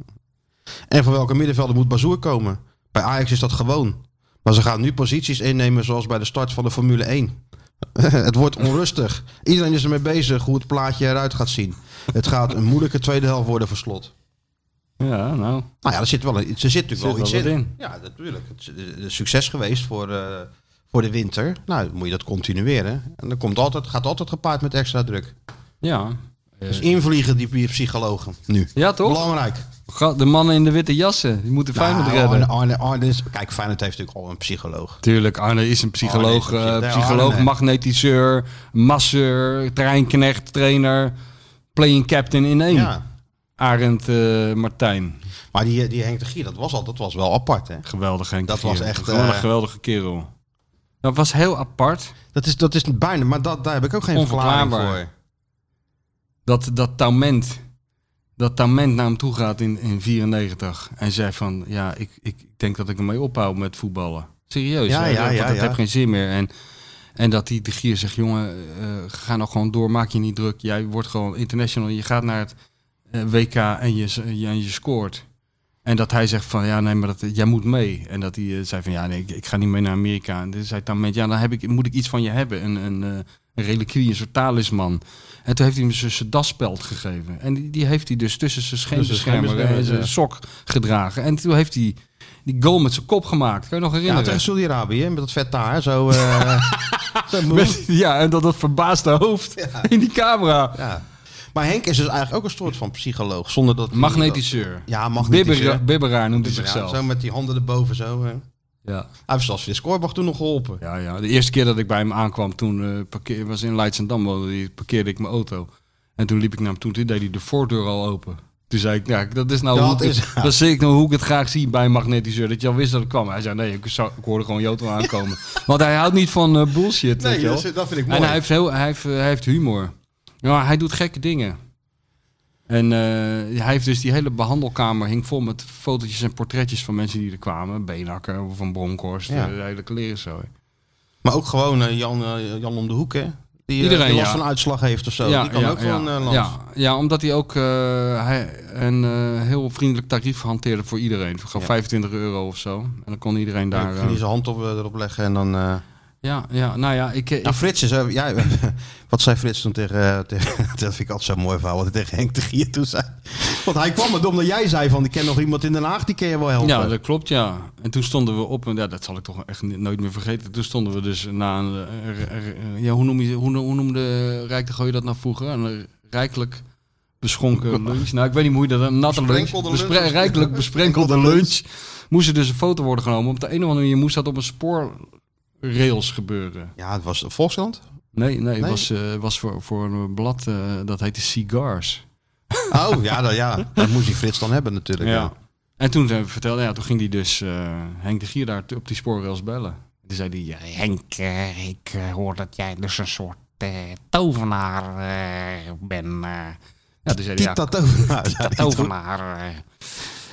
En voor welke middenvelder moet Bazoer komen? Bij Ajax is dat gewoon. Maar ze gaan nu posities innemen zoals bij de start van de Formule 1. het wordt onrustig. Iedereen is ermee bezig hoe het plaatje eruit gaat zien. Het gaat een moeilijke tweede helft worden voor slot.
Ja, nou.
Nou ja, er zit, wel, een- er zit
Zit
natuurlijk wel iets
wel wat
in.
in.
Ja, natuurlijk. Het is eh, een succes geweest voor, eh, voor de winter. Nou, dan moet je dat continueren. En dat komt altijd, gaat altijd gepaard met extra druk.
Ja.
Dus invliegen die psychologen nu.
Ja, toch?
Belangrijk.
Ga- De mannen in de witte jassen, die moeten Feyenoord
Nou,
redden.
Arne, Arne, Arne is, kijk, Feyenoord heeft natuurlijk al een psycholoog.
Tuurlijk, Arne is een psycholoog,
Arne is een
eh,
psych- ja,
psycholoog
Arne.
magnetiseur, masseur, treinknecht, trainer, playing captain in één.
Ja.
Arend eh, Martijn,
Maar die, die Henk de Gier, dat was, al, dat was wel apart, hè?
geweldig Henk.
Dat
de Gier.
was echt,
Gewoon een
eh,
geweldige kerel. Dat was heel apart.
Dat is, dat is bijna, maar dat, daar heb ik ook geen verklaring
Onverklaarbaar.
voor.
Dat, dat taument, dat taument naar hem toe gaat in, in 94. En zei van, ja, ik, ik denk dat ik ermee ophoud met voetballen. Serieus,
Ja,
hè?
ja,
dat,
ja,
dat
ja.
heb geen zin meer. En, en dat die de gier zegt, jongen, eh, ga nou gewoon door, maak je niet druk. Jij wordt gewoon international, je gaat naar het eh, WK en je, s- je- en je scoort. En dat hij zegt van, ja, nee, maar dat, jij moet mee. En dat hij eh, zei van, ja, nee, ik, ik ga niet mee naar Amerika. En toen zei Taument, ja, dan heb ik, moet ik iets van je hebben. Een, een, eh, een reliquie, een soort talisman. En toen heeft hij hem zijn- zijn daspeld gegeven. En die, die heeft hij dus tussen zijn scheenbeschermer en zijn sok gedragen. En toen heeft hij die goal met zijn kop gemaakt. Kan je nog
Ja,
herinneren?
tegen Saudi-Arabië, hè, met dat vet daar, zo... eh, zo moe.
Met- ja, en dat, dat verbaasde hoofd in die camera.
ja. Maar Henk is dus eigenlijk ook een soort van psycholoog, zonder dat... hij-
Magnetiseur.
Ja, magnetiseur.
Bibbera- eh, Bibberaar noemt hij
Ja,
zichzelf.
zo met die handen erboven, zo. hè.
Ja.
Hij heeft zelfs Frits Korbach toen nog geholpen.
Ja, ja, de eerste keer dat ik bij hem aankwam, toen eh, parkeer, was in Leidschendam, woonde die, parkeerde ik mijn auto. En toen liep ik naar hem toe, toen deed hij de voordeur al open. Toen zei ik, ja, dat is nou,
Dat
hoe, ik
is-
het, dat zie ik nou hoe ik het graag zie bij een magnetiseur. Dat je al wist dat ik kwam. Hij zei, nee, ik, zou- ik hoorde gewoon Joto aankomen. Want hij houdt niet van eh, bullshit, weet je wel.
vind ik
En hij heeft, heel, hij heeft, eh, hij heeft humor. Ja, hij doet gekke dingen. En eh, hij heeft dus die hele behandelkamer hing vol met fotootjes en portretjes van mensen die er kwamen. Beenhakker of van Bronkhorst,
Ja.
eh, de hele kleren zo.
Maar ook gewoon eh, Jan, eh, Jan om de hoek, hè? Die, eh,
Iedereen,
die last
ja.
van uitslag heeft of zo. die kan ook gewoon eh, langs.
ja, ja, omdat hij ook eh, hij een eh, heel vriendelijk tarief hanteerde voor iedereen. Voor gewoon
Ja.
25 euro of zo. En dan kon iedereen daar...
Daar,
eh,
die zijn hand op, eh, erop leggen en dan... eh,
ja, ja, nou ja, ik... eh,
Nou, Frits is... eh, ja, wat zei Frits toen tegen, eh, tegen... Dat vind ik altijd zo'n mooi verhaal, wat hij tegen Henk de Gier toen zei. Want hij kwam het omdat jij zei van... Ik ken nog iemand in Den Haag, die ken je wel helpen.
Ja, dat klopt, ja. En toen stonden we op, en ja, dat zal ik toch echt ni- nooit meer vergeten. Toen stonden we dus na een. eh, r- r- ja, hoe, noem je, hoe, no- hoe noemde Rijk de Gooi dat nou vroeger? Een rijkelijk beschonken lunch. Nou, ik weet niet hoe je dat. Een natte lunch.
Besprenkelde
Bespre-
lunch.
Rijkelijk besprenkelde lunch. Moest er dus een foto worden genomen. Op de een of andere manier moest dat op een spoorrails gebeuren.
Ja, het was Volkskrant.
Nee, nee, het
Nee?
was, eh, was voor, voor een blad eh, dat heette Cigars.
Oh, ja, dat, ja. dat moest die Frits dan hebben natuurlijk.
Ja. En toen eh, vertelde ja, toen ging hij dus eh, Henk de Gier daar t- op die spoorrails bellen. En toen zei hij, ja,
Henk, eh, ik eh, hoor dat jij dus een soort eh, tovenaar eh, bent. eh.
ja, toen zei hij,
Piet
ja,
dat over. Nou,
tovenaar. eh.
nou,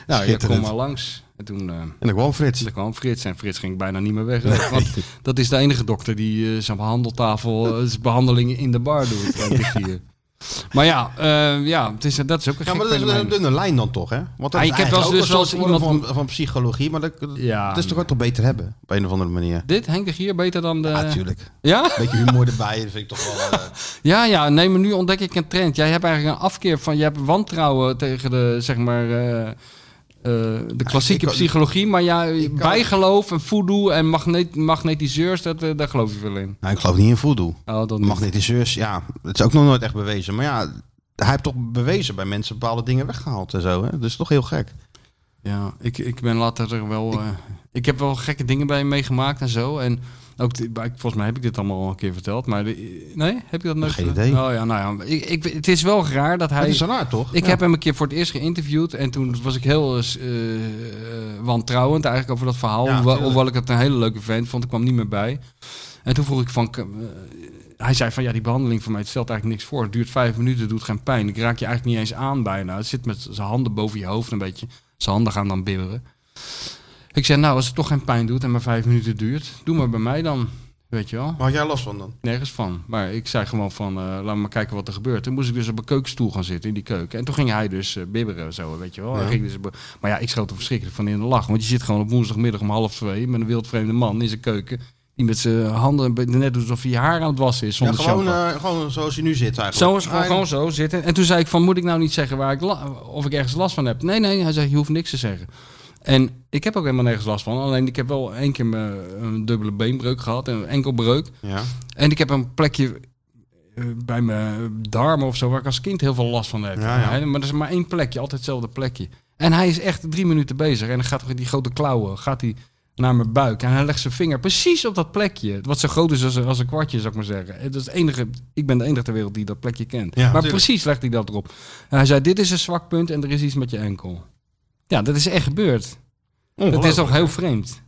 ja, kom
schitterend.
maar langs. En toen eh,
En dan kwam Frits.
toen kwam Frits en Frits ging bijna niet meer weg. ook, Want dat is de enige dokter die eh, zijn behandeltafel, eh, zijn behandelingen in de bar doet. Henk de Gier. Maar ja, eh, ja het is, dat is ook een
Ja,
gek
maar dat is
fenomeen.
een dunne lijn dan toch, hè? Want dat
Ah,
is
ik heb wel
eigenlijk
eens-
ook een
dus
soort
wel eens
vorm van, van psychologie, maar dat, dat
Ja,
is toch ook toch beter hebben, op een of andere manier.
Dit, Henk de Gier, beter dan de...
Natuurlijk.
ja?
Beetje humor erbij, dat vind ik toch wel... eh,
Ja, ja, nee, maar nu ontdek ik een trend. Jij hebt eigenlijk een afkeer van, je hebt wantrouwen tegen de, zeg maar, eh, eh, de klassieke
ik kan-
psychologie. Maar ja,
kan-
bijgeloof en voodoo en magne- magnetiseurs, dat, eh, daar geloof je wel in.
nou, ik geloof niet in voodoo.
Oh, dat niet.
Magnetiseurs, ja, het is ook nog nooit echt bewezen. Maar ja, hij heeft toch bewezen bij mensen bepaalde dingen weggehaald en zo, hè? Dat is toch heel gek.
Ja, ik, ik ben later er wel... eh, ik heb wel gekke dingen bij hem meegemaakt en zo. En ook, de- maar ik- volgens mij heb ik dit allemaal al een keer verteld. Maar de- nee, heb je dat nooit
Geen
verteld?
idee.
Oh ja, nou ja, ik, ik, het is wel raar dat
Dat
hij...
is raar, toch?
Ik
Ja.
heb hem een keer voor het eerst geïnterviewd en toen was ik heel eh, eh, wantrouwend eigenlijk over dat verhaal.
Ja,
hoewel,
tuurlijk.
hoewel ik het een hele leuke vent vond, ik kwam niet meer bij. En toen vroeg ik van... eh, hij zei van, ja, die behandeling voor mij het stelt eigenlijk niks voor. Het duurt vijf minuten, het doet geen pijn. Ik raak je eigenlijk niet eens aan bijna. Het zit met zijn handen boven je hoofd een beetje. Zijn handen gaan dan bibberen. Ik zei, nou, als het toch geen pijn doet en maar vijf minuten duurt, doe maar bij mij dan. Weet je wel?
Maar had jij last van dan?
nergens van. Maar ik zei gewoon van, eh laat maar kijken wat er gebeurt. Toen moest ik dus op een keukenstoel gaan zitten in die keuken. En toen ging hij dus eh, bibberen zo, weet je wel. Hij ging dus, be- maar ja, ik schoot er verschrikkelijk van in de lach. Want je zit gewoon op woensdagmiddag om half twee met een wildvreemde man in zijn keuken. Die met zijn handen een beetje- net doet alsof hij je haar aan het wassen is
Ja,
zonder
gewoon,
shampoo.
eh, gewoon zoals hij nu zit eigenlijk.
Zo is gewoon,
Ah,
gewoon zo zitten. En toen zei ik van, moet ik nou niet zeggen waar ik la- of ik ergens last van heb? Nee, nee. Hij zei, je hoeft niks te zeggen. En ik heb ook helemaal nergens last van. Alleen ik heb wel één keer mijn- eh, een dubbele beenbreuk gehad. en Een enkelbreuk.
Ja.
En ik heb een plekje eh, bij mijn darmen of zo, waar ik als kind heel veel last van heb.
Ja, ja.
Hè, Maar dat is maar één plekje, altijd hetzelfde plekje. En hij is echt drie minuten bezig. En dan gaat hij met die grote klauwen gaat hij naar mijn buik. En hij legt zijn vinger precies op dat plekje. Wat zo groot is als, een- als een kwartje, zou ik maar zeggen. Het is het enige, ik ben de enige ter wereld die dat plekje kent.
Ja,
maar
natuurlijk.
precies legt hij dat erop. En hij zei, dit is een zwak punt en er is iets met je enkel. Ja, dat is echt gebeurd. Dat is toch heel vreemd.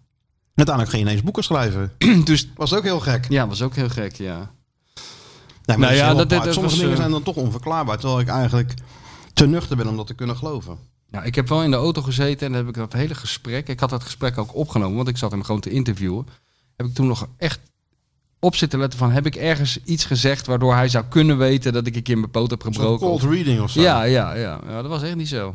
Uiteindelijk ging je ineens boeken schrijven.
Dus
Was ook heel gek.
ja, was ook heel gek, ja.
Nee, maar
Nou
dat is
ja,
heel
dat-
apart.
dat- dat
Sommige
was,
dingen
eh,
zijn dan toch onverklaarbaar. Terwijl ik eigenlijk te nuchter ben om dat te kunnen geloven.
Nou, ik heb wel in de auto gezeten en heb ik dat hele gesprek. Ik had dat gesprek ook opgenomen, want ik zat hem gewoon te interviewen. Heb ik toen nog echt op zitten letten van: heb ik ergens iets gezegd waardoor hij zou kunnen weten dat ik een keer mijn poot heb
Een soort
gebroken?
cold reading of zo.
ja, ja, ja, ja. Dat was echt niet zo.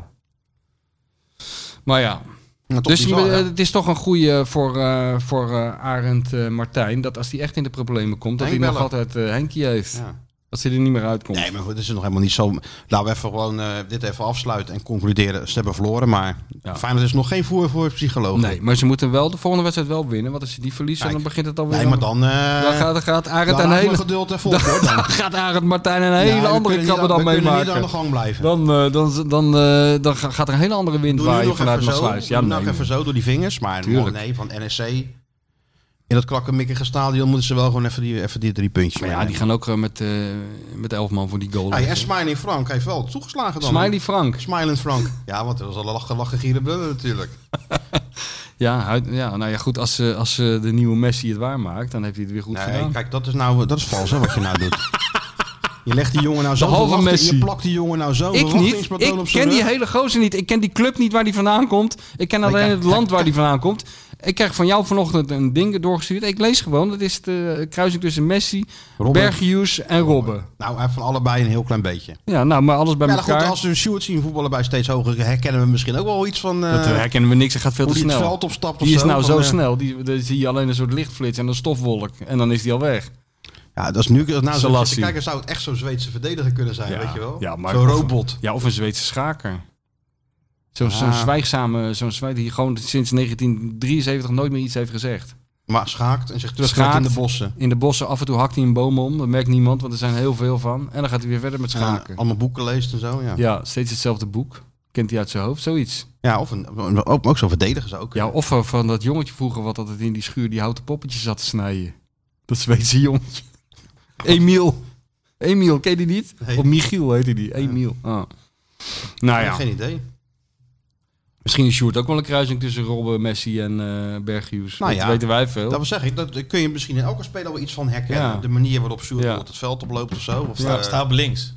Maar ja,
Maar toch
dus
bizar,
eh,
hè?
het is toch een goede voor, eh, voor eh, Arend eh, Martijn. Dat als hij echt in de problemen komt, dat
Henk
hij nog
bellen.
altijd eh Henkie heeft.
Ja.
Dat ze er niet meer uitkomt.
Nee, maar goed, het is nog helemaal niet zo. Laten we even gewoon eh, dit even afsluiten en concluderen. Ze hebben verloren, maar
Ja.
Feyenoord is nog geen voer voor psychologen.
Nee, maar ze moeten wel de volgende wedstrijd wel winnen. Want als ze die verliezen,
Kijk.
dan begint het alweer.
Nee, maar dan... eh
Dan gaat, dan gaat Arend
dan
een
raakt mijn
hele...
geduld en volk, hoor, dan.
Dan gaat Arend Martijn een hele
Ja, we
andere
kunnen niet
krabben
aan-
dan
We kunnen niet aan de
meemaken.
gang blijven.
Dan, eh, dan, dan, eh, dan ga- gaat er een hele andere wind
Doe nu
waaien
nog
vanuit
even zo.
Maasluis. Ja,
Doe
nee.
nog even zo door die vingers. Maar
Tuurlijk.
oh nee, van NSC. In dat krakkemikkige stadion moeten ze wel gewoon even die, even die drie puntjes
Maar ja, die gaan ook eh, met, eh met elf man voor die goal.
en Smiley Frank heeft wel toegeslagen Ah, dan.
Smiley Frank.
Smiley Frank. Ja, want dat was al een lachen, lachen, gieren, brullen natuurlijk.
Ja, hij- ja, nou ja, goed. Als, eh, als eh, de nieuwe Messi het waarmaakt, dan heeft hij het weer goed
Nee,
gedaan.
kijk, dat is nou dat is vals hè, wat je nou doet. Je legt die jongen nou zo
halve Messi.
Je plakt die jongen nou zo
Ik niet. Ik ken die hele gozer niet. Ik ken die club niet waar die vandaan komt. Ik ken alleen
kijk,
het land waar die vandaan komt. Ik krijg van jou vanochtend een ding doorgestuurd. Ik lees gewoon. Dat is de kruising tussen Messi,
Robben.
Bergius en Robben.
Nou, hij heeft van allebei een heel klein beetje.
Ja, nou, maar alles bij
Ja, goed,
elkaar.
als we Sjoerd zien voetballen bij steeds hoger, herkennen we misschien ook wel iets van... eh,
Dat eh, herkennen we niks. Hij gaat veel
hoe
te
die het
snel.
veld opstapt of
Die is
zo,
nou
van,
zo
eh,
snel. Die, dan zie je alleen een soort lichtflits en een stofwolk. En dan is die al weg.
Ja, dat is nu... Nou, zo
Selassie.
zitten kijken, zou het echt zo'n Zweedse verdediger kunnen zijn,
Ja,
weet je wel?
ja, maar-
zo'n robot.
Ja, of een Zweedse schaker. Zo'n
Ah.
zo'n zwijgzame, zo'n zwijg die gewoon sinds 1973 nooit meer iets heeft gezegd.
Maar schaakt en zich teruggaat
Schaakt.
in de bossen.
In de bossen af en toe hakt hij een boom om. Dat merkt niemand, want er zijn heel veel van. En dan gaat hij weer verder met
Ja,
schaken. Ja,
allemaal boeken leest en zo, ja. Ja,
steeds hetzelfde boek. Kent hij uit zijn hoofd, zoiets.
of een, een- ook, ook zo'n verdediger zou ook
Ja, of van dat jongetje vroeger wat altijd in die schuur die houten poppetjes zat te snijden. Dat Zweedse jongetje. Emiel. Emiel, ken je die niet?
Nee.
Of Michiel heette die. Emiel. Ah. Nou ja,
Geen idee.
misschien is Sjoerd ook wel een kruising tussen Robben, Messi en eh Berghuis.
Nou
dat
ja,
weten wij veel.
Dat wil zeggen, dat kun je misschien in elke speler wel iets van herkennen.
Ja.
De manier waarop Sjoerd
Ja.
bijvoorbeeld het veld oploopt of zo. Of
Sta,
eh,
sta op links.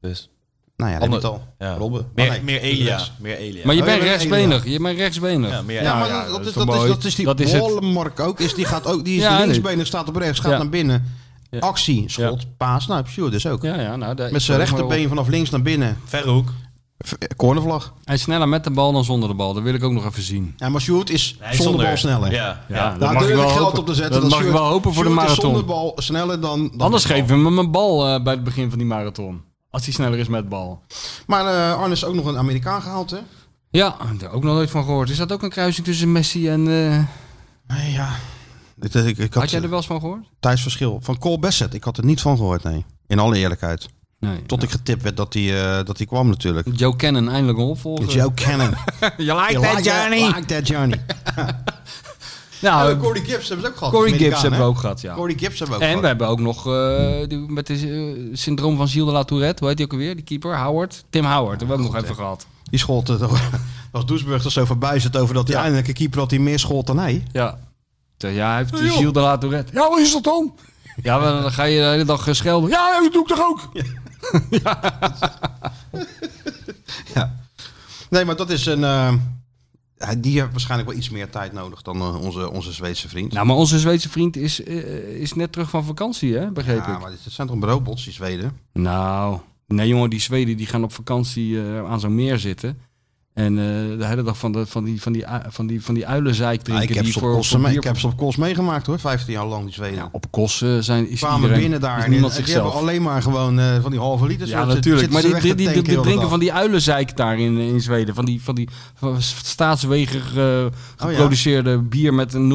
Dus.
nou ja, dat heb je het al.
Ja.
Robben.
Meer,
Oh, nee,
meer Elia. Meer Elia.
maar je
Oh,
bent
ja, dat-
rechtsbenig. Je bent rechtsbenig.
ja,
Ja,
meer
Ja,
Elia.
maar
ja,
dat,
dat
dat,
is
is,
toch
dat, is,
mooi?
dat is die
Dat is het.
Wollemark ook. Is, die gaat ook die is
Ja,
linksbenig, staat op rechts, gaat
Ja.
naar binnen.
Ja.
Actie, schot, paas. Nou, Sjoerd dus ook.
ja, nou, daar-
Met zijn
daar-
rechterbeen vanaf links naar binnen.
Verre hoek.
V- eh, Cornervlag.
Hij is sneller met de bal dan zonder de bal. Dat wil ik ook nog even zien.
Ja, maar Sjoerd is
Nee,
zonder, bal sneller.
Ja.
Ja,
ja.
dat
Daar
mag ik
durf ik
wel
geld
hopen.
op te zetten.
Dat mag ik wel hopen voor de
Sjoerd is
marathon.
zonder bal sneller dan... dan
Anders
met bal.
geven we hem een bal eh, bij het begin van die marathon. Als hij sneller is met bal.
Maar eh, Arne is ook nog een Amerikaan gehaald, hè?
Ja, daar ook nog nooit van gehoord. Is dat ook een kruising tussen Messi en... eh,
Nee, ja. Ik, ik, ik
had
had,
jij er wel eens van gehoord?
tijdsverschil. Van Cole Bassett. Ik had er niet van gehoord, nee. In alle eerlijkheid.
Nee.
Tot ik getipt werd dat hij eh, dat hij kwam natuurlijk.
Joe Cannon eindelijk een opvolger.
Joe Cannon.
You like
You
that,
like that-
Johnny?
Like that Johnny.
Nou, eh,
Corey Gibbs hebben ze ook gehad.
Corey Gibbs hebben we ook gehad, ja.
Corey Gibbs hebben we ook
En we
gehad.
hebben ook nog eh, die, met het syndroom van Gilles de la Tourette. Hoe heet die ook alweer? Die keeper? Howard? Tim Howard. Dat hebben we ook nog even gehad.
Die schoot het Als Doesburg er zo voorbij zit over dat hij
Ja.
eindelijk een keeper had die meer schoot dan hij.
Ja. Ja, hij heeft de Gilles de la Tourette. Ja, wat is dat dan? Ja, maar dan ga je de hele dag eh, schelden. Ja, dat doe ik toch ook?
Nee, maar dat is een... eh, hij- die heeft waarschijnlijk wel iets meer tijd nodig dan eh, onze, onze Zweedse vriend.
Nou, maar onze Zweedse vriend is, eh, is net terug van vakantie, hè? Begreep
ja,
ik.
maar het zijn toch robots, die Zweden?
Nou, nee jongen, die Zweden die gaan op vakantie eh, aan zo'n meer zitten. En eh, de hele dag van, de, van, die, van, die, ui- van, die, van die uilenzeik
Ja,
drinken.
ik, heb
die
ze op Kos, me-
bier-
ik heb ze op Kos meegemaakt hoor, 15 jaar lang die Zweden.
Ja, op kosten zijn is
kwamen
iedereen,
binnen daar
is
en,
niemand
en die
zichzelf.
hebben alleen maar gewoon eh, van die halve liter.
Ja, natuurlijk. Maar die, die, die, die drinken van die uilenzeik daar in, in Zweden. Van die, van die van staatswegen eh,
Oh,
geproduceerde bier met een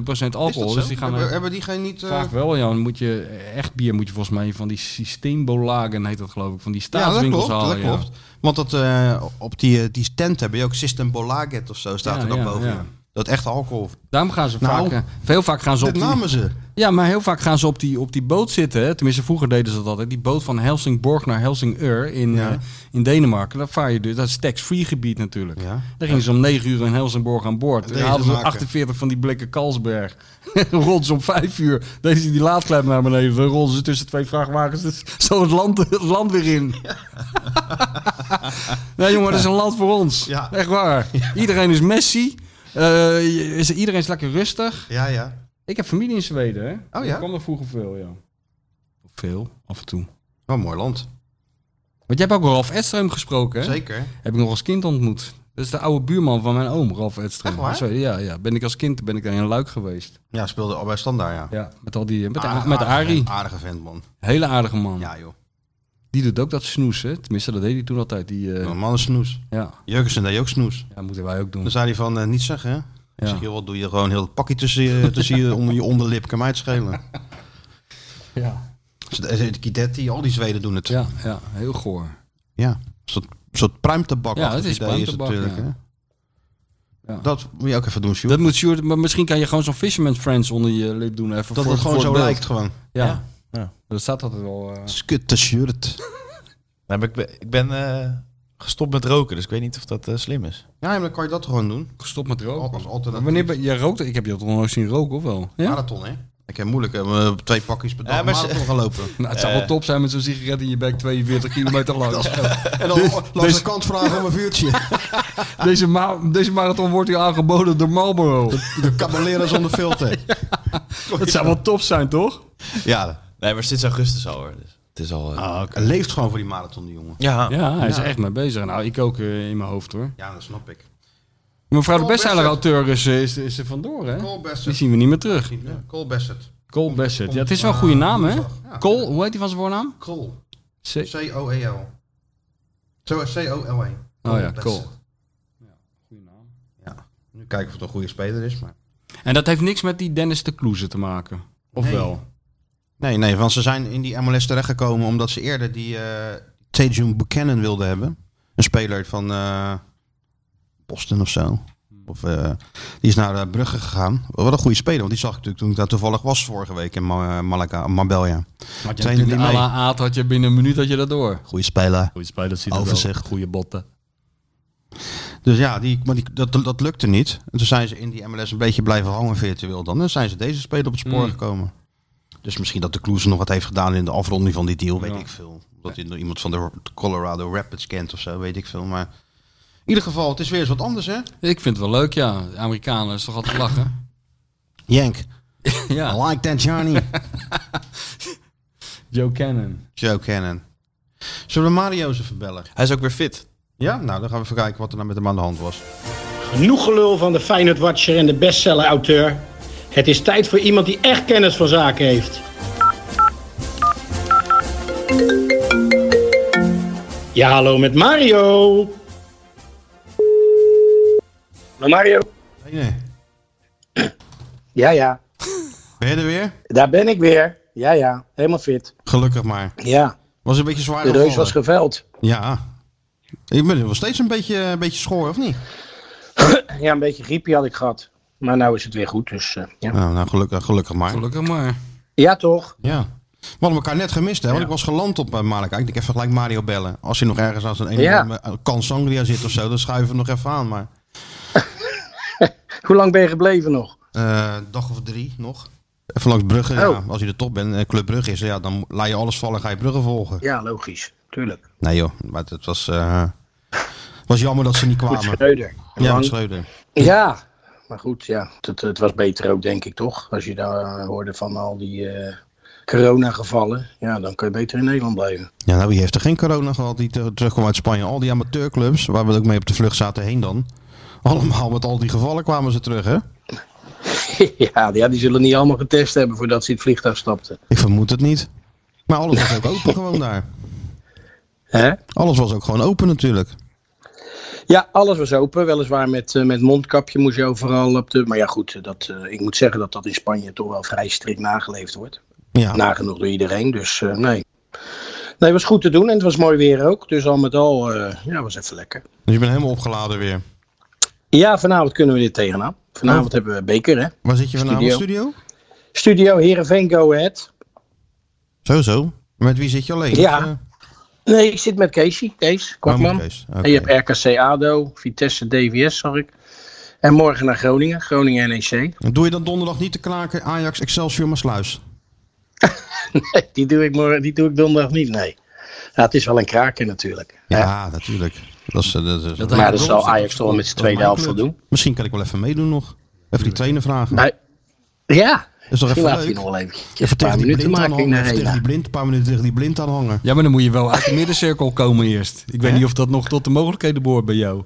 0,001% procent alcohol. Dus die gaan
hebben,
eh,
hebben die geen niet... eh,
Vaak wel, ja. Dan moet je eh, echt bier moet je volgens mij van die systeembolagen heet dat geloof ik, van die
ja, dat
staatswinkels
klopt, dat
halen. ja.
klopt. Want dat, eh, op die, eh, die tent hebben je ook System Bolaget of zo, staat
Ja,
er dan
ja,
boven.
ja.
Dat echt alcohol.
Daarom gaan ze
Nou,
vaak... eh, heel vaak gaan ze op
Dat
die,
namen ze.
Ja, maar heel vaak gaan ze op die, op die boot zitten. Hè. Tenminste, vroeger deden ze dat altijd. Die boot van Helsingborg naar Helsingør in,
Ja.
eh, in Denemarken. Dat, vaar je dus, dat is tax-free gebied natuurlijk.
Ja.
Daar gingen ze om 9 uur in Helsingborg aan boord. Daar haalden ze
Denemarken.
48 van die blikken Kalsberg. Rond ze om 5 uur. Deze die laadklep naar beneden. Dan rolden ze tussen twee vrachtwagens. Dus zo het land, het land weer in. nee, jongen, dat is een land voor ons.
Ja.
Echt waar. Iedereen is Messi. Eh, is, iedereen is lekker rustig.
Ja, ja. Oh
Ik heb familie in Zweden, hè?
ja?
Ik kwam er vroeger veel, ja. Veel, af en toe.
Wat een mooi land.
Want jij hebt ook Ralf Edström gesproken, hè?
Zeker.
Heb ik nog als kind ontmoet. Dat is de oude buurman van mijn oom, Ralf Edström.
Echt waar?
Zo, ja, ja. Ben ik als kind ben ik daar in Luik geweest.
Ja, speelde al bij Standaard, ja.
Ja, met al die... eh, Met,
Aardig-
met
aardige
Arie.
vent, Aardige vent, man.
Hele aardige man.
Ah, Ja, joh.
Die doet ook dat snoezen. Tenminste, dat deed hij toen altijd. Die, eh,
Een man is snoes.
ja.
Jurgensen deed ook snoes.
ja, moeten wij ook doen.
Dan zei hij van, eh, niet zeggen, hè? Ik
Ja.
zeg, joh, wat doe je gewoon heel het pakje tussen je, tussen je, onder je onderlip? Kan mij het schelen.
ja.
Dus de- de Kidetti, al die Zweden doen het. Ja.
Ja, ja, heel goor.
Een soort, soort pruimtabak.
Ja, het is
idee het
pruimtabak,
natuurlijk, hè?
Ja.
Dat moet je ook even doen, Sjoerd.
Dat moet Sjoerd, maar misschien kan je gewoon zo'n Fisherman Friends onder je lip doen. Even
Dat
voor-
het gewoon
voor
zo
beeld.
lijkt gewoon.
Ja.
Ja.
Dat staat altijd wel... eh,
Skutte shirt.
Nou, maar ik ben, ik ben eh, gestopt met roken, dus ik weet niet of dat eh, slim is.
Ja, maar dan kan je dat gewoon doen.
Gestopt met roken.
Al- Als alternatief.
Wanneer ben, jij rookt? Ik heb je toch nog nooit zien roken, of wel? Ja?
Marathon, hè? Ik heb moeilijk eh, twee pakjes per dag
Ja, maar ze-
marathon gaan lopen.
Nou, het zou
Eh.
wel top zijn met zo'n sigaret in je bek 42 kilometer lang.
En dan langs
deze-
de kant vragen om een vuurtje.
Ah. deze, ma- deze marathon wordt hier aangeboden door Marlboro.
De cabalera zonder filter.
Dat zou wel top zijn, toch?
Ja,
Nee, maar sinds augustus al hoor. Dus het is al... eh,
Ah, hij leeft gewoon voor die marathon, die jongen.
ja.
Ja, hij is er echt mee bezig. Nou, ik ook eh, in mijn hoofd, hoor.
Ja, dat snap ik.
Mevrouw de
Cole
bestseller-auteur is, eh, is, is er vandoor, hè?
Cole
Die
Bassett.
zien we niet meer terug.
Ja, Cole Bassett.
Cole Ah. Bassett. Ja, het is wel een goede naam, hè? Cole, hoe heet die van zijn voornaam?
Cole.
C-
C-O-E-L. Zo, E. C-O-L-E.
Oh ja,
Bassett.
Cole.
Ja. Nu kijken of het een goede speler is, maar...
En dat heeft niks met die Dennis de Kloeze te maken. Of
Nee.
wel?
Nee, nee, want ze zijn in die MLS terechtgekomen omdat ze eerder die eh Tejun Buchanan wilden hebben. Een speler van eh, Boston of zo.
Hmm.
Of, eh, die is naar eh, Brugge gegaan. Wat een goede speler, want die zag ik natuurlijk toen ik daar toevallig was vorige week in Ma eh, Malaga, Marbella.
Had je
Trainer
natuurlijk
die
à
mee.
la Aad had je binnen een minuut had je dat door.
Goede speler.
Goede spelers ziet
er wel. Overzicht.
Goede botten.
Dus ja, die, maar die, dat, dat lukte niet. En toen zijn ze in die MLS een beetje blijven hangen virtueel dan. En dan zijn ze deze speler op het spoor
Mm.
gekomen. Dus misschien dat de Kloes nog wat heeft gedaan in de afronding van die deal, weet
Ja.
ik veel. Dat hij nog iemand van de Colorado Rapids kent of zo, weet ik veel. Maar in ieder geval, het is weer eens wat anders, hè?
Ik vind het wel leuk, ja. De Amerikanen is toch altijd lachen.
Jank, I
ja.
like that Johnny.
Joe Cannon.
Joe Cannon. Zullen we Mario eens even bellen?
Hij is ook weer fit.
Ja? Nou, dan gaan we even kijken wat er nou met hem aan de hand was.
Genoeg gelul van de Feyenoord Watcher en de bestseller auteur. Het is tijd voor iemand die echt kennis van zaken heeft. Ja, hallo met Mario.
Mario?
Hey, nee.
Ja, ja.
Ben je er weer?
Daar ben ik weer. Ja, ja. Helemaal fit.
Gelukkig maar.
Ja.
Was een beetje zwaar
De reus
gevallen.
was geveld.
Ja. Ik ben nog steeds een beetje, een beetje schoor, of niet?
Ja, een beetje griepje had ik gehad. Maar nou is het weer goed, dus eh, ja.
Nou, nou gelukkig, gelukkig maar.
Gelukkig maar.
Ja, toch?
Ja. We hadden elkaar net gemist, hè? Want ik was geland op eh, Malaga. Ik denk even gelijk Mario bellen. Als hij nog ergens aan zijn ene
Ja.
arm, eh, kan Sangria zit of zo, dan schuiven we hem nog even aan. Maar
Hoe lang ben je gebleven nog?
eh, een dag of drie nog. Even langs Brugge, ja.
Oh.
Als je de top bent, eh, Club Brugge is, ja, dan laat je alles vallen en ga je Brugge volgen.
Ja, logisch. Tuurlijk.
Nee joh, maar het- het was, eh, was jammer dat ze niet
Goed,
kwamen.
Schreuder.
Ja,
Lang.
Schreuder.
Ja. Maar goed, ja. Het, het was beter ook, denk ik, toch? Als je daar eh, hoorde van al die eh, coronagevallen. Ja, dan kun je beter in Nederland blijven.
Ja, nou, wie heeft er geen corona gehad die ter- terugkwam uit Spanje? Al die amateurclubs, waar we ook mee op de vlucht zaten heen dan. Allemaal met al die gevallen kwamen ze terug, hè?
ja, die- ja, die zullen niet allemaal getest hebben voordat ze in het vliegtuig stapten.
Ik vermoed het niet. Maar alles was ook open gewoon daar.
Hè?
Alles was ook gewoon open natuurlijk.
Ja, alles was open. Weliswaar met, eh, met mondkapje moest je overal op de. Maar ja, goed, eh, dat, eh, ik moet zeggen dat dat in Spanje toch wel vrij strikt nageleefd wordt.
Ja,
Nagenoeg door iedereen. Dus eh, nee. Nee, was goed te doen en het was mooi weer ook. Dus al met al, eh, ja, was even lekker.
Dus je bent helemaal opgeladen weer.
Ja, vanavond kunnen we dit tegenaan. Vanavond hebben we beker, hè?
Waar zit je vanavond in de studio?
Studio Heerenveen Go Ahead.
Zo, zo. Met wie zit je alleen?
Ja.
Of, eh,
Nee, ik zit met Casey, Kees
oh,
Kwakman.
met Kees. Oké.
En je hebt RKC ADO, Vitesse DVS, zag ik. En morgen naar Groningen, Groningen E NEC.
Doe je dan donderdag niet te kraken Ajax, Excelsior, Maasluis?
Nee, die doe ik, morgen, die doe ik donderdag niet, nee. Ja, het is wel een kraken natuurlijk.
Ja, natuurlijk. Dat is, eh, dat is-
Dat-
Maar
dat
dat
is
zal Ajax toch wel met zijn tweede
mijn
helft wel
club.
doen.
Misschien kan ik wel even meedoen nog. Even die trainer vragen.
Nee, Ja,
is toch
misschien
even
laat hij
leuk?
nog wel eventjes
Even
een paar
tegen die
minuten
blind
maken in
aanhangen.
de
Even tegen
arena.
die blind, een paar minuten tegen die blind aanhangen.
Ja, maar dan moet je wel uit de middencirkel komen eerst. Ik weet niet of dat nog tot de mogelijkheden behoort bij jou.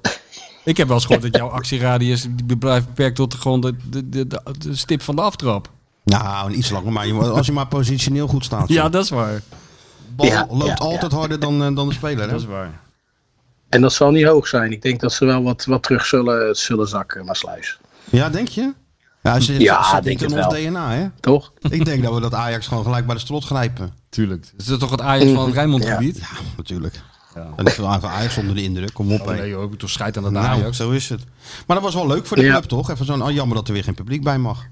Ik heb wel eens gehoord dat jouw actieradius die blijft beperkt tot gewoon de, de, de, de- de stip van de aftrap.
Nou, iets langer, maar je moet- als je maar positioneel goed staat.
Ja,
Ja,
dat is waar.
bal
Ja,
loopt
ja,
altijd harder dan, eh, dan de speler. Hè?
waar.
En dat zal niet hoog zijn. Ik denk dat ze wel wat, wat terug zullen, zullen zakken, maar sluis.
Ja, denk je? Ja, ze,
Ja,
ze- ze-
denk
zit in
het
ons
wel.
DNA, hè?
Toch?
Ik denk dat we dat Ajax gewoon gelijk bij de strot grijpen.
Tuurlijk. Is dat toch het Ajax van het Rijnmondgebied?
Ja, natuurlijk. En ik vind Ajax onder de indruk. Kom op,
Oh,
hè.
nee joh, ik moet toch scheid aan het
Nou,
Ajax.
zo is het. Maar dat was wel leuk voor de
Ja.
club, toch? Even zo'n, oh, jammer dat er weer geen publiek bij mag.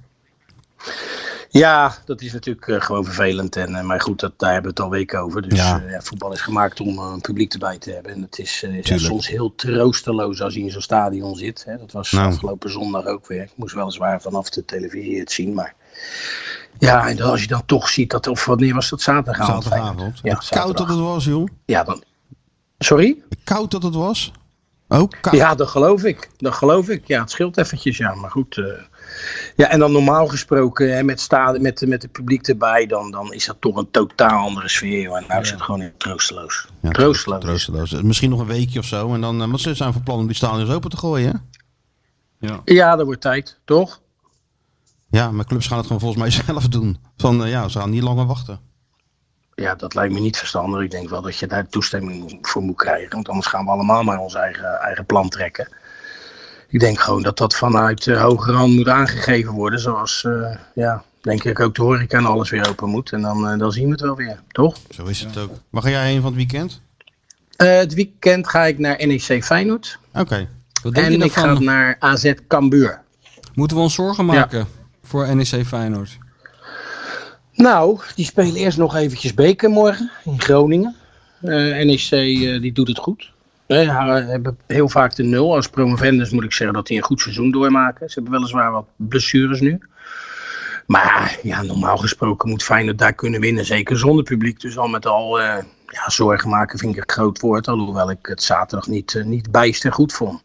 Ja, dat is natuurlijk eh, gewoon vervelend. En, eh, maar goed, dat, daar hebben we het al weken over. Dus
Ja.
eh, ja, voetbal is gemaakt om eh, een publiek erbij te hebben. En het is eh, ja,
Tuurlijk.
soms heel troosteloos als je in zo'n stadion zit. Hè. Dat was
Nou.
afgelopen zondag ook weer. Ik moest weliswaar vanaf de televisie het zien. Maar ja, en dan, als je dan toch ziet dat... Of wanneer was dat? Zaterdagavond.
Nou, Zaterdagavond.
Ja,
Wat koud dat het was, joh.
Ja, dan... Sorry?
Koud dat het was. Ook koud.
Ja, dat geloof ik. Dat geloof ik. Ja, het scheelt eventjes, ja. Maar goed. eh, ja, en dan normaal gesproken hè, met, sta, met, met het publiek erbij, dan, dan is dat toch een totaal andere sfeer. joh. En nou is het gewoon heel troosteloos.
Ja,
troosteloos.
troosteloos. Misschien nog een weekje of zo. En dan, eh, want ze zijn van plan om die stadions open te gooien, hè?
Ja, dat wordt tijd, toch?
Ja, maar clubs gaan het gewoon volgens mij zelf doen. Van, eh, ja, ze gaan niet langer wachten.
Ja, dat lijkt me niet verstandig. Ik denk wel dat je daar toestemming voor moet krijgen. Want anders gaan we allemaal maar ons eigen, eigen plan trekken. Ik denk gewoon dat dat vanuit eh hoger hand moet aangegeven worden. Zoals, eh, ja, denk ik ook de horeca en alles weer open moet. En dan, eh, dan zien we het wel weer, toch?
Zo is het ook. Waar ga jij heen van het weekend?
Eh, het weekend ga ik naar NEC Feyenoord.
Oké.
Wat denk je
En ik
daarvan?
ga naar AZ Cambuur.
Moeten we ons zorgen maken voor NEC Feyenoord?
Nou, die spelen eerst nog eventjes beker morgen in Groningen. Eh, NEC eh, die doet het goed. Ze hebben heel vaak de nul. Als promovendus moet ik zeggen dat die een goed seizoen doormaken. Ze hebben weliswaar wat blessures nu. Maar ja, normaal gesproken moet Feyenoord daar kunnen winnen. Zeker zonder publiek. Dus al met al, eh, ja, zorgen maken vind ik een groot woord. Alhoewel ik het zaterdag niet, eh, niet bijster goed vond.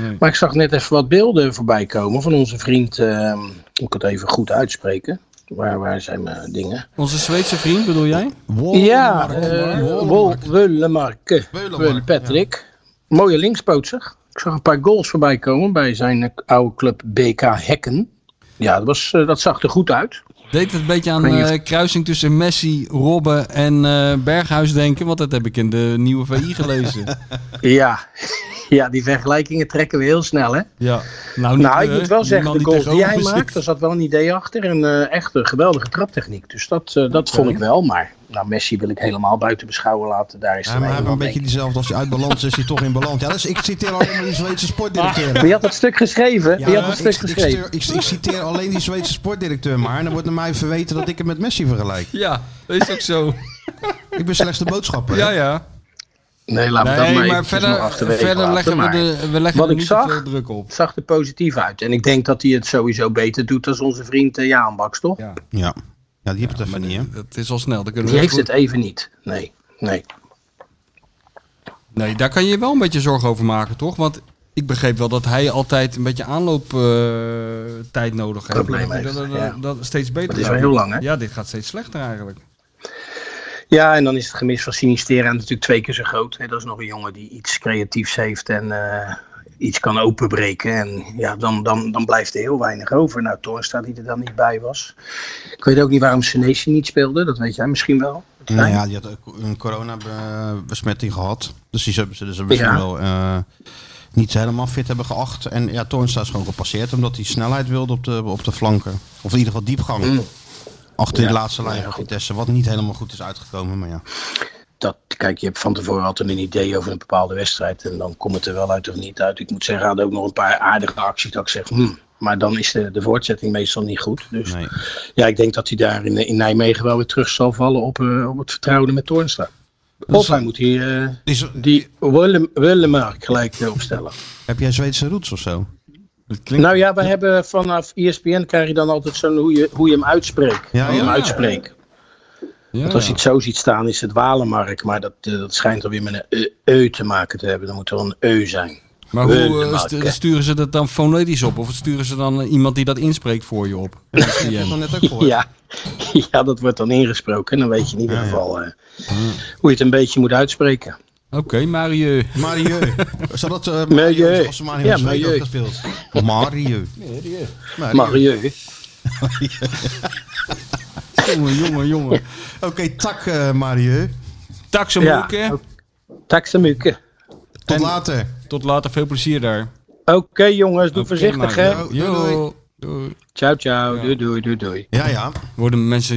Nee.
Maar ik zag net even wat beelden voorbij komen van onze vriend. eh, moet ik het even goed uitspreken? Waar, waar zijn mijn dingen?
Onze Zweedse vriend bedoel jij?
Ja, eh,
Wollemark.
Wollemarke.
Weulemark,
Weulen Patrick. Mooie linkspoot zeg. Ik zag een paar goals voorbij komen bij zijn eh, oude club BK Hekken. Ja, dat, was, eh, dat zag er goed uit.
Deed het een beetje aan
Ik weet niet
eh kruising tussen Messi, Robben en eh, Berghuis denken? Want dat heb ik in de nieuwe VI gelezen.
Ja. ja, die vergelijkingen trekken we heel snel hè.
ja. Nou, niet,
Nou, ik
eh,
moet wel
die
zeggen,
man
de goals die
tegenover
jij
me
maakt, daar
zit.
zat wel een idee achter. En eh, echt een geweldige traptechniek. Dus dat, eh, dat vond ik wel. Maar nou, Messi wil ik helemaal buiten beschouwen laten. Daar is
Ja,
er
maar hij
een
heeft een beetje diezelfde. Als hij uit balans is, is hij toch in balans. Ja, dus ik citeer alleen maar die Zweedse sportdirecteur.
Wie had dat stuk geschreven? Wie Ah, had dat
ik,
stuk
ik,
geschreven?
stuur- ik, ik citeer alleen die Zweedse sportdirecteur maar. En dan wordt naar mij verweten dat ik hem met Messi vergelijk.
Ja, dat is ook zo.
Ik ben slechts de boodschapper. hè?
ja, ja.
Nee, laat me dat
Nee,
maar,
maar,
eventjes nog
verder,
achterwege
verder
laten,
leggen we,
maar
de, we leggen
Wat
er
ik
niet
zag-
te veel druk op.
Het zag er positief uit. En ik denk dat hij het sowieso beter doet dan onze vriend eh, Jaan Baks, toch?
Ja,
Ja. Ja, die heb het even niet, hè?
Dat is al snel. Dan kunnen
Die
we
heeft
goed-
het even niet. Nee, nee.
Nee, daar kan je je wel een beetje zorgen over maken, toch? Want ik begreep wel dat hij altijd een beetje aanlooptijd tijd nodig heeft.
Probleem
dat, hij dat,
heeft,
dat-
ja.
dat steeds beter
Dat is
gaat.
wel heel lang, hè?
Ja, dit gaat steeds slechter eigenlijk.
Ja, en dan is het gemis van Sinistera natuurlijk twee keer zo groot. Hè. Dat is nog een jongen die iets creatiefs heeft en eh, iets kan openbreken. En ja, dan, dan, dan blijft er heel weinig over. Nou, Toornstra die er dan niet bij was. Ik weet ook niet waarom Senesi niet speelde. Dat weet jij misschien wel.
Nou ja, die had ook een coronabesmetting gehad. Dus die hebben ze dus misschien
Ja.
wel eh, niet helemaal fit hebben geacht. En ja, Toornstra is gewoon gepasseerd omdat hij snelheid wilde op de, op de flanken. Of in ieder geval diepgang. Achter de
Ja.
laatste lijn
Mm. Ja,
van
goed.
Vitesse, wat niet helemaal goed is uitgekomen. Maar ja,
Dat kijk, je hebt van tevoren altijd een idee over een bepaalde wedstrijd. En dan komt het er wel uit of niet uit. Ik moet zeggen, hij had ook nog een paar aardige acties dat ik zeg, hmm. Maar dan is de, de voortzetting meestal niet goed. Dus
Nee.
ja, ik denk dat hij daar in, in Nijmegen wel weer terug zal vallen op, eh, op het vertrouwen met Toornstra. Of hij moet hier eh,
Is,
die Willem, Willemark gelijk eh, opstellen.
heb jij Zweedse roots of zo?
Het klinkt...
Nou ja, we hebben vanaf E ESPN krijg je dan altijd zo'n hoe je, hoe je hem uitspreekt.
Ja,
hoe je
ja.
hem uitspreekt.
Ja,
Want als je
ja.
het zo ziet staan is het Walenmark. Maar dat, eh, dat schijnt alweer met een e- eu te maken te hebben. Dan moet er een eu zijn.
Maar hoe eh,
Willemark,
stu-
hè.
sturen ze dat dan fonetisch op? Of sturen ze dan eh, iemand die dat inspreekt voor je op?
Ik heb
DM.
dat net ook gehoord.
Ja. ja, dat wordt dan ingesproken. En dan weet je in ieder geval eh, hoe je het een beetje moet uitspreken.
Oké, Mario.
Marieu. Zou dat eh
Milieu.
Marieu? Als ze maar in
Ja,
Zweden ook
milieu.
dat speelt. Marieu. Marieu.
Marieu.
Jongen, jongen, jongen.
Oké, tak eh Marieu.
Taxamoeke.
Ja, ook. Taxamuke.
Tot later.
Tot later, veel plezier daar.
Oké jongens, doe
Oké,
voorzichtig
Mario.
hè.
Doei, doei.
Yo. Doei.
Ciao ciao. Doei doei doei doei.
Ja, ja.
Worden mensen,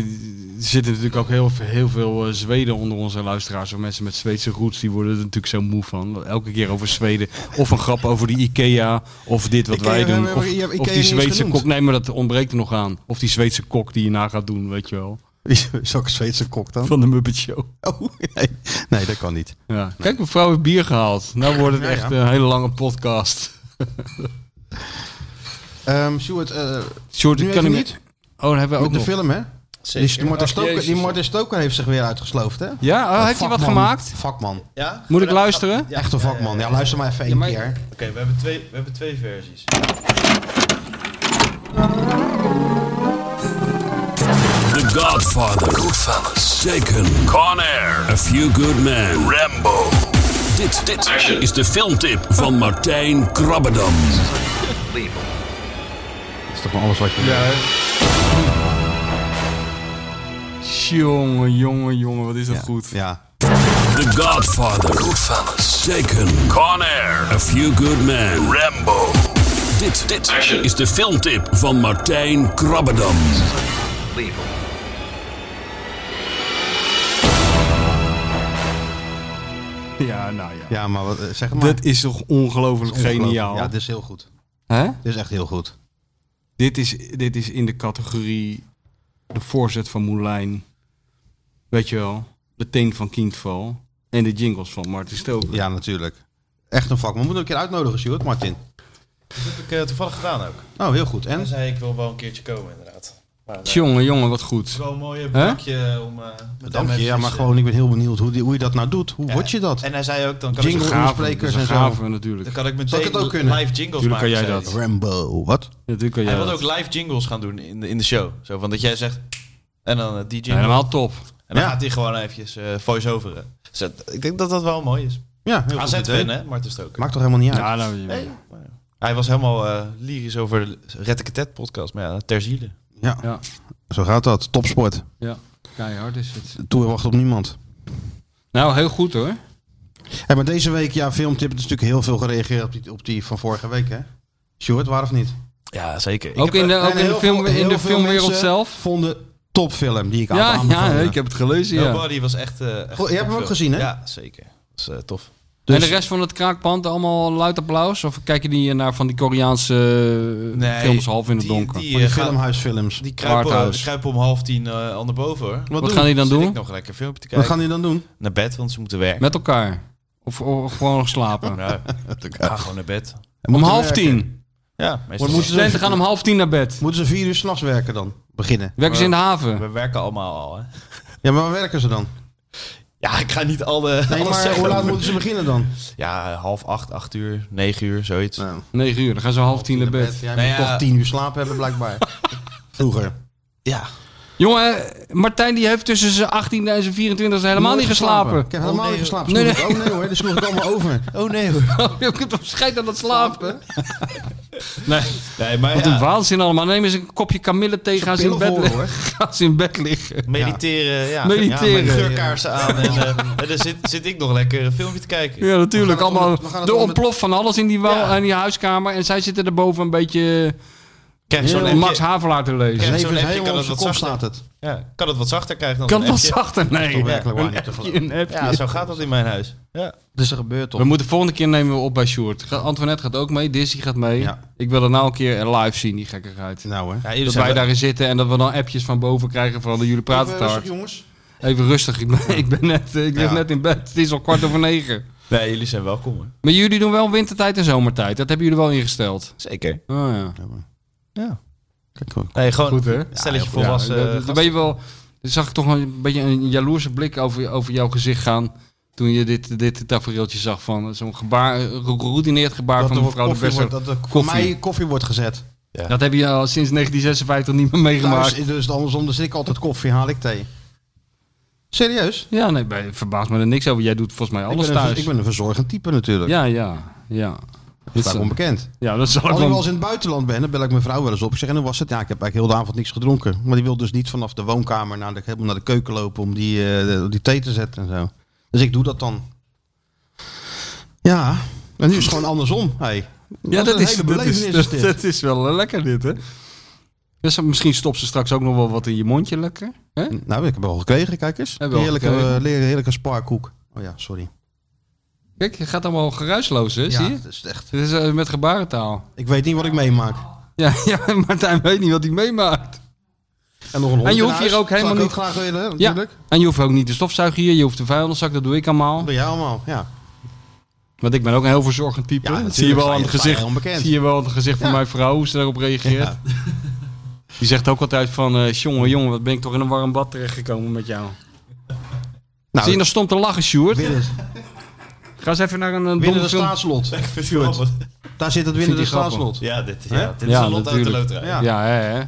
er zitten natuurlijk ook heel, veel- heel veel eh, Zweden onder onze luisteraars. Of mensen met Zweedse roots, die worden er natuurlijk zo moe van. Elke keer over Zweden. Of een grap over die Ikea. Of dit wat
Ikea,
wij
we
doen.
hebben
Of,
Ikea
of
niet
die
eens
Zweedse
genoemd.
kok. Nee, maar dat ontbreekt er nog aan. Of die Zweedse kok die je na gaat doen, weet je wel.
Is is ook een Zweedse kok dan?
Van de Muppet Show.
Oh, nee. nee, dat kan niet.
Ja. Kijk, mevrouw heeft bier gehaald. Nou wordt het
Ja,
echt
ja.
een hele lange podcast.
Ehm Sjoerd, eh,
Short,
Nu
ik kan
even
niet. Oh, dan hebben we ook
met de
nog.
film hè? Die, die, Martin
Ach,
Stoker, die
Jezus.
Martin Stoker heeft zich weer uitgesloofd hè?
Ja, oh, heeft hij wat
Vakman.
gemaakt?
Vakman.
Ja?
Moet ik luisteren?
Ja.
Echte vakman. Ja, luister maar even één
maar-
keer.
Oké, we, hebben twee, we hebben twee versies.
The Godfather. Goodfellas. Taken. Con Air. A Few Good Men. Rambo. Dit, dit is de filmtip van Martijn Krabbedam.
Dat is toch maar alles wat je Ja,
Jongen, jongen, jongen, wat is dat goed.
ja.
The Godfather. Goodfellas. Taken. Con Air. A Few Good Men. Rambo. Dit, dit is de filmtip van Martijn Krabbedam.
Ja, nou ja.
ja maar wat, eh, zeg maar.
Dat is toch ongelooflijk
Ongelooflijk.
geniaal.
Ja, dit is heel goed.
Hè?
Dit is echt heel goed.
Dit, is, dit is in de categorie de voorzet van Moulijn. Weet je wel, de teen van Kindval. En de jingles van Martin Stoker.
Ja, natuurlijk. Echt een vakman. We moeten hem een keer uitnodigen, Sjoerd, Martin.
Dat heb ik eh, toevallig gedaan ook.
Oh, heel goed.
En
En?
zei ik wil wel een keertje komen inderdaad. Maar, eh,
Jongen, jongen, wat
het
goed.
is wel een mooie bedankje om... eh met
Dank
hem
je. Ja,
eventjes,
maar
eh,
gewoon, ik ben heel benieuwd hoe, die- hoe je dat nou doet. Hoe
Ja,
word je dat?
En hij zei ook, dan kan,
Jingle
ik,
insprekers en zo.
Gaven natuurlijk.
dan kan ik
Zal
meteen
ik het ook kunnen?
live jingles
Tuurlijk kan
maken.
jij
zei
dat.
hij.
Rambo. Wat?
Natuurlijk kan jij
Hij wilde
dat.
ook live jingles gaan doen in de, in de show. Zo van dat jij zegt... En dan eh, die jingle.
Helemaal top.
En dan
Ja.
gaat hij gewoon eventjes eh voice-overen. Dus dat- ik denk dat dat wel mooi is.
Ja, heel goed idee.
AZ-fan, hè, Marten Stoker.
Maakt toch helemaal niet uit?
Ja, nou, ja.
Hij was helemaal eh, lyrisch over de Red podcast, maar ja, ter ziele.
Ja.
Ja.
Zo gaat dat. Topsport.
ja, keihard is het.
Toer wacht op niemand.
Nou, heel goed hoor.
Hé, maar deze week, ja, filmtip, het is dus natuurlijk heel veel gereageerd op die, op die van vorige week, hè? Sjoerd, waar of niet?
Ja, zeker. Ik
Ook in de, ook in de,
heel
film,
veel-
in
heel
de
veel
filmwereld
mensen
zelf.
vonden topfilm die ik aan
Ja, ja,
aanbevolen.
ik heb het gelezen.
heb-
Ja.
Nobody was echt... eh, echt
Goh, je hebt hem ook
topfilm.
gezien, hè?
Ja, zeker. Dat is eh, tof.
Dus-
En de rest van het kraakpand, allemaal luid applaus? Of kijken die naar van die Koreaanse eh,
Nee,
films half in het
die-
donker?
Die,
Van
eh,
die
gaan-
filmhuisfilms.
die kruipen,
Waardhuis.
die kruipen om half tien eh, al naar boven, hoor.
Wat,
doen?
gaan die dan
Zit
doen?
ik nog lekker een filmpje te
Wat
kijken.
gaan die dan doen?
Naar bed, want ze moeten werken.
Met elkaar? Of, of gewoon nog slapen?
Nou, ga gewoon naar bed.
Om
Moeten
half
werken.
tien.
Ja, meestal
Wat moeten
wel.
Studenten gaan om half tien naar bed.
Moeten ze vier uur s'nachts werken dan? Beginnen.
Werken ze in de haven?
We werken allemaal al, hè.
Ja, maar waar werken ze dan?
Ja, ik ga niet alle,
Nee,
alles
maar
zeggen
hoe laat
over-
moeten ze beginnen dan?
Ja, half acht, acht uur, negen uur, zoiets.
Nou,
Negen uur, dan gaan ze om half tien naar bed.
Jij
Nou
moet
ja.
toch tien uur slaap hebben, blijkbaar. Vroeger.
Ja.
Jongen, Martijn die heeft tussen zijn 18e en zijn 24e helemaal niet geslapen.
Ik heb helemaal niet geslapen.
Nee,
Sloeg ik- Oh nee hoor, dat sloeg ik allemaal over. Oh nee hoor.
Je hebt toch scheid aan dat slapen? Nee,
Nee, maar
wat
ja,
een waanzin allemaal. Neem eens een kopje kamille thee, gaan ze, in bed
Pillen voor,
liggen.
hoor.
gaan ze in bed liggen.
mediteren, ja.
Mediteren.
Ja, met geurkaarsen aan en, eh, en dan zit, zit ik nog lekker een filmpje te kijken.
Ja, natuurlijk.
We gaan het
Allemaal
onder- we gaan het
de
onder-
ontplof van alles in die, wa-
Ja.
in die huiskamer. En zij zitten erboven een beetje
Krijg je zo'n
Heel
appje?
eh, Max Havelaar te lezen.
Krijg je
Nee,
zo'n
we zijn
appje,
heel
kan
op zijn
het wat
kop
zachter?
staat het.
Ja, kan het wat zachter krijgen dan
Kan
een
het wat
appje?
zachter? Nee.
Ja,
Werkelijk waar
een
niet te
appje,
geloven.
een appje. Ja, zo gaat dat in mijn huis. Ja.
Dus er gebeurt toch.
We moeten volgende keer nemen we op bij Sjoerd. Ga- Antoinette gaat ook mee, Dizzy gaat mee. Ik wil er nou een keer live zien, die gekkigheid.
Nou hè.
dat
zijn
wij
we-
daarin zitten en dat we dan appjes van boven krijgen van jullie praten te hard.
jongens.
Even rustig, ik ben, ik ben net, ik lig
Ja.
net in bed. Het is al kwart over negen.
Nee, jullie zijn welkom. hoor.
Maar jullie doen wel wintertijd en zomertijd. Dat hebben jullie wel ingesteld.
Zeker.
Oh ja.
Ja.
Kijk hoor.
Nee, gewoon
Goed hè?
stelletje
Ja,
volwassen.
dat- eh, dat-
gasten.
dan ben je wel. Dan zag ik toch een beetje een jaloerse blik over, over jouw gezicht gaan. Toen je dit, dit tafereeltje zag van eh, zo'n gebaar, eh, geroutineerd gebaar
Dat
van
er
mevrouw de
koffie
Besser.
wordt, dat er voor
Koffie.
mij koffie wordt gezet.
Dat heb je al sinds 1956 niet meer meegemaakt.
Thuis, dus andersom, dus ik altijd koffie, haal ik thee. Serieus?
Ja, nee, ben- verbaas me er niks over. Jij doet volgens mij alles
ik ben een ver-
thuis.
ik ben een verzorgend type natuurlijk.
Ja, dus, eh, ja, ja.
Dat is
is-
onbekend.
Ja, dat zal ik
Als ik wel
wel.
eens in het buitenland ben, dan bel ik mijn vrouw wel eens op. Ik zeg, en hoe was het? Ja, ik heb eigenlijk heel de avond niks gedronken. Maar die wil dus niet vanaf de woonkamer naar de, helemaal naar de keuken lopen om die, eh, die thee te zetten en zo. Dus ik doe dat dan. Ja, en nu is het gewoon andersom. Hey.
Ja, dat
een
is,
hele
dat,
belevenis
is,
is
dat,
dit.
dat is wel eh, lekker dit, hè? Dus misschien stopt ze straks ook nog wel wat in je mondje lekker. Hè?
Nou, ik heb al gekregen, kijk eens.
Hebben we al
Heerlijke,
gekregen.
eh, le- heerlijke sparkoek. Oh ja, sorry.
Kijk, je gaat allemaal geruisloos, hè?
Ja,
Zie je?
dat is echt.
Dit is eh, met gebarentaal.
Ik weet niet wat ik meemaak.
Ja, ja, Martijn weet niet wat hij meemaakt.
En nog een hond
En je
in
hoeft hier
huis.
ook helemaal
Zou ik
niet-
graag willen, hè,
Ja.
natuurlijk.
En je hoeft ook niet de stofzuiger hier, je hoeft de vuilniszak, dat doe ik allemaal.
Bij jou allemaal, ja.
Want ik ben ook een heel verzorgend type.
Ja,
dat zie je wel aan het
natuurlijk, dat is
gezicht,
vrij onbekend.
zie je wel aan het gezicht van
Ja.
mijn vrouw, hoe ze daarop reageert.
Ja.
Die zegt ook altijd van, eh jongen, jongen, wat ben ik toch in een warm bad terechtgekomen met jou.
Nou,
zie je nog stom te lachen, Sjoerd?
binnen,
Ga eens even naar een, een
binnen
domme
de
film.
staatslot.
Goed.
Daar zit het
Vind
binnen de
die grappig.
staatslot.
Ja, dit, ja, dit is
Ja,
een lot uit de
natuurlijk.
loterij.
Ja.
Ja, hè, hè?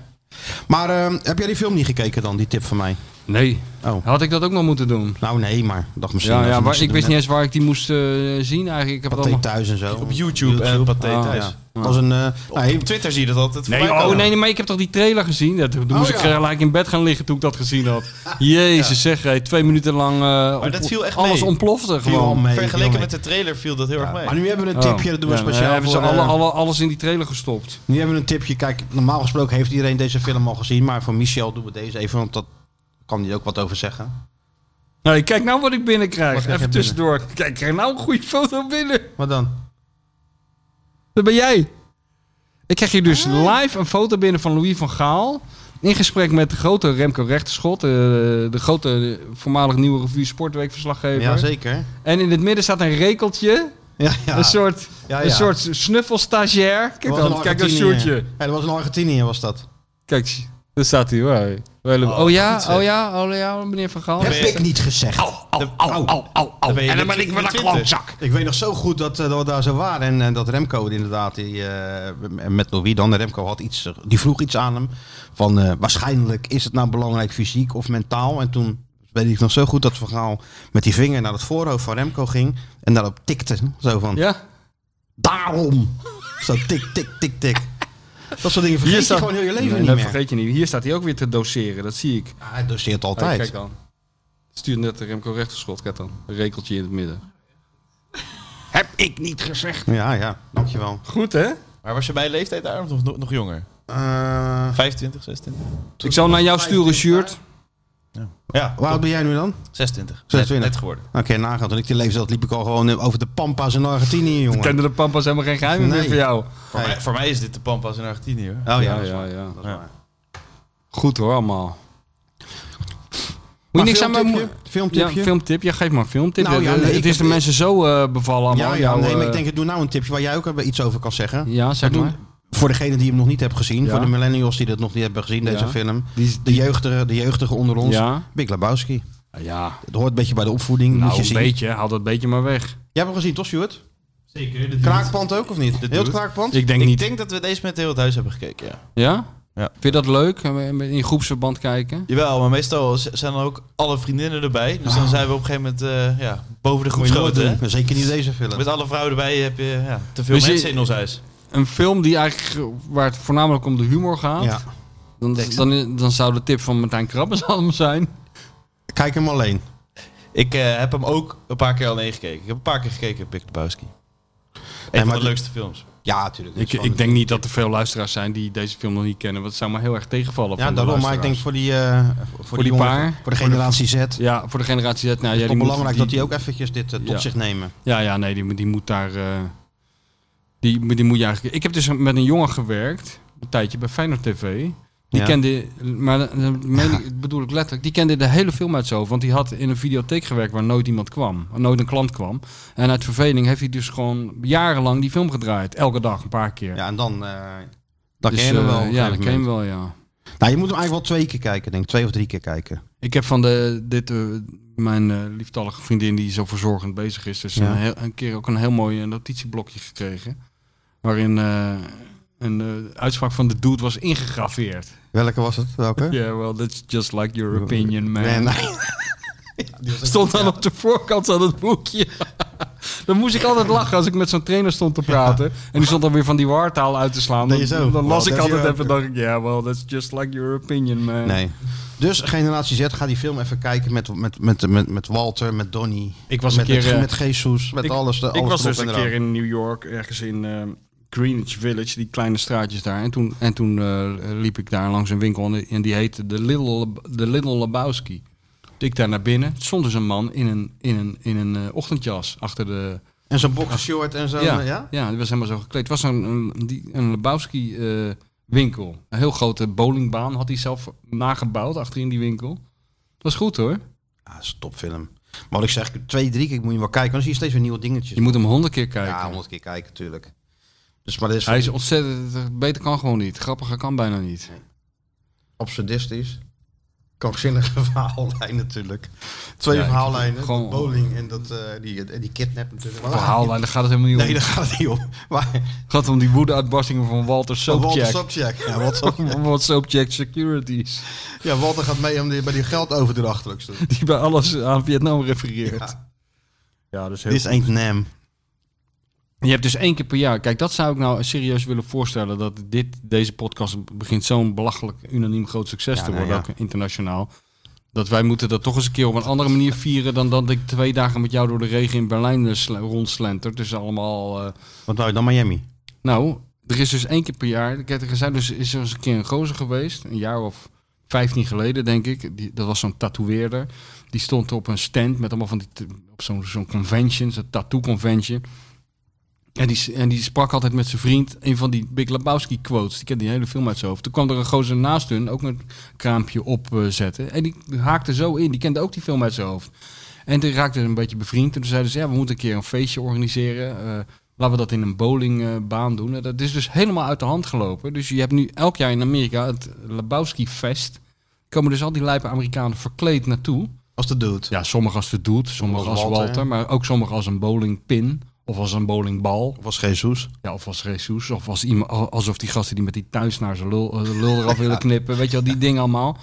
Maar ehm, heb jij die film niet gekeken dan, die tip van mij?
Nee.
Oh.
Had ik dat ook nog moeten doen?
Nou nee, maar dacht misschien.
Ja,
dat
ja
ze
maar
niks
ik
te
wist
doen
niet eens waar ik die moest eh, zien eigenlijk. Ik heb het
hebben. Pathé
allemaal...
thuis en zo.
Op YouTube en Pathé
Ah,
thuis.
Ja. Dat was een. eh,
Op
nee,
Twitter zie je dat altijd
Nee,
voorbij
oh
komen.
nee, nee, maar ik heb toch die trailer gezien? Ja, toen toen moest
Oh, ja.
ik eh, gelijk in bed gaan liggen toen ik dat gezien had. Jezus, zeg, hey, twee minuten lang eh,
Maar dat viel echt
alles
mee.
ontplofte
viel wel
gewoon.
mee, viel
Vergeleken
wel
met de trailer viel dat heel erg mee.
mee. Maar nu hebben we een tipje, dat doen we
Ja,
speciaal.
eh, hebben ze
voor,
alle,
eh,
alle- alles in die trailer gestopt.
Nu hebben we een tipje. Kijk, normaal gesproken heeft iedereen deze film al gezien, maar voor Michel doen we deze even, want dat kan hij ook wat over zeggen.
Nee, kijk nou wat ik binnenkrijg.
Wat krijg
Even
jij
tussendoor. Kijk, ik krijg nou een goede foto binnen.
Wat dan?
Dat ben jij. Ik krijg hier dus
Ah.
live een foto binnen van Louis van Gaal. In gesprek met de grote Remco Rechterschot. eh, de grote eh, voormalig nieuwe revue Sportweekverslaggever.
Jazeker.
en in het midden staat een rekeltje.
Ja, ja.
Een soort,
Ja,
Een
ja.
soort snuffelstagiair. Kijk
Dat was
dan,
een
kijk dat
Argentinië.
shirtje.
Ja, dat was een Argentinië, was dat.
Kijk, daar staat hij. Wow. Hele- Oh, ja,
goed zeg.
oh ja, oh ja, meneer Van Gaal.
Heb ik niet gezegd.
Au, au, au, au.
ben je
en dan
met-
ben ik
met
weer een
Twente.
klootzak.
Ik weet nog zo goed dat, eh, dat we daar zo waren. En, eh, dat Remco inderdaad, die, eh, met Louis dan, Remco had iets, eh, die vroeg iets aan hem. Van eh, waarschijnlijk is het nou belangrijk fysiek of mentaal. En toen weet ik nog zo goed dat verhaal met die vinger naar het voorhoofd van Remco ging. En daarop tikte. Zo van,
Ja,
daarom. Zo tik, tik, tik, tik. Dat soort dingen vergeet je
staat-
gewoon heel je leven
Nee,
niet
dat
meer.
vergeet je niet. Hier staat hij ook weer te doseren, dat zie ik.
Ja, hij doseert
Oh,
altijd.
kijk dan. Stuur net de Remco Rechterschot, kijk dan. Een rekeltje in het midden.
Heb ik niet gezegd.
ja, ja, dankjewel.
Goed hè?
Maar was je bij leeftijd arm of nog, nog jonger?
Eh
25, 26?
Ik zal naar jou sturen, Sjoerd.
Ja,
waar ben jij nu dan?
26. Net,
26.
net geworden.
Oké, Nou, nagaan. Toen ik die leeftijd had, liep ik al gewoon eh, over de pampas in Argentinië, jongen.
Kende de pampa's helemaal geen geheim meer
Nee.
voor jou.
Voor, mij, voor mij is dit de Pampas in Argentinië hoor.
Oh ja,
Ja,
dat is waar.
ja, ja.
Dat is waar.
Goed hoor, allemaal. Moet
Maar
je niks aan mijn
filmtipje? Filmtipje?
Ja, filmtip. Ja, geef maar een filmtip.
Nou ja,
Het-
nee, ik
het is de
heb-
mensen zo eh, bevallen allemaal.
Ja, ja,
jouw,
nee, maar ik
eh,
denk, ik doe nou een tipje waar jij ook even iets over kan zeggen.
Ja, zeg
Doe-
maar.
Voor degenen die hem nog niet hebben gezien,
Ja.
voor de millennials die dat nog niet hebben gezien, deze
Ja.
film.
Die is-
De jeugdige, de jeugdige onder ons,
Ja.
Big Lebowski.
Ja,
Het hoort een beetje bij de opvoeding, moet
nou
je
een
zien.
beetje. Haal dat beetje maar weg.
Jij hebt hem gezien, toch, Stuart?
Zeker. Dit
Kraakpand ook, of niet? Heel het kraakpand?
Ik denk
ik
niet.
denk dat we deze met heel het huis hebben gekeken, ja.
Ja?
Ja.
Vind je dat leuk? eh, In groepsverband kijken?
Jawel, maar meestal z- zijn dan ook alle vriendinnen erbij. Dus dan zijn we op een gegeven moment eh, ja, boven de groep
Moet je nooit
schoten.
doen.
hè.
Maar Zeker niet deze film.
Met alle vrouwen erbij heb je ja, te veel
Dus je-
mensen in ons huis.
Een film die eigenlijk, eh, waar het voornamelijk om de humor gaat.
Ja.
Dan, dan, dan zou de tip van Martijn Krabbes allemaal zijn.
Kijk hem alleen.
Ik eh, heb hem ook een paar keer alleen gekeken. Ik heb een paar keer gekeken, Big Lebowski. Een
Nee, maar
van de
die-
leukste films.
Ja, natuurlijk.
Ik, ik denk niet dat er veel luisteraars zijn die deze film nog niet kennen. Want het zou maar heel erg tegenvallen.
Ja,
van de
daarom. Maar ik
luisteraars.
denk voor die, eh, voor,
Voor
die,
die
jongen-
paar.
Voor de generatie Z.
Ja, voor de generatie Z. Nou, ja,
Het
die
is
moet-
belangrijk dat die ook eventjes dit eh, tot
Ja.
zich nemen.
Ja, ja, nee, die, moet- die moet daar. eh, die, moet- die moet je eigenlijk. Ik heb dus met een jongen gewerkt, een tijdje bij Feyenoord TV. Die
Ja.
kende, maar dat meen ik- dat bedoel ik letterlijk, die kende de hele film uit zo. Want die had in een videotheek gewerkt waar nooit iemand kwam, nooit een klant kwam. En uit verveling heeft hij dus gewoon jarenlang die film gedraaid. Elke dag een paar keer.
Ja, en dan... eh dan
Dus,
ken je hem
eh,
wel. op een
ja,
gegeven
dat ken je hem
moment.
wel, ja.
Nou, je moet hem eigenlijk wel twee keer kijken, denk ik. Twee of drie keer kijken.
Ik heb van de, dit, eh, mijn eh, lieftallige vriendin die zo verzorgend bezig is, dus
Ja.
een, heel, een keer ook een heel mooi eh, notitieblokje gekregen. Waarin eh, een eh, uitspraak van de dude was ingegraveerd.
Welke was het? Welke?
Ja, well, that's just like your opinion, man.
Nee, nee.
Stond dan op de voorkant van het boekje. dan moest ik altijd lachen als ik met zo'n trainer stond te praten. En die stond dan weer van die wartaal uit te slaan.
Nee,
Dan,
zo.
dan las
Well,
ik
that's
altijd
your-
even, dacht ik, ja, well, that's just like your opinion, man.
Nee. Dus Generatie Z, ga die film even kijken met, met, met, met, met Walter, met Donnie.
Ik was
met,
een keer,
Met,
eh,
met Jesus, met
ik,
alles. eh,
ik
alles
was
erop
dus een
en eraan.
keer in New York, ergens in eh, Greenwich Village, die kleine straatjes daar. En toen, en toen eh, liep ik daar langs een winkel en, en die heette de Little, de Little Lebowski. Toen ik daar naar binnen, stond dus een man in een, in een, in een eh, ochtendjas achter de...
En zo'n boxershort en zo.
ja,
eh, ja?
ja, die was helemaal zo gekleed. Het was een, een, die, een Lebowski eh, winkel. Een heel grote bowlingbaan had hij zelf nagebouwd achter in die winkel. Dat was goed hoor.
Ja, dat is een topfilm. Maar wat ik zeg, twee, drie keer moet je wel kijken. Want dan zie je steeds weer nieuwe dingetjes.
Je moet hem honderd keer kijken.
Ja, honderd keer kijken, natuurlijk. Dus, maar dat is,
Hij is ontzettend... Beter kan gewoon niet. Grappiger kan bijna niet.
absurdistisch. Krankzinnige verhaallijn natuurlijk. Twee
Ja, ik-
verhaallijnen.
gewoon-
dat bowling en dat, eh, die, en die kidnap natuurlijk. Maar
Verhaallijn, daar gaat het helemaal niet om.
Nee, daar gaat het niet om. Maar
Het gaat om die woedeuitbarstingen van Walter
Walter
Soapjack.
Sobchak. Ja, Walter,
Wat Soapjack Securities.
ja, Walter gaat mee om die, bij die geldoverdracht ook zo.
Die bij alles aan Vietnam refereert.
Ja.
Ja, dus
Dit is ain't nam.
Je hebt dus één keer per jaar. Kijk, dat zou ik nou serieus willen voorstellen. Dat dit, deze podcast begint zo'n belachelijk unaniem groot succes
Ja,
te
nou
worden.
ja.
Ook internationaal. Dat wij moeten dat toch eens een keer op een andere manier vieren. Dan dat ik twee dagen met jou door de regen in Berlijn eh, sle- rondslenter. Dus allemaal... eh,
Wat nou dan Miami?
Nou, er is dus één keer per jaar. Ik heb er gezegd, dus is er eens een keer een gozer geweest. Een jaar of vijftien geleden, denk ik. Die, dat was zo'n tatoeëerder. Die stond op een stand met allemaal van die. t- op zo'n zo'n convention, zo'n tattoo-convention. En die, s- en die sprak altijd met zijn vriend een van die Big Lebowski quotes. Die kent die hele film uit zijn hoofd. Toen kwam er een gozer naast hun ook een kraampje opzetten. en die haakte zo in. Die kende ook die film uit zijn hoofd. En toen raakte ze een beetje bevriend. En toen zeiden ze, ja, we moeten een keer een feestje organiseren. Eh, laten we dat in een bowlingbaan doen. En dat is dus helemaal uit de hand gelopen. Dus je hebt nu elk jaar in Amerika het Lebowski Fest. Komen dus al die lijpe Amerikanen verkleed naartoe.
Als de dude.
Ja, sommigen als de doet, sommigen
Als
als
Walter.
Walter. Maar ook sommigen als een bowlingpin. Of als een bowlingbal.
Was Jesus.
Ja, of als Jesus. Of als iemand, alsof die gasten die met die thuis naar zijn lul, eh, lul eraf willen knippen. Weet je wel, die dingen allemaal.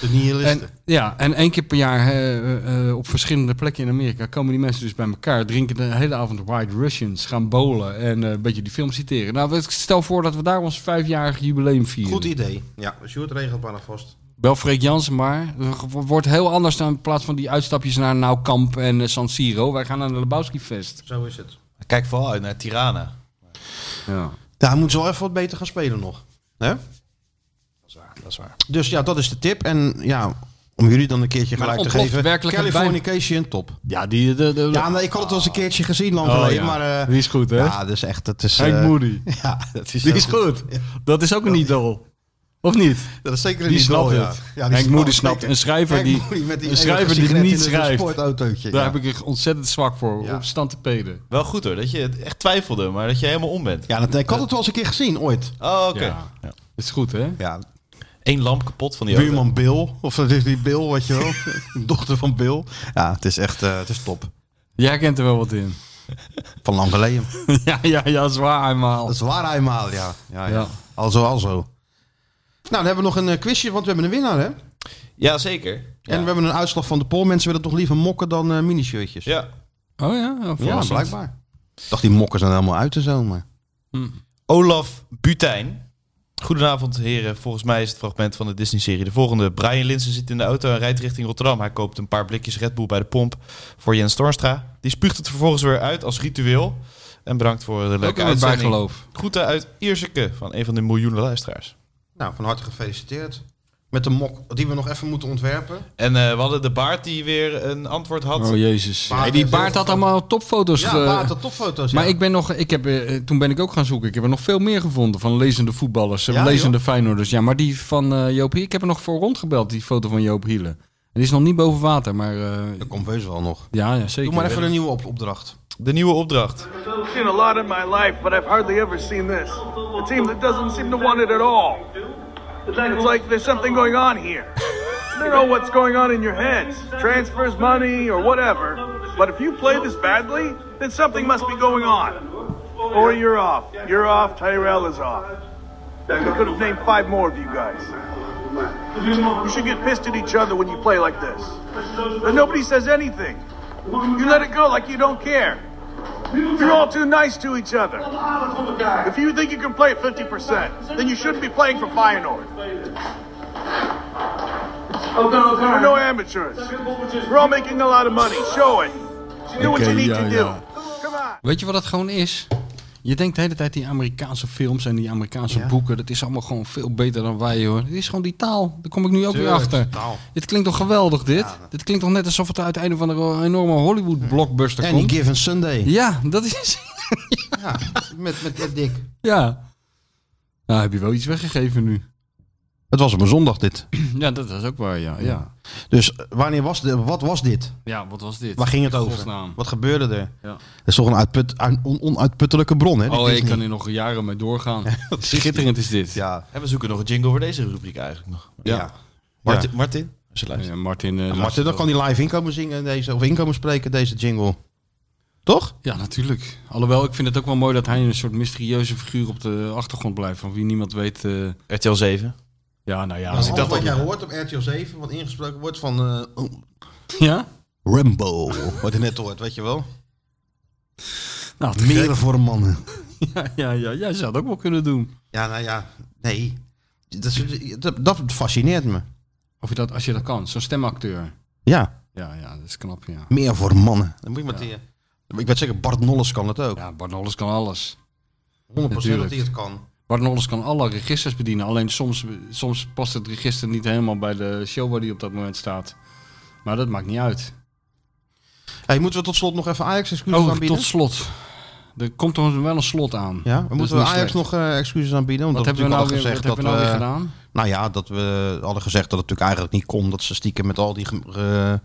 De nihilisten.
En, ja, en één keer per jaar hè, eh, eh, op verschillende plekken in Amerika komen die mensen dus bij elkaar, drinken de hele avond White Russians, gaan bowlen en eh, een beetje die film citeren. Nou, ik stel voor dat we daar ons vijfjarig jubileum vieren.
Goed idee. Ja, Sjoerd regelt bijna vast.
Wel Freek Jansen, maar het wordt heel anders dan in plaats van die uitstapjes naar Nou Kamp en eh, San Siro. Wij gaan naar de Lebowski Fest.
Zo is het.
Kijk vooral uit naar Tirana.
Ja.
Daar moet ze wel even wat beter gaan spelen nog. Hè?
Dat is waar.
Dus ja, dat is de tip. En ja, om jullie dan een keertje
Maar
gelijk te
ontploft
geven.
werkelijk het bij-
Californication, top.
Ja, die... De, de,
Ja, nee, ik had het wel eens een keertje gezien lang
Oh,
geleden,
ja.
maar... eh,
Die is goed, hè?
Ja, dus echt, dat is...
Hank
eh,
Moody.
Ja, dat is,
Die
heel
is goed. Dat is ook een idool. Of niet?
Dat is zeker
Die
niet
snapt
dol,
het. Henk Moody snapt het. Een schrijver
Henk
die-
Moody met die
een
ene
schrijver die
sigaret
niet
in het
schrijft.
sportautootje,
Daar
ja.
heb ik echt ontzettend zwak voor.
Ja.
Op stand te peden.
Wel goed hoor, dat je het echt twijfelde, maar dat je helemaal om bent.
Ja, dat, ik had het wel eens een keer gezien, ooit.
Oh, oké.
Ja. Is goed, hè?
Ja,
Eén lamp kapot van die auto.
buurman Bill. Of dat is die Bill, weet je wel. Dochter van Bill. Ja, het is echt, eh, het is top.
Jij kent er wel wat in.
Van lang geleden.
ja, ja, ja, zwaar eenmaal. Oh,
Dat is waar eenmaal, ja. Ja, ja.
Ja.
Alzo, alzo. Nou, dan hebben we nog een eh, quizje, want we hebben een winnaar, hè?
Ja, zeker. Ja.
En we hebben een uitslag van de poll. Mensen willen toch liever mokken dan eh, minishirtjes?
ja.
Oh ja? Ja,
Ja,
verrassend.
blijkbaar. Ik dacht, die mokken zijn helemaal uit de zomer.
Olaf Butijn. Goedenavond, heren. Volgens mij is het fragment van de Disney-serie de volgende. Brian Linsen zit in de auto en rijdt richting Rotterdam. Hij koopt een paar blikjes Red Bull bij de pomp voor Jens Torstra. Die spuugt het vervolgens weer uit als ritueel. En bedankt voor de leuke
een
uitzending.
bijgeloof.
Groeten uit Ierseke van een van de miljoenen luisteraars.
Nou, van harte gefeliciteerd. Met de mok die we nog even moeten ontwerpen.
En eh, we hadden de baard die weer een antwoord had.
Oh jezus.
Baard
Hey, die
is
baard
heel
had allemaal topfoto's.
Ja,
eh,
baard had
topfoto's,
Maar
ja.
ik ben nog, ik heb, eh, toen ben ik ook gaan zoeken. Ik heb er nog veel meer gevonden van lezende voetballers, eh,
Ja,
lezende Feyenoorders. Ja, maar die van eh, Joop Hielen, ik heb er nog voor rondgebeld, die foto van Joop Hielen. En die is nog niet boven water, maar... dat
komt weus wel nog.
Ja, ja zeker.
Doe maar even een nieuwe op- opdracht.
De nieuwe opdracht.
I've seen a lot in my life, but I've hardly ever seen this. A team that doesn't seem to want it at all. It's like there's something going on here. I don't know what's going on in your heads. Transfers, money, or whatever. But if you play this badly, then something must be going on. Or you're off. You're off, Tyrell is off. I could have named five more of you guys. You should get pissed at each other when you play like this. But nobody says anything. You let it go like you don't care. You're all too nice to each other. If you think you can play at 50%, then you shouldn't be playing for Feyenoord. We're no amateurs. We're all making a lot of money. Show it. Do what you
Oké,
need
ja,
to do.
ja. Weet je wat het gewoon is? Je denkt de hele tijd die Amerikaanse films en die Amerikaanse boeken, dat is allemaal gewoon veel beter dan wij hoor. Het is gewoon die taal. Daar kom ik nu ook weer
Tuurlijk,
achter.
de taal.
Dit klinkt toch geweldig dit? Dit klinkt toch net alsof het uit een van de enorme Hollywood blockbuster
En
komt?
die Given Sunday.
Ja, dat is.
ja, met, met, met Dick.
Ja. Nou, heb je wel iets weggegeven nu.
Het was op een zondag dit.
Ja, dat is ook waar, ja. Ja,
Dus wanneer was de, wat was dit?
ja wat was dit?
Waar ging het
In
over?
godsnaam.
Wat gebeurde er?
Ja.
Dat is toch een uitput, een on- onuitputtelijke bron, hè? die
Oh, ik
Disney.
kan hier nog jaren mee doorgaan. Schitterend is dit.
Ja.
En we zoeken nog een jingle voor deze rubriek eigenlijk nog.
Ja.
Martin,
Ja.
Martin, als je luistert.
Ja, Martin, eh,
Ja, Martin,
luistert
dan kan
wel.
hij live inkomen zingen deze, of inkomen spreken deze jingle. Toch?
Ja, natuurlijk. Alhoewel, ik vind het ook wel mooi dat hij een soort mysterieuze figuur op de achtergrond blijft. Van wie niemand weet... eh,
RTL 7.
Ja, nou ja.
Als
ik
dat wat
dan-
jij hoort op RTL 7, wat ingesproken wordt van eh, oh,
Ja?
Rambo. Wat je net hoort, weet je wel?
Nou, te
Meren
gek.
voor mannen.
Ja, ja, ja, jij zou het ook wel kunnen doen.
Ja, nou ja, nee. Dat, is- dat, dat fascineert me.
Of je dat, als je dat kan. Zo'n stemacteur.
Ja,
Ja, ja, dat is knap, ja.
meer voor mannen. Dan moet je met die, eh, ik weet zeker, Bart Nolles kan het ook.
Ja, Bart Nolles kan alles.
100% dat
natuurlijk.
hij het kan.
Bart Nolles kan alle registers bedienen. Alleen soms, soms past het register niet helemaal bij de show waar die op dat moment staat. Maar dat maakt niet uit.
Hey, moeten we tot slot nog even Ajax excuses
Oh,
aanbieden?
tot slot. Er komt toch wel een slot aan.
Ja, we
Dat
moeten
is
we
niet
Ajax
slecht.
nog eh, excuses aanbieden? Omdat
Wat
we
hebben we
natuurlijk
nou
hadden
weer- wat
gezegd dat
hebben we nou weer
Nou ja, dat we hadden gezegd dat het natuurlijk eigenlijk niet kon. Dat ze stiekem met al die ge- eh, eh,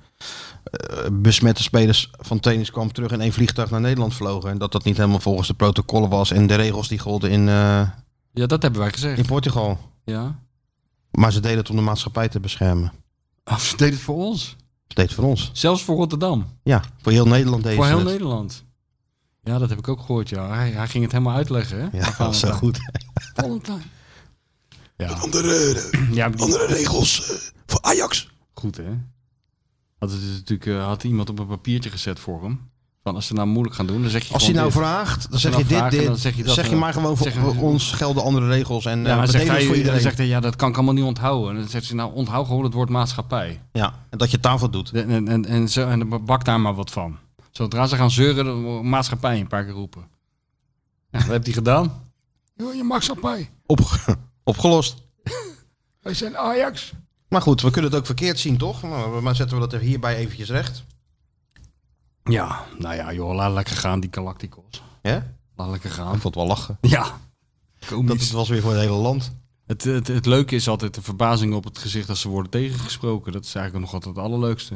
besmette spelers van tennis kwam terug in één vliegtuig naar Nederland vlogen. En dat dat niet helemaal volgens de protocollen was en de regels die golden in, eh,
Ja, dat hebben wij gezegd.
in Portugal.
Ja.
Maar ze deden het om de maatschappij te beschermen.
Oh, ze deed het voor ons.
Ze deed het voor ons.
Zelfs voor Rotterdam.
Ja, voor heel Nederland deden
voor
ze
heel
het.
Nederland. Ja, dat heb ik ook gehoord, ja. Hij, hij ging het helemaal uitleggen, hè?
Ja, dat is wel goed.
Valentijn. Ja,
Andere,
ja maar die-
andere regels eh, voor Ajax.
Goed, hè? Had, het dus natuurlijk, eh, had iemand op een papiertje gezet voor hem. Van als ze nou moeilijk gaan doen, dan zeg je
Als hij
gewoon
nou
dit.
vraagt, dan
Als ze
zeg je
nou
dit,
vragen,
dit.
dan zeg je dat. en dan-
maar gewoon voor
zeg je-
ons gelden andere regels. En
Ja,
eh,
dan zegt
we deden het voor
hij, dan
iedereen.
zegt hij, ja, dat kan ik allemaal niet onthouden. En dan zegt ze, nou, onthoud gewoon het woord maatschappij.
Ja, en dat je tafel doet.
En, en, en, en, zo, en dan bak daar maar wat van. Zodra ze gaan zeuren, dan wordt maatschappij een paar keer roepen. Ja, wat heeft hij gedaan?
Ja, je maatschappij.
Op, opgelost.
Wij zijn Ajax.
Maar goed, we kunnen het ook verkeerd zien, toch? Nou, Maar zetten we dat er hierbij eventjes recht.
Ja, nou ja, joh, laat lekker gaan, die Galacticos.
Ja?
Laat lekker gaan.
Ik vond het wel lachen.
Ja.
Dat het was weer voor het hele land.
Het, het, het leuke is altijd de verbazing op het gezicht als ze worden tegengesproken. Dat is eigenlijk nog altijd het allerleukste.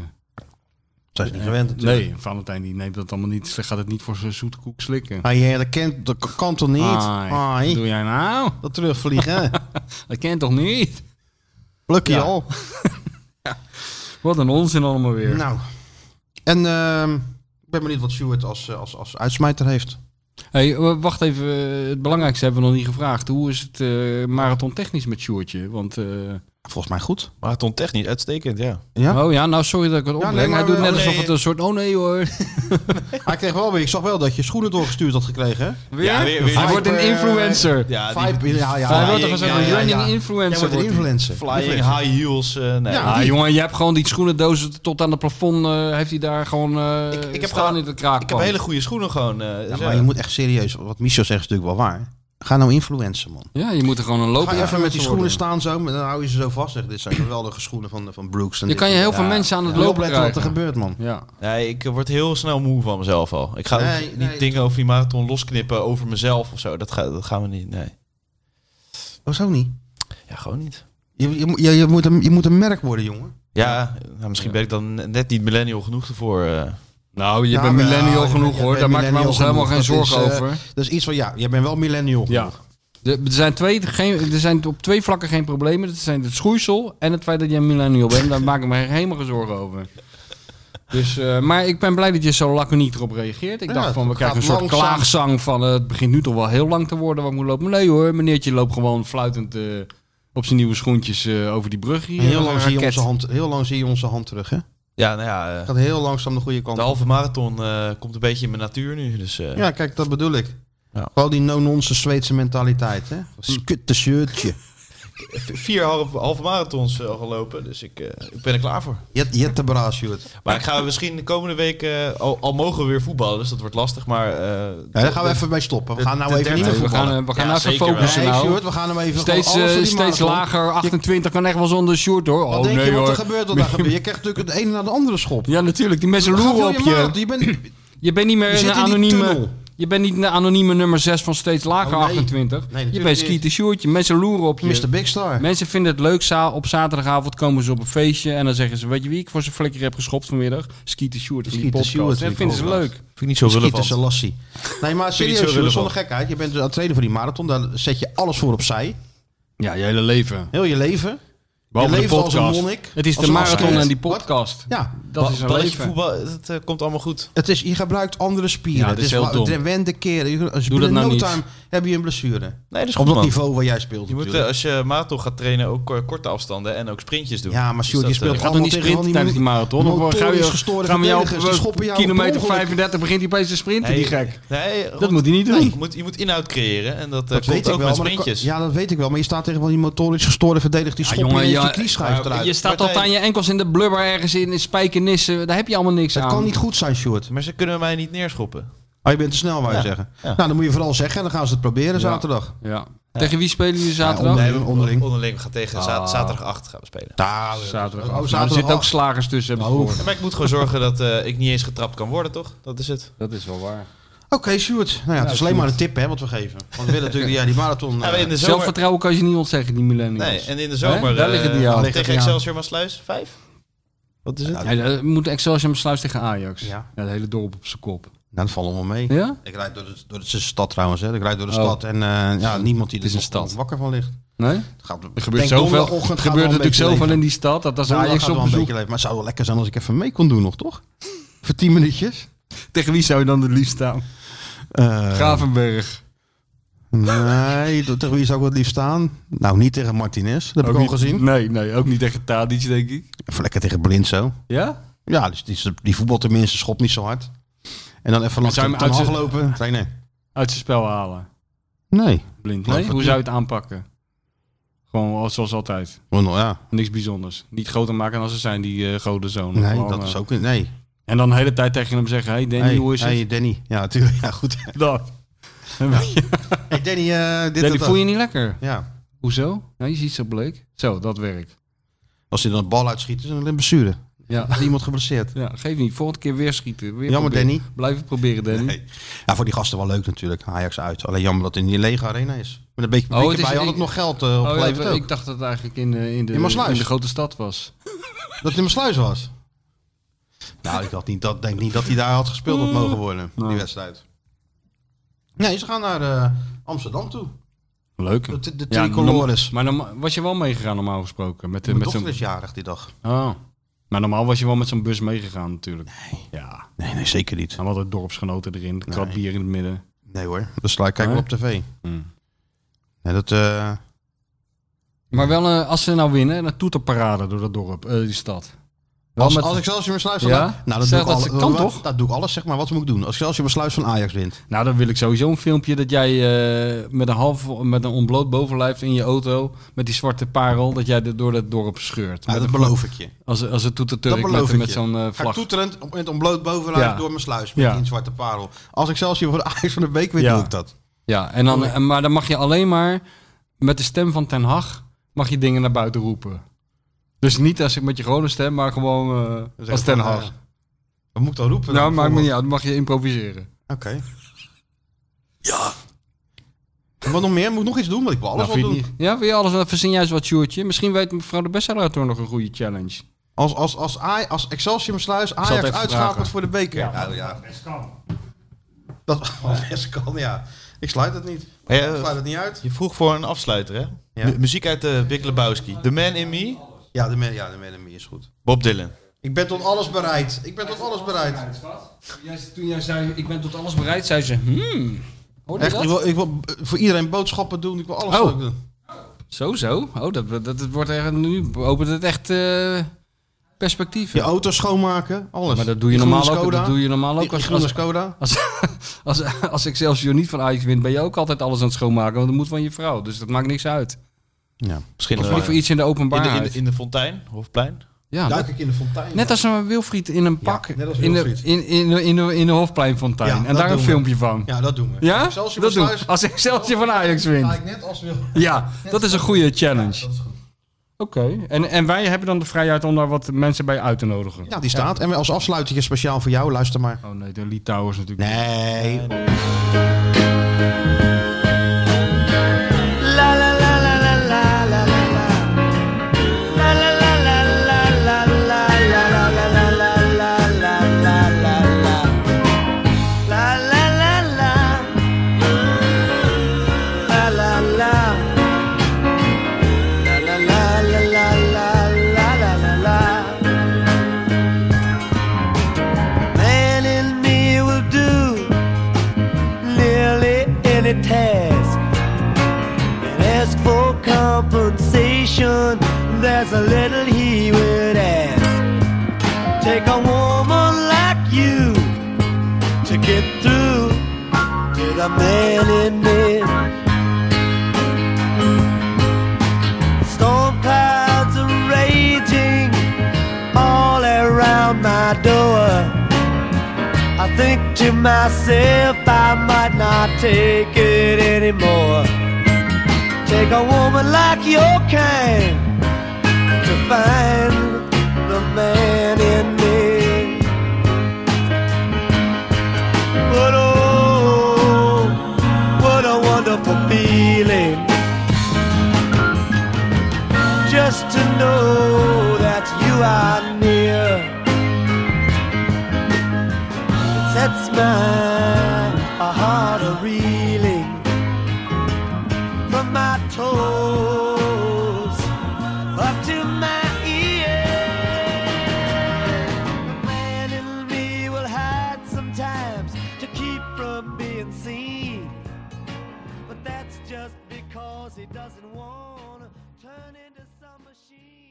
Dat is niet gewend natuurlijk.
Nee, Valentijn die neemt dat allemaal niet. Ze gaat het niet voor zijn zoete koek slikken.
Ah, ja, dat, kent, dat k- kan toch niet?
Ai, wat
Ai.
doe jij nou?
Dat terugvliegen.
Dat kent toch niet?
Lucky
Ja.
al.
Wat een onzin allemaal weer.
Nou. En ehm, ik ben benieuwd wat Stuart als, eh, als, als uitsmijter heeft.
Hey, w- wacht even. eh, Het belangrijkste hebben we nog niet gevraagd. Hoe is het eh, marathon technisch met Sjoertje? Want, eh,
Volgens mij goed.
Marathon technisch, uitstekend, ja.
Ja?
Oh ja, nou sorry dat ik het opbreng.
nee, maar
Hij doet
we-
net
oh, nee.
alsof het een soort... Oh nee hoor.
Hij kreeg wel weer. Ik zag wel dat je schoenen doorgestuurd had gekregen. hè?
Weer? Ja, weer- weer. Hij wordt een
Viper,
influencer.
Ja,
Ja, die-
Viper, ja, ja,
Hij wordt
ja,
toch
ja,
zo'n
ja, ja.
running
Jij
influencer
wordt een
wordt hij.
influencer.
Flying high heels. eh, nee.
Ja,
die-
jongen, je hebt gewoon die schoenendozen tot aan het plafond. eh, heeft hij daar gewoon. eh ik,
ik heb
staan
gewoon-
in de kraak.
Ik heb hele goede schoenen gewoon. eh,
Ja,
zo.
maar je moet echt serieus. Wat Michel zegt is natuurlijk wel waar. Ga nou influencer, man.
Ja, je moet er gewoon een
Ga
loper
je even met die
worden.
schoenen staan zo, maar dan hou je ze zo vast. Zeg, dit zijn geweldige schoenen van, van Brooks. En
Je
dit
kan je
en
heel
dat.
veel
Ja.
mensen aan het
Ja.
lopen
Opletten wat er
krijgen.
gebeurt, man.
Ja.
Nee, ik eh, word heel snel moe van mezelf al. Ik ga ook
Nee,
niet
nee.
dingen over die marathon losknippen over mezelf of zo. Dat, ga, dat gaan we niet. Nee.
Hoezo niet?
Ja, gewoon niet.
Je, je, je, je moet een, je moet een merk worden, jongen.
Ja, nou, misschien ben ik dan net niet millennial genoeg ervoor. eh.
Nou, je
Ja,
bent
maar-
millennial
ja, je
genoeg
bent-
hoor.
je
Daar
bent
maken we ons helemaal
millennial
geen zorgen
genoeg. Dat is, eh,
over.
Dat is iets van, ja, jij bent wel millennial.
Ja. De- er, zijn twee, geen, er zijn op twee vlakken geen problemen. Dat zijn het schoeisel en het feit dat je een millennial bent. Daar maak ik me helemaal geen zorgen over. Dus, eh, maar ik ben blij dat je zo laconiek erop reageert. Ik
Ja,
dacht van, we
het
krijgen een
gaat
soort
langzaam.
klaagzang van... eh, het begint nu toch wel heel lang te worden wat moet lopen. Nee hoor, meneertje loopt gewoon fluitend eh, op zijn nieuwe schoentjes eh, over die brug hier.
En heel, lang zie je
Raket.
onze hand, heel lang zie je onze hand terug, hè?
Ja, nou ja. eh,
Gaat heel langzaam de goede kant
de
op.
halve marathon eh, komt een beetje in mijn natuur nu. Dus, eh,
Ja, kijk, dat bedoel ik.
Ja.
Gewoon die no-nonsense Zweedse mentaliteit, hè? Skutte shirtje.
v- Vier halve, halve marathons eh, al gelopen, dus ik, eh, ik ben er klaar voor.
Jet, jet de braas, Sjoerd.
Maar ik ga misschien de komende week, eh, al, al mogen we weer voetballen, dus dat wordt lastig. Maar eh,
Ja, daar gaan we even mee stoppen. We
de-
gaan nou
de
even niet
derde-
meer
We gaan, eh,
voetballen.
we gaan
Ja,
even
zeker wel.
focussen
Nee,
nou.
Sjoerd, we gaan hem even gewoon
steeds,
alles
eh,
voor die
steeds
marathon.
lager, 28 kan echt wel zonder short hoor.
Wat
oh,
denk
nee,
je wat
hoor.
er gebeurt wat daar gebeurt? Je krijgt natuurlijk het ene naar de andere schop.
Ja, natuurlijk. Die mensen
Gaat
loeren
heel
op
je
je.
maat. Je bent,
Je bent niet meer
Je zit
een
in die
anonieme.
tunnel.
Je bent niet een anonieme nummer 6 van steeds lager
Oh, nee.
28. je
natuurlijk
bent
niet.
Skeeter Sjoerdje. Mensen loeren op je.
Mr. Big Star.
Mensen vinden het leuk. za- Op zaterdagavond komen ze op een feestje. En dan zeggen ze: Weet je wie ik voor zijn flikker heb geschopt vanmiddag? Skeeter Sjoerd. van die
Skeeter
podcast.
Sjoerd,
Dat
die
vinden ze
podcast.
leuk.
vind ik niet zo
Schieten
relevant.
Selassie. Nee, maar
Vind je
serieus,
zo
Sjoerd,
relevant?
zonder gekheid. Je bent aan het trainen voor die marathon. Daar zet je alles voor opzij.
Ja, je hele leven.
Heel je leven.
Behalve
je
de
leeft als een
podcast.
monnik.
Het is
Als
de
een
marathon
asceet.
en die
Wat?
podcast.
Ja.
Dat is een
Balletje
leven.
voetbal, dat eh, komt allemaal goed.
Het is, je gebruikt andere spieren.
Ja, dat
het
is heel
wa-
dom.
de wende keren. Je- Als je
Doe
binnen
dat nou
no
niet.
time heb je een blessure.
Nee, dat is
Op
goed,
dat
man.
niveau waar jij speelt
Je moet, eh,
natuurlijk.
als je marathon gaat trainen, ook eh, korte afstanden en ook sprintjes doen.
Ja, maar Sjoerd,
Dus
je
dat,
speelt
eh,
Gaat toch niet
Allemaal
sprinten
tegen van die
tijdens die
mo-
marathon? Of eh, gaan
motorisch
we,
gestoorde
gaan we jou
verdedigers, die schoppen jou
kilometer
per ongeluk.
35 begint hij opeens te sprinten, die
nee,
gek.
nee,
Dat
rond-
moet hij niet
nee,
doen.
je, moet, je moet inhoud creëren en dat, eh,
Dat
komt
weet ik
ook
wel.
met
maar dat kan-
sprintjes.
ja, dat weet ik wel. Maar je staat tegen wel die motorisch gestoorde verdediger. Die
Ja,
schopt
jongen,
je
ja, eh,
je knieschijf
maar
eruit.
Je staat tot
Martijn.
aan je enkels in de blubber ergens in, in spijkenissen. Daar heb je allemaal niks
Dat
aan.
kan niet goed zijn, Sjoerd.
Maar ze kunnen mij niet neerschoppen.
Oh, je bent te snel, wou je
Ja.
zeggen.
Ja.
Nou, dan moet je vooral zeggen en dan gaan ze het proberen zaterdag.
Ja. Tegen wie spelen jullie zaterdag?
Ja, onder- onderling.
Onderling. We gaan tegen za-
Ah.
zaterdag 8 gaan we spelen.
Daar,
zaterdag.
Oh,
Nou, er
zaterdag Oh.
zitten ook
acht.
slagers tussen. Heb ik gehoord.
Ja, maar ik moet gewoon zorgen dat eh, ik niet eens getrapt kan worden, toch? Dat is het.
Dat is wel waar.
Oké, Sjoerd. Nou ja, het is alleen maar een tip hè, wat we geven. Want we willen natuurlijk ja, die marathon...
Ja,
Nou,
eh,
in de zomer,
Zelfvertrouwen kan je niet ontzeggen, die millennials.
nee, en in de
Hè?
zomer
Daar
eh,
liggen die aan.
Liggen
tegen
die aan.
Excelsior Maasluis 5. Wat is het?
Nee, dat moet Excelsior sluis tegen Ajax.
Ja.
Ja. het hele dorp op zijn kop.
Nou, dat valt allemaal mee.
Ja?
Ik rijd door de, door de stad trouwens. Hè. Ik rijd door de
Oh.
stad en eh, ja, niemand die
Het is
er
een
nog
stad.
wakker van ligt.
Nee?
Het gaat,
Er gebeurt zoveel. Het gebeurt natuurlijk zoveel in die stad. Dat als Ajax op bezoek...
Maar het zou wel lekker zijn als ik even mee kon doen nog, toch? Voor tien minuutjes.
Tegen wie zou je dan het liefst staan?
Eh,
Gravenberg.
nee, tegen wie zou ik het liefst staan? Nou, niet tegen Martinez. Dat heb
Ook
ik al
niet-
gezien.
Nee, nee, ook niet tegen Tadic, denk ik.
Even lekker tegen Blind zo.
Ja?
Ja, dus die, die voetbal tenminste schopt niet zo hard. En dan even langs
zou
de
je hem
Ten Hag
uit-
lopen. Nee, nee.
Uit zijn spel halen.
Nee.
Blind.
Nee,
Nee?
dat
Hoe
niet.
zou je het aanpakken? Gewoon als- zoals altijd.
Want, nou ja,
Niks bijzonders. Niet groter maken dan ze zijn, die eh gouden zonen.
nee,
Gewoon,
dat
eh,
is ook niet. Nee.
En dan de hele tijd tegen hem zeggen... Hey Danny,
hey,
hoe is
hey,
het?
Danny. Ja, natuurlijk. Ja, goed.
Dat.
Hey, Danny, eh, dit
Danny,
en dat.
voel je niet lekker?
Ja.
Hoezo? Nou, je ziet zo bleek. Zo, dat werkt.
Als hij dan een bal uitschiet, is het een blessure.
Ja.
Is iemand geblesseerd.
ja, geef niet. Volgende keer weer schieten. Weer
Jammer,
proberen.
Danny.
Blijf het proberen, Danny.
Nee. Ja, voor die gasten wel leuk natuurlijk. Ajax uit. Alleen jammer dat het in die lege arena is. Met een beetje
Oh, het
publiek
is-
erbij had
ik-
het nog geld eh
Oh, ja,
opgeleverd ook.
ik dacht dat het eigenlijk in, eh, in, de,
In Maassluis.
in de grote stad was.
Dat het in mijn sluis was. Nou, ik had niet, dat, denk niet dat hij daar had gespeeld had mogen worden, die wedstrijd. Nee, ze gaan naar eh, Amsterdam toe.
Leuk.
De, de, de
Ja,
tricolores.
norm- maar dan was je wel meegegaan normaal gesproken. Met, eh,
Mijn
met
dochter
zo'n-
is jarig die dag.
Oh. Maar normaal was je wel met zo'n bus meegegaan natuurlijk. Ja.
Nee, nee, zeker niet.
Dan hadden dorpsgenoten erin. Een krat bier in het midden.
Nee hoor, dus sla ik kijk wel
Nee?
op tv.
Hmm.
Nee, dat, eh,
Maar wel, eh, als ze nou winnen, een toeterparade door dat dorp, eh, die stad. Dat
Als,
met-
als Excelsior besluit van...
Ja?
Nou, dat
Zeg,
doe ik
dat
alle-
kan
wa-
toch?
Dat doe ik alles, zeg maar. Wat moet ik doen? Als Excelsior besluit van Ajax wint.
Nou, dan wil ik sowieso een filmpje dat jij eh, met een half, met een ontbloot bovenlijf in je auto, met die zwarte parel, dat jij er door dat dorp scheurt.
Ja,
Met
dat
een-
beloof ik je.
Als, als het doet
Dat beloof
met,
ik
met
je.
zo'n eh,
Ga ik
vlag.
toeterend om- met ontbloot bovenlijf
Ja.
door mijn sluis. Met
Ja.
die zwarte parel. Als Excelsior voor de Ajax van de week wint,
Ja.
doe ik dat.
Ja, en dan, en- maar dan mag je alleen maar met de stem van Ten Hag mag je dingen naar buiten roepen. Dus niet als ik met je gewone stem, maar gewoon eh, als Ten Hag.
Wat moet ik dan roepen?
nou, maakt
dan,
me
bijvoorbeeld?
niet uit. Dan mag je improviseren.
Oké. Ja. Wat nog meer? Moet ik nog iets doen? Want ik wil alles
Nou, vind
wel
je
doen.
niet- Ja, wil je alles wel verzin juist wat, Sjoerdje? Misschien weet mevrouw de bestseller toch nog een goede challenge.
Als, als, als, Aj- als Excelsior besluit
zal het
Ajax
even
uitschakelt
vragen.
voor de beker. Ja, ja. Dat als best kan, ja. Ik sluit het niet.
Hey,
ik
eh,
sluit het niet uit.
Je vroeg voor een afsluiter, hè? Mu- muziek uit de Big Lebowski. The Man in Me,
Ja, de man, ja, de man in me is goed.
Bob Dylan.
Ik ben tot alles bereid. Ik ben tot alles bereid.
toen jij zei, ik ben tot alles bereid, zei ze, hmm. Hoorde
Echt, ik wil, ik wil eh, voor iedereen boodschappen doen. Ik wil alles
Oh.
leuk doen.
Zo, zo. Oh, dat, dat, dat wordt echt, nu opent het echt eh perspectief.
Je auto schoonmaken, alles.
Maar dat doe je,
Die
normaal
groene
ook, dat
Skoda.
doe je normaal
Die-
ook.
die
Als,
groene
als, Ah.
Skoda.
als, als, als Excelsior niet van Ajax wint, ben je ook altijd alles aan het schoonmaken. Want dat moet van je vrouw, dus dat maakt niks uit.
Ja.
Misschien
Of
eh,
liever iets in de
in de, in,
openbaarheid.
de, in de fontein, Hofplein.
ja,
Duik
dat-
ik in de fontein.
net als een Wilfried in een pak
net als
in, de,
Wilfried.
in, in, de- in, de, in de
Ja,
Hofpleinfontein. en
dat
daar een
doen we.
filmpje van.
Ja, dat doen we.
Ja?
Excelsior
Dat doen we.
besluit-
Als Excelsior van Ajax wint.
Ga ik net als wil.
Ja, dat is een goede challenge.
Ja, dat is goed.
Oké, en, en wij hebben dan de vrijheid om daar wat mensen bij uit te nodigen.
Ja, die staat. En als afsluitertje speciaal voor jou, luister maar.
Oh nee, de Litouwers natuurlijk.
Nee.
Man in me will do nearly any task. And ask for compensation, there's a little he would ask. Take a woman like you to get through to the man in me. Storm clouds are raging all around my door. I think to myself I might not take it anymore. Take a woman like your kind to find the man in me. But oh, what a wonderful feeling just to know that you are near. sets my heart a reeling from my toes up to my ears. The man in me will hide sometimes to keep from being seen, but that's just because he doesn't want to turn into some machine.